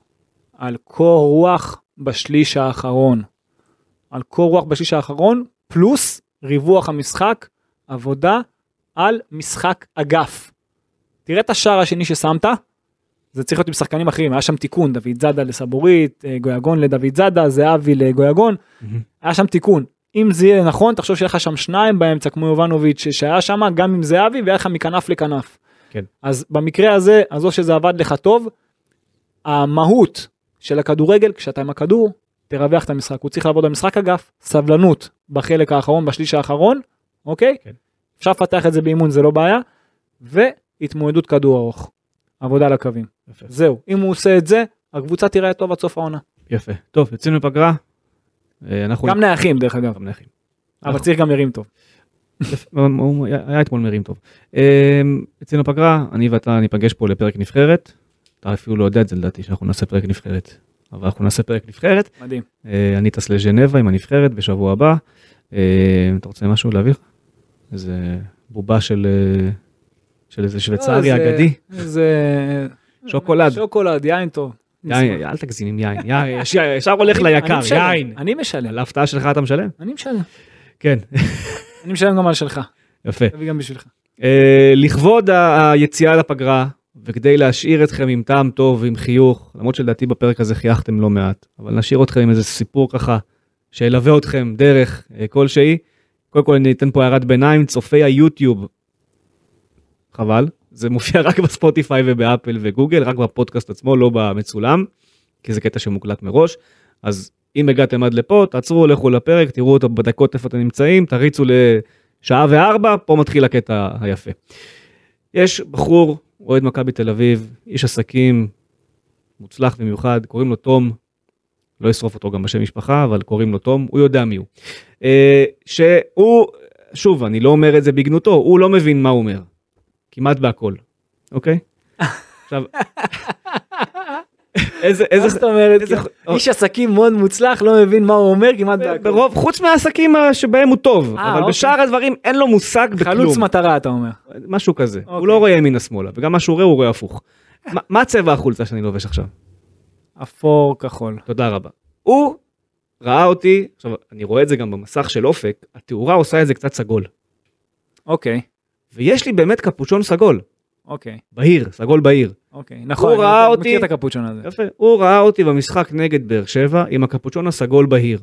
Speaker 3: על קור רוח בשליש האחרון. על קור רוח בשליש האחרון, פלוס ריווח המשחק, עבודה על משחק אגף. תראה את השער השני ששמת, זה צריך להיות עם שחקנים אחרים, היה שם תיקון, דוד זאדה לסבורית, אה, גויגון לדוד זאדה, זהבי לגויגון, היה שם תיקון. אם זה יהיה נכון, תחשוב שהיה לך שם שניים באמצע, כמו יובנוביץ', ש- שהיה שם גם עם זהבי, והיה לך מכנף לכנף.
Speaker 2: כן.
Speaker 3: אז במקרה הזה, אז או שזה עבד לך טוב, המהות של הכדורגל, כשאתה עם הכדור, תרווח את המשחק. הוא צריך לעבוד במשחק אגף, סבלנות בחלק האחרון, בשליש האחרון, אוקיי?
Speaker 2: כן.
Speaker 3: אפשר לפתח את זה באימון, זה לא בעיה. והתמודדות כדור ארוך, עבודה על הקווים.
Speaker 2: יפה.
Speaker 3: זהו, אם הוא עושה את זה, הקבוצה תיראה טוב עד סוף העונה.
Speaker 2: יפה. טוב, יוצאים לפגרה. אה, אנחנו...
Speaker 3: גם נייחים דרך אגב,
Speaker 2: גם נכים.
Speaker 3: אבל
Speaker 2: נכון.
Speaker 3: צריך גם ירים טוב.
Speaker 2: יפה, הוא היה היה אתמול מרים טוב. אה, יוצאים לפגרה, אני ואתה ניפגש פה לפרק נבחרת. אתה אפילו לא יודע את זה לדעתי, שאנחנו נעשה פרק נבחרת. אבל אנחנו נעשה פרק נבחרת.
Speaker 3: מדהים.
Speaker 2: אה, אני טס לז'נבה עם הנבחרת בשבוע הבא. אה, אתה רוצה משהו להעביר? איזה בובה של אה, של איזה שוויצרי
Speaker 3: לא, זה-
Speaker 2: אגדי?
Speaker 3: זה...
Speaker 2: שוקולד.
Speaker 3: שוקולד, יין טוב.
Speaker 2: יין, אל תגזים עם יין, יין, ישר- ישר הולך
Speaker 3: אני-
Speaker 2: ליקר,
Speaker 3: אני משלם,
Speaker 2: יין.
Speaker 3: אני משלם,
Speaker 2: על ההפתעה שלך אתה משלם?
Speaker 3: אני משלם.
Speaker 2: כן,
Speaker 3: אני משלם גם על שלך,
Speaker 2: יפה.
Speaker 3: תביא גם בשבילך.
Speaker 2: אה, לכבוד ה- היציאה לפגרה, וכדי להשאיר אתכם עם טעם טוב, עם חיוך, למרות שלדעתי בפרק הזה חייכתם לא מעט, אבל נשאיר אתכם עם איזה סיפור ככה, שילווה אתכם דרך אה, כלשהי. קודם כל אני אתן פה הערת ביניים, צופי היוטיוב, חבל, זה מופיע רק בספוטיפיי ובאפל וגוגל, רק בפודקאסט עצמו, לא במצולם. כי זה קטע שמוקלט מראש. אז אם הגעתם עד לפה, תעצרו, לכו לפרק, תראו אותו בדקות איפה אתם נמצאים, תריצו לשעה וארבע, פה מתחיל הקטע היפה. יש בחור, אוהד מכבי תל אביב, איש עסקים, מוצלח במיוחד, קוראים לו תום, לא אשרוף אותו גם בשם משפחה, אבל קוראים לו תום, הוא יודע מי הוא. אה, שהוא, שוב, אני לא אומר את זה בגנותו, הוא לא מבין מה הוא אומר. כמעט בהכל, אוקיי? עכשיו, איזה,
Speaker 4: מה
Speaker 2: איזה,
Speaker 4: זאת אומרת?
Speaker 2: איזה- כן,
Speaker 4: כאילו, איש עסקים מאוד מוצלח, לא מבין מה הוא אומר כמעט בהכל.
Speaker 2: ברוב, חוץ מהעסקים ה- שבהם הוא טוב,
Speaker 4: אה,
Speaker 2: אבל
Speaker 4: אוקיי.
Speaker 2: בשאר הדברים אין לו מושג בכלום.
Speaker 3: חלוץ מטרה אתה אומר.
Speaker 2: משהו כזה. הוא
Speaker 3: אוקיי.
Speaker 2: לא רואה ימינה שמאלה, וגם מה שהוא רואה הוא רואה הפוך. מה- מה צבע החולצה שאני לובש עכשיו?
Speaker 3: אפור כחול.
Speaker 2: תודה רבה. הוא ראה אותי, עכשיו אני רואה את זה גם במסך של אופק, התאורה עושה את זה קצת סגול.
Speaker 3: אוקיי,
Speaker 2: ויש לי באמת קפוצ'ון סגול,
Speaker 3: אוקיי,
Speaker 2: בהיר, סגול בהיר.
Speaker 3: אוקיי. נכון,
Speaker 2: הוא
Speaker 3: אני
Speaker 2: ראה
Speaker 3: מכיר
Speaker 2: אותי-
Speaker 3: את הקפוצ'ון הזה.
Speaker 2: יפה. הוא ראה אותי במשחק נגד באר שבע עם הקפוצ'ון הסגול בהיר.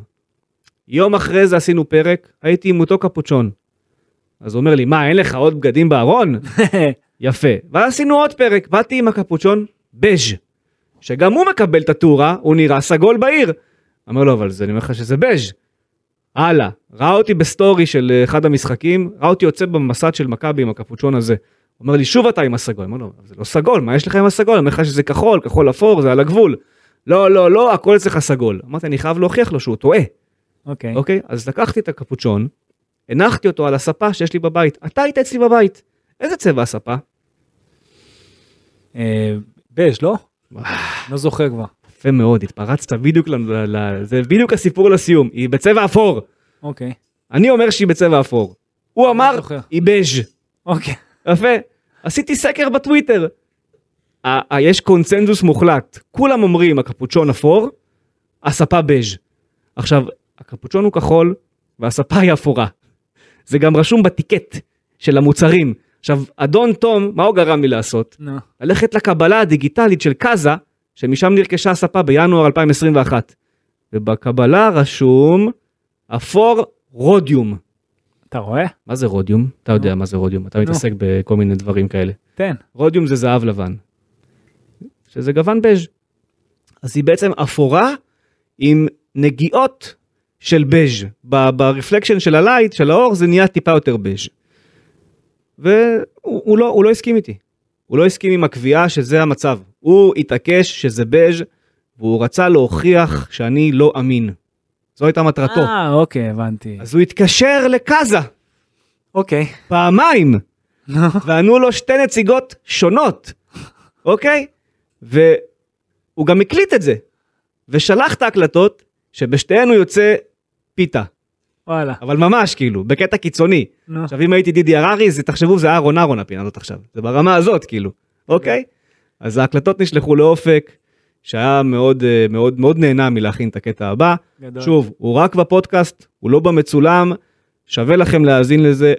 Speaker 2: יום אחרי זה עשינו פרק, הייתי עם אותו קפוצ'ון. אז הוא אומר לי, מה, אין לך עוד בגדים בארון? יפה. ואז עשינו עוד פרק, באתי עם הקפוצ'ון בז', שגם הוא מקבל את התאורה, הוא נראה סגול בהיר. אומר לו, אבל זה, אני אומר לך שזה בז'. הלאה, ראה אותי בסטורי של אה, אחד המשחקים, ראה אותי יוצא במסד של מכבי עם הקפוצ'ון הזה. אומר לי, שוב אתה עם הסגול. אומר לו, "אבל זה לא סגול, מה יש לך עם הסגול? אני אומר לך שזה כחול, כחול אפור, זה על הגבול. לא, לא, לא, הכל אצלך סגול. אמרתי, אני חייב להוכיח לו שהוא טועה.
Speaker 3: אוקיי.
Speaker 2: אוקיי? אז לקחתי את הקפוצ'ון, הנחתי אותו על הספה שיש לי בבית. אתה היית אצלי בבית. איזה צבע הספה?
Speaker 3: אה, בז' לא?
Speaker 2: וואו.
Speaker 3: לא זוכר כבר.
Speaker 2: יפה מאוד, התפרצת בדיוק ל... ל... ל... זה בדיוק הסיפור לסיום. היא בצבע אפור.
Speaker 3: אוקיי.
Speaker 2: אני אומר שהיא בצבע אפור. הוא אמר,
Speaker 3: זוכר.
Speaker 2: היא בז'.
Speaker 3: אוקיי.
Speaker 2: יפה. עשיתי סקר בטוויטר. ה- ה- יש קונצנזוס מוחלט. כולם אומרים הקפוצ'ון אפור, הספה בז'. עכשיו, הקפוצ'ון הוא כחול והספה היא אפורה. זה גם רשום בטיקט של המוצרים. עכשיו, אדון תום, מה הוא גרם לי לעשות?
Speaker 3: נו.
Speaker 2: ללכת לקבלה הדיגיטלית של קאזה, שמשם נרכשה הספה בינואר 2021. ובקבלה רשום אפור רודיום.
Speaker 3: אתה רואה?
Speaker 2: מה זה רודיום? אתה יודע מה זה רודיום, אתה מתעסק בכל מיני דברים כאלה.
Speaker 3: תן.
Speaker 2: רודיום זה זהב לבן, שזה גוון בז'. אז היא בעצם אפורה עם נגיעות של בז'. ב- ברפלקשן של הלייט, של האור, זה נהיה טיפה יותר בז'. והוא הוא לא, הוא לא הסכים איתי. הוא לא הסכים עם הקביעה שזה המצב. הוא התעקש שזה בז' והוא רצה להוכיח שאני לא אמין. זו הייתה מטרתו.
Speaker 3: אה, אוקיי, הבנתי.
Speaker 2: אז הוא התקשר לקאזה
Speaker 3: אוקיי.
Speaker 2: פעמיים.
Speaker 3: נו.
Speaker 2: וענו לו שתי נציגות שונות, אוקיי? והוא גם הקליט את זה, ושלח את ההקלטות שבשתיהן הוא יוצא פיתה,
Speaker 3: וואלה.
Speaker 2: אבל ממש כאילו, בקטע קיצוני.
Speaker 3: נו.
Speaker 2: עכשיו אם הייתי דידי הררי, זה תחשבו זה אהרון אהרון הפינה הזאת עכשיו, זה ברמה הזאת כאילו, אוקיי? אז ההקלטות נשלחו לאופק, שהיה מאוד אה, מאוד מאוד נהנה מלהכין את הקטע הבא.
Speaker 3: גדול.
Speaker 2: שוב, הוא רק בפודקאסט, הוא לא במצולם, שווה לכם להאזין לזה.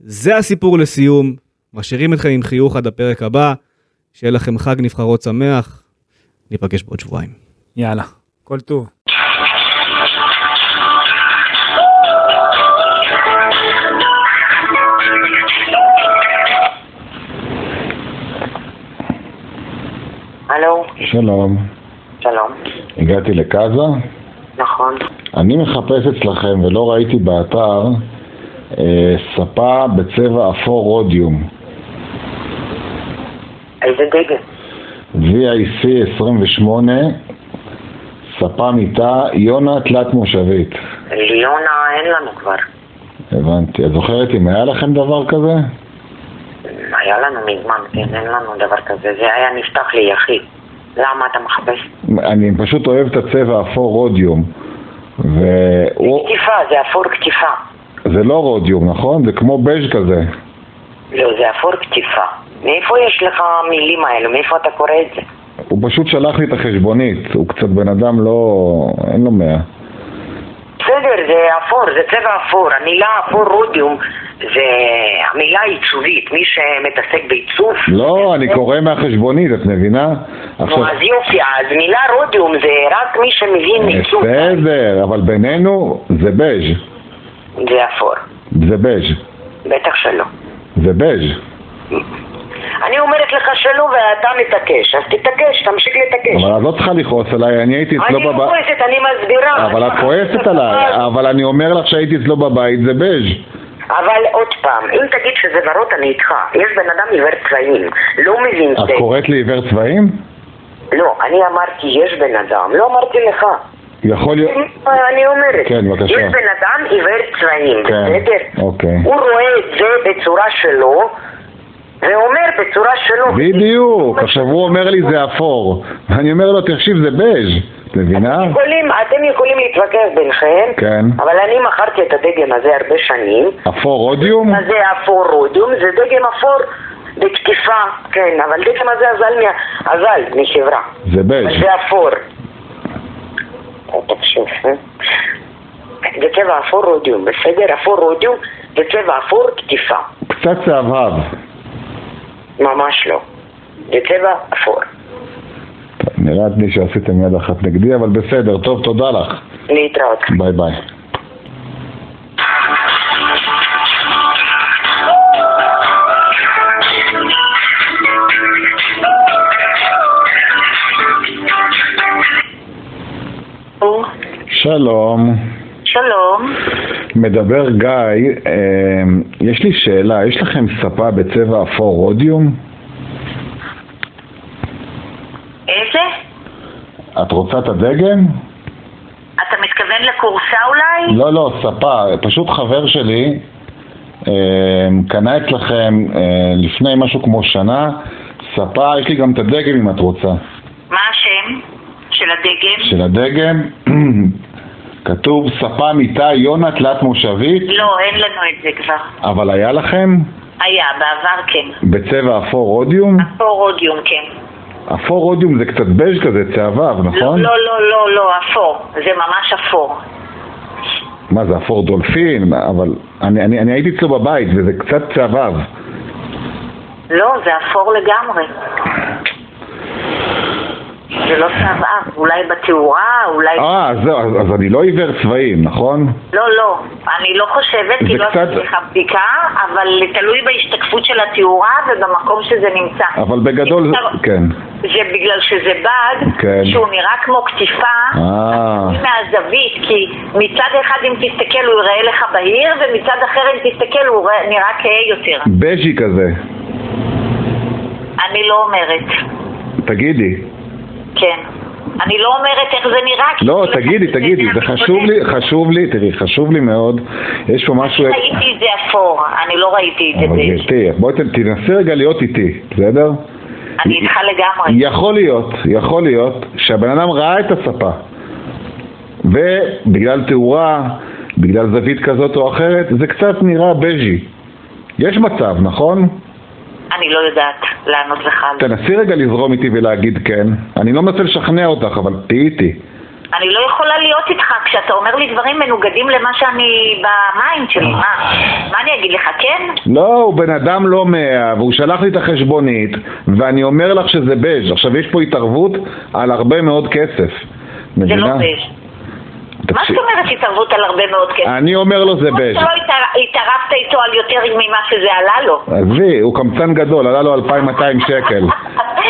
Speaker 2: זה הסיפור לסיום, משאירים אתכם עם חיוך עד הפרק הבא, שיהיה לכם חג נבחרות שמח, ניפגש בעוד שבועיים.
Speaker 3: יאללה. כל טוב.
Speaker 5: הלו,
Speaker 6: שלום,
Speaker 5: שלום.
Speaker 6: הגעתי לקאזה.
Speaker 5: נכון.
Speaker 6: אני מחפש אצלכם ולא ראיתי באתר אה, ספה בצבע אפור רודיום,
Speaker 5: איזה דגם?
Speaker 6: VIC 28, ספה מיטה, יונה תלת מושבית.
Speaker 5: ליונה אין לנו כבר.
Speaker 6: הבנתי. את זוכרת אם היה לכם דבר כזה?
Speaker 5: היה לנו מזמן, כן, אין לנו דבר כזה. זה היה נפתח לי יחיד. למה אתה מחפש?
Speaker 6: אני פשוט אוהב את הצבע אפור רודיום. והוא...
Speaker 5: קטיפה, זה אפור קטיפה.
Speaker 6: זה לא רודיום, נכון? זה כמו בז' כזה.
Speaker 5: לא, זה אפור קטיפה. מאיפה יש לך המילים האלו? מאיפה אתה קורא את זה?
Speaker 6: הוא פשוט שלח לי את החשבונית, הוא קצת בן אדם לא... אין לו מאה.
Speaker 5: בסדר, זה אפור, זה צבע אפור. המילה אפור רודיום זה המילה עיצובית. מי שמתעסק בעיצוב...
Speaker 6: לא, אני קורא מהחשבונית, את מבינה? עכשיו,
Speaker 5: נו, אז יופי, אז מילה רודיום זה רק מי שמבין עיצוב.
Speaker 6: בסדר, אבל בינינו זה בז',
Speaker 5: זה אפור.
Speaker 6: זה בז',
Speaker 5: בטח שלא.
Speaker 6: זה בז'.
Speaker 5: אני אומרת לך שלא ואתה מתעקש, אז תתעקש, תמשיך להתעקש.
Speaker 6: אבל את לא צריכה לכעוס עליי, אני הייתי אצלו
Speaker 5: אני לא
Speaker 6: בבית.
Speaker 5: כועסת, אני מסבירה.
Speaker 6: אבל
Speaker 5: אני לא
Speaker 6: את כועסת
Speaker 5: מסבירה.
Speaker 6: עליי, אה. אבל אני אומר לך שהייתי אצלו בבית, זה בז'.
Speaker 5: אבל עוד פעם, אם תגיד שזה ורוד, אני איתך. יש בן אדם עיוור צבעים, לא מבין את
Speaker 6: את
Speaker 5: זה.
Speaker 6: קוראת לי עיוור צבעים?
Speaker 5: לא, אני אמרתי יש בן אדם, לא אמרתי לך.
Speaker 6: יכול להיות...
Speaker 5: אני אומרת.
Speaker 6: כן, בבקשה.
Speaker 5: יש בן אדם עיוור צבעים,
Speaker 6: כן,
Speaker 5: בסדר?
Speaker 6: אוקיי.
Speaker 5: הוא רואה את זה בצורה שלו, ואומר בצורה שלו.
Speaker 6: בדיוק, עכשיו הוא אומר לי זה אפור. ואני אומר לו, תקשיב, זה בז'. את מבינה?
Speaker 5: יכולים, אתם יכולים להתווכח ביניכם,
Speaker 6: כן.
Speaker 5: אבל אני מכרתי את הדגם הזה הרבה שנים.
Speaker 6: אפור אודיום?
Speaker 5: מה זה אפור רודיום? זה דגם אפור בקטיפה, כן, אבל דגם הזה אזל, מה... אזל מחברה.
Speaker 6: זה בז'.
Speaker 5: זה אפור. תקשיב, אה? זה צבע אפור רודיום, בסדר? אפור רודיום זה צבע אפור קטיפה.
Speaker 6: קצת צהבהב.
Speaker 5: ממש לא. זה צבע אפור.
Speaker 6: טוב, נראה לי שעשיתם יד אחת נגדי, אבל בסדר, טוב, תודה לך.
Speaker 5: להתראות.
Speaker 6: ביי ביי. שלום,
Speaker 5: שלום.
Speaker 6: מדבר גיא, אה, יש לי שאלה, יש לכם ספה בצבע אפור רודיום?
Speaker 5: איזה?
Speaker 6: את רוצה את הדגם?
Speaker 5: אתה מתכוון לכורסה אולי?
Speaker 6: לא, לא, ספה. פשוט חבר שלי אה, קנה אצלכם אה, לפני משהו כמו שנה ספה, יש לי גם את הדגם אם את רוצה.
Speaker 5: מה השם של הדגם?
Speaker 6: של הדגם כתוב ספה מיטה יונה תלת מושבית,
Speaker 5: לא, אין לנו את זה כבר.
Speaker 6: אבל היה לכם
Speaker 5: היה, בעבר כן.
Speaker 6: בצבע אפור אודיום?
Speaker 5: אפור אודיום כן.
Speaker 6: אפור אודיום זה קצת בז' כזה, צהבהב, נכון?
Speaker 5: לא, לא, לא, לא, אפור. זה ממש אפור.
Speaker 6: מה זה אפור דולפין? אבל אני, אני, אני הייתי אצלו בבית וזה קצת צהבהב.
Speaker 5: לא, זה אפור לגמרי. זה לא צבעה, אולי בתאורה, אולי...
Speaker 6: אה, אז זהו, אז, אז אני לא עיוור צבעים, נכון?
Speaker 5: לא, לא, אני לא חושבת,
Speaker 6: זה
Speaker 5: כי לא
Speaker 6: קצת-
Speaker 5: עשיתי לך בדיקה, אבל תלוי בהשתקפות של התאורה ובמקום שזה נמצא.
Speaker 6: אבל בגדול,
Speaker 5: אם אתה-
Speaker 6: זה- כן.
Speaker 5: זה בגלל שזה בד,
Speaker 6: כן.
Speaker 5: שהוא נראה כמו קטיפה.
Speaker 6: אה,
Speaker 5: מהזווית, כי מצד אחד אם תסתכל הוא יראה לך בהיר, ומצד אחר אם תסתכל הוא ראה- נראה כהה יותר.
Speaker 6: בז'י כזה.
Speaker 5: אני לא אומרת,
Speaker 6: תגידי.
Speaker 5: כן. אני לא אומרת איך זה נראה. כי
Speaker 6: לא,
Speaker 5: כל אחד
Speaker 6: תגידי,
Speaker 5: יודע
Speaker 6: תגידי,
Speaker 5: מי
Speaker 6: זה חשוב
Speaker 5: בודק.
Speaker 6: לי, חשוב לי, תראי, חשוב לי מאוד. יש פה משהו...
Speaker 5: לא ראיתי את זה אפור, אני לא ראיתי את זה.
Speaker 6: אבל
Speaker 5: בעצם.
Speaker 6: גברתי, בואי ת- תנסי רגע להיות איתי, בסדר?
Speaker 5: אני איתך לגמרי.
Speaker 6: יכול להיות, יכול להיות שהבן אדם ראה את הספה ובגלל תאורה, בגלל זווית כזאת או אחרת, זה קצת נראה בז'י. יש מצב, נכון?
Speaker 5: אני לא יודעת לענות לך על זה.
Speaker 6: תנסי רגע לזרום איתי ולהגיד כן. אני לא מנסה לשכנע אותך, אבל תהיי איתי.
Speaker 5: אני לא יכולה להיות איתך כשאתה אומר לי דברים מנוגדים למה שאני במיינד שלי. מה? מה אני אגיד לך, כן?
Speaker 6: לא, הוא בן אדם לא מאה, והוא שלח לי את החשבונית, ואני אומר לך שזה בז'. עכשיו, יש פה התערבות על הרבה מאוד כסף.
Speaker 5: זה לא
Speaker 6: מבינה?
Speaker 5: זה. מה
Speaker 6: תקשיב,
Speaker 5: זאת אומרת התערבות על הרבה מאוד כסף?
Speaker 6: אני אומר לו זה בז'.
Speaker 5: שלא לא התער- התערבת איתו על יותר ממה שזה עלה לו.
Speaker 6: עזבי, הוא קמצן גדול, עלה לו 2,200 שקל. אה,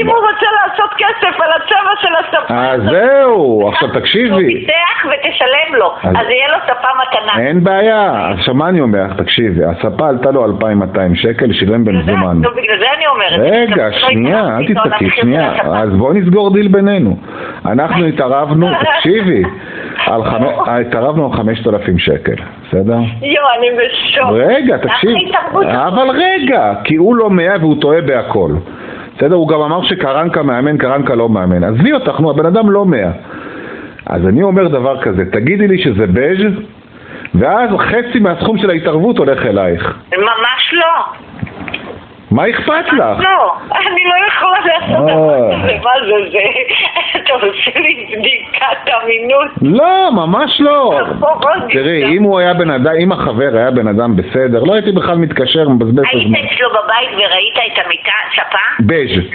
Speaker 5: אם הוא רוצה לעשות כסף על הצבע של הספה,
Speaker 6: אז זהו, אה, עכשיו
Speaker 5: הוא
Speaker 6: תקשיבי.
Speaker 5: לא פיתח ותשלם לו,
Speaker 6: אז-
Speaker 5: אז יהיה לו שפה מתנה.
Speaker 6: אין בעיה, עכשיו מה אני אומר לך? תקשיבי, הספה עלתה לו 2,200 שקל, שילם במזומן.
Speaker 5: לא, בגלל זה אני אומרת.
Speaker 6: רגע,
Speaker 5: לא
Speaker 6: שנייה, אל
Speaker 5: התערבתי איתו על
Speaker 6: תצעקי,
Speaker 5: המחיר של
Speaker 6: שנייה. אה,
Speaker 5: הספה.
Speaker 6: אז בואו נסגור דיל בינינו. אנחנו התערבנו, תקשיבי, על חמ- התערבנו על 5,000 שקל, בסדר?
Speaker 5: יואו, אני בשוק.
Speaker 6: רגע,
Speaker 5: למה
Speaker 6: תקשיב.
Speaker 5: ההתערבות הזאת?
Speaker 6: אבל רגע, כי הוא לא מאה והוא טועה בהכל. בסדר, הוא גם אמר שקרנקה מאמן, קרנקה לא מאמן. עזבי אותך, נו, הבן אדם לא מאה. אז אני אומר דבר כזה, תגידי לי שזה בז' ואז חצי מהסכום של ההתערבות הולך אלייך.
Speaker 5: ממש לא.
Speaker 6: מה אכפת לך?
Speaker 5: לא, אני לא יכולה לעשות
Speaker 6: אה.
Speaker 5: דבר כזה, מה זה זה? אתה עושה לי בדיקת אמינות.
Speaker 6: לא, ממש לא. תראי, אם הוא היה בן אדם, אם החבר היה בן אדם בסדר, לא הייתי בכלל מתקשר, מבזבז את הזמן.
Speaker 5: היית אצלו בבית וראית את המיטה, ספה?
Speaker 6: בז',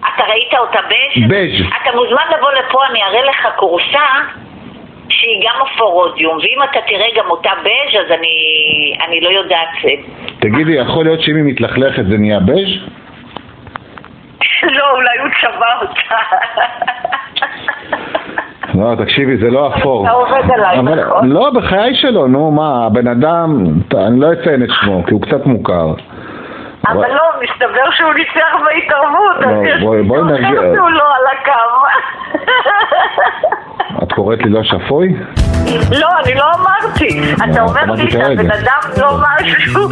Speaker 5: אתה ראית אותה בז'?
Speaker 6: בז'.
Speaker 5: אתה מוזמן לבוא לפה, אני אראה לך כורסה שהיא גם אפורודיום, ואם אתה תראה גם אותה בז' אז אני, אני לא יודעת. אה,
Speaker 6: תגידי, יכול להיות שאם היא מתלכלכת זה נהיה בז'?
Speaker 7: לא, אולי הוא צבע אותה.
Speaker 6: אה, לא, תקשיבי, זה לא אפור.
Speaker 7: אתה עובד עליי,
Speaker 6: אבל-
Speaker 7: נכון?
Speaker 6: לא, בחיי שלו, נו מה, הבן אדם, ת- אני לא אציין את שמו, כי הוא קצת מוכר.
Speaker 7: אבל לא, מסתבר שהוא ניצח בהתערבות. אז
Speaker 6: לא,
Speaker 7: יש
Speaker 6: בואי- בואי
Speaker 7: מישהו אחר
Speaker 6: נרגיע.
Speaker 7: שהוא לא על הקו.
Speaker 6: את קוראת לי לא שפוי?
Speaker 7: לא, אני לא אמרתי. אתה
Speaker 6: לא,
Speaker 7: אומר
Speaker 6: אמרתי
Speaker 7: לי
Speaker 6: כרגע.
Speaker 7: שהבן אדם לא משהו,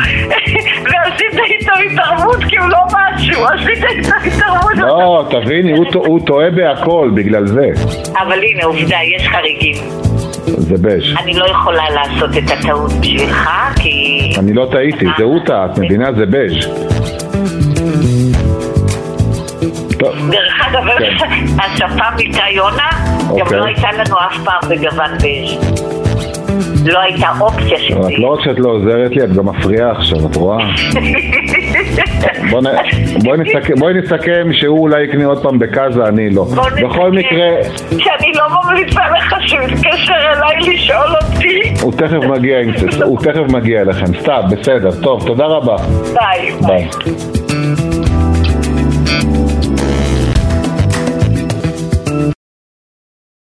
Speaker 7: ועשית איתו התערבות כי הוא לא משהו. עשית איתו התערבות.
Speaker 6: לא, תביני, הוא טוע- הוא טועה בהכל, בגלל זה.
Speaker 7: אבל הנה, עובדה, יש חריגים.
Speaker 6: זה בז'.
Speaker 7: אני לא יכולה לעשות את הטעות בשבילך, כי...
Speaker 6: אני לא טעיתי, זה הוא טעה, את מבינה? זה בז'. טוב,
Speaker 7: דרך אגב,
Speaker 6: כן.
Speaker 7: השפה מיטה יונה, גם
Speaker 6: אוקיי.
Speaker 7: לא הייתה לנו אף פעם בגוון בז'. לא הייתה אופציה של
Speaker 6: אבל את לא רק שאת לא עוזרת לי, את גם מפריעה עכשיו, את רואה? בוא נ- בואי נסכם- בואי נסכם שהוא אולי יקנה עוד פעם בקאזה, אני לא.
Speaker 7: בוא נסכם
Speaker 6: בכל מקרה,
Speaker 7: שאני לא ממליצה לך שהוא יתקשר אליי לשאול אותי.
Speaker 6: הוא תכף מגיע, עם- הוא תכף מגיע אליכם. סתיו, בסדר, טוב, תודה רבה.
Speaker 7: ביי.
Speaker 6: ביי.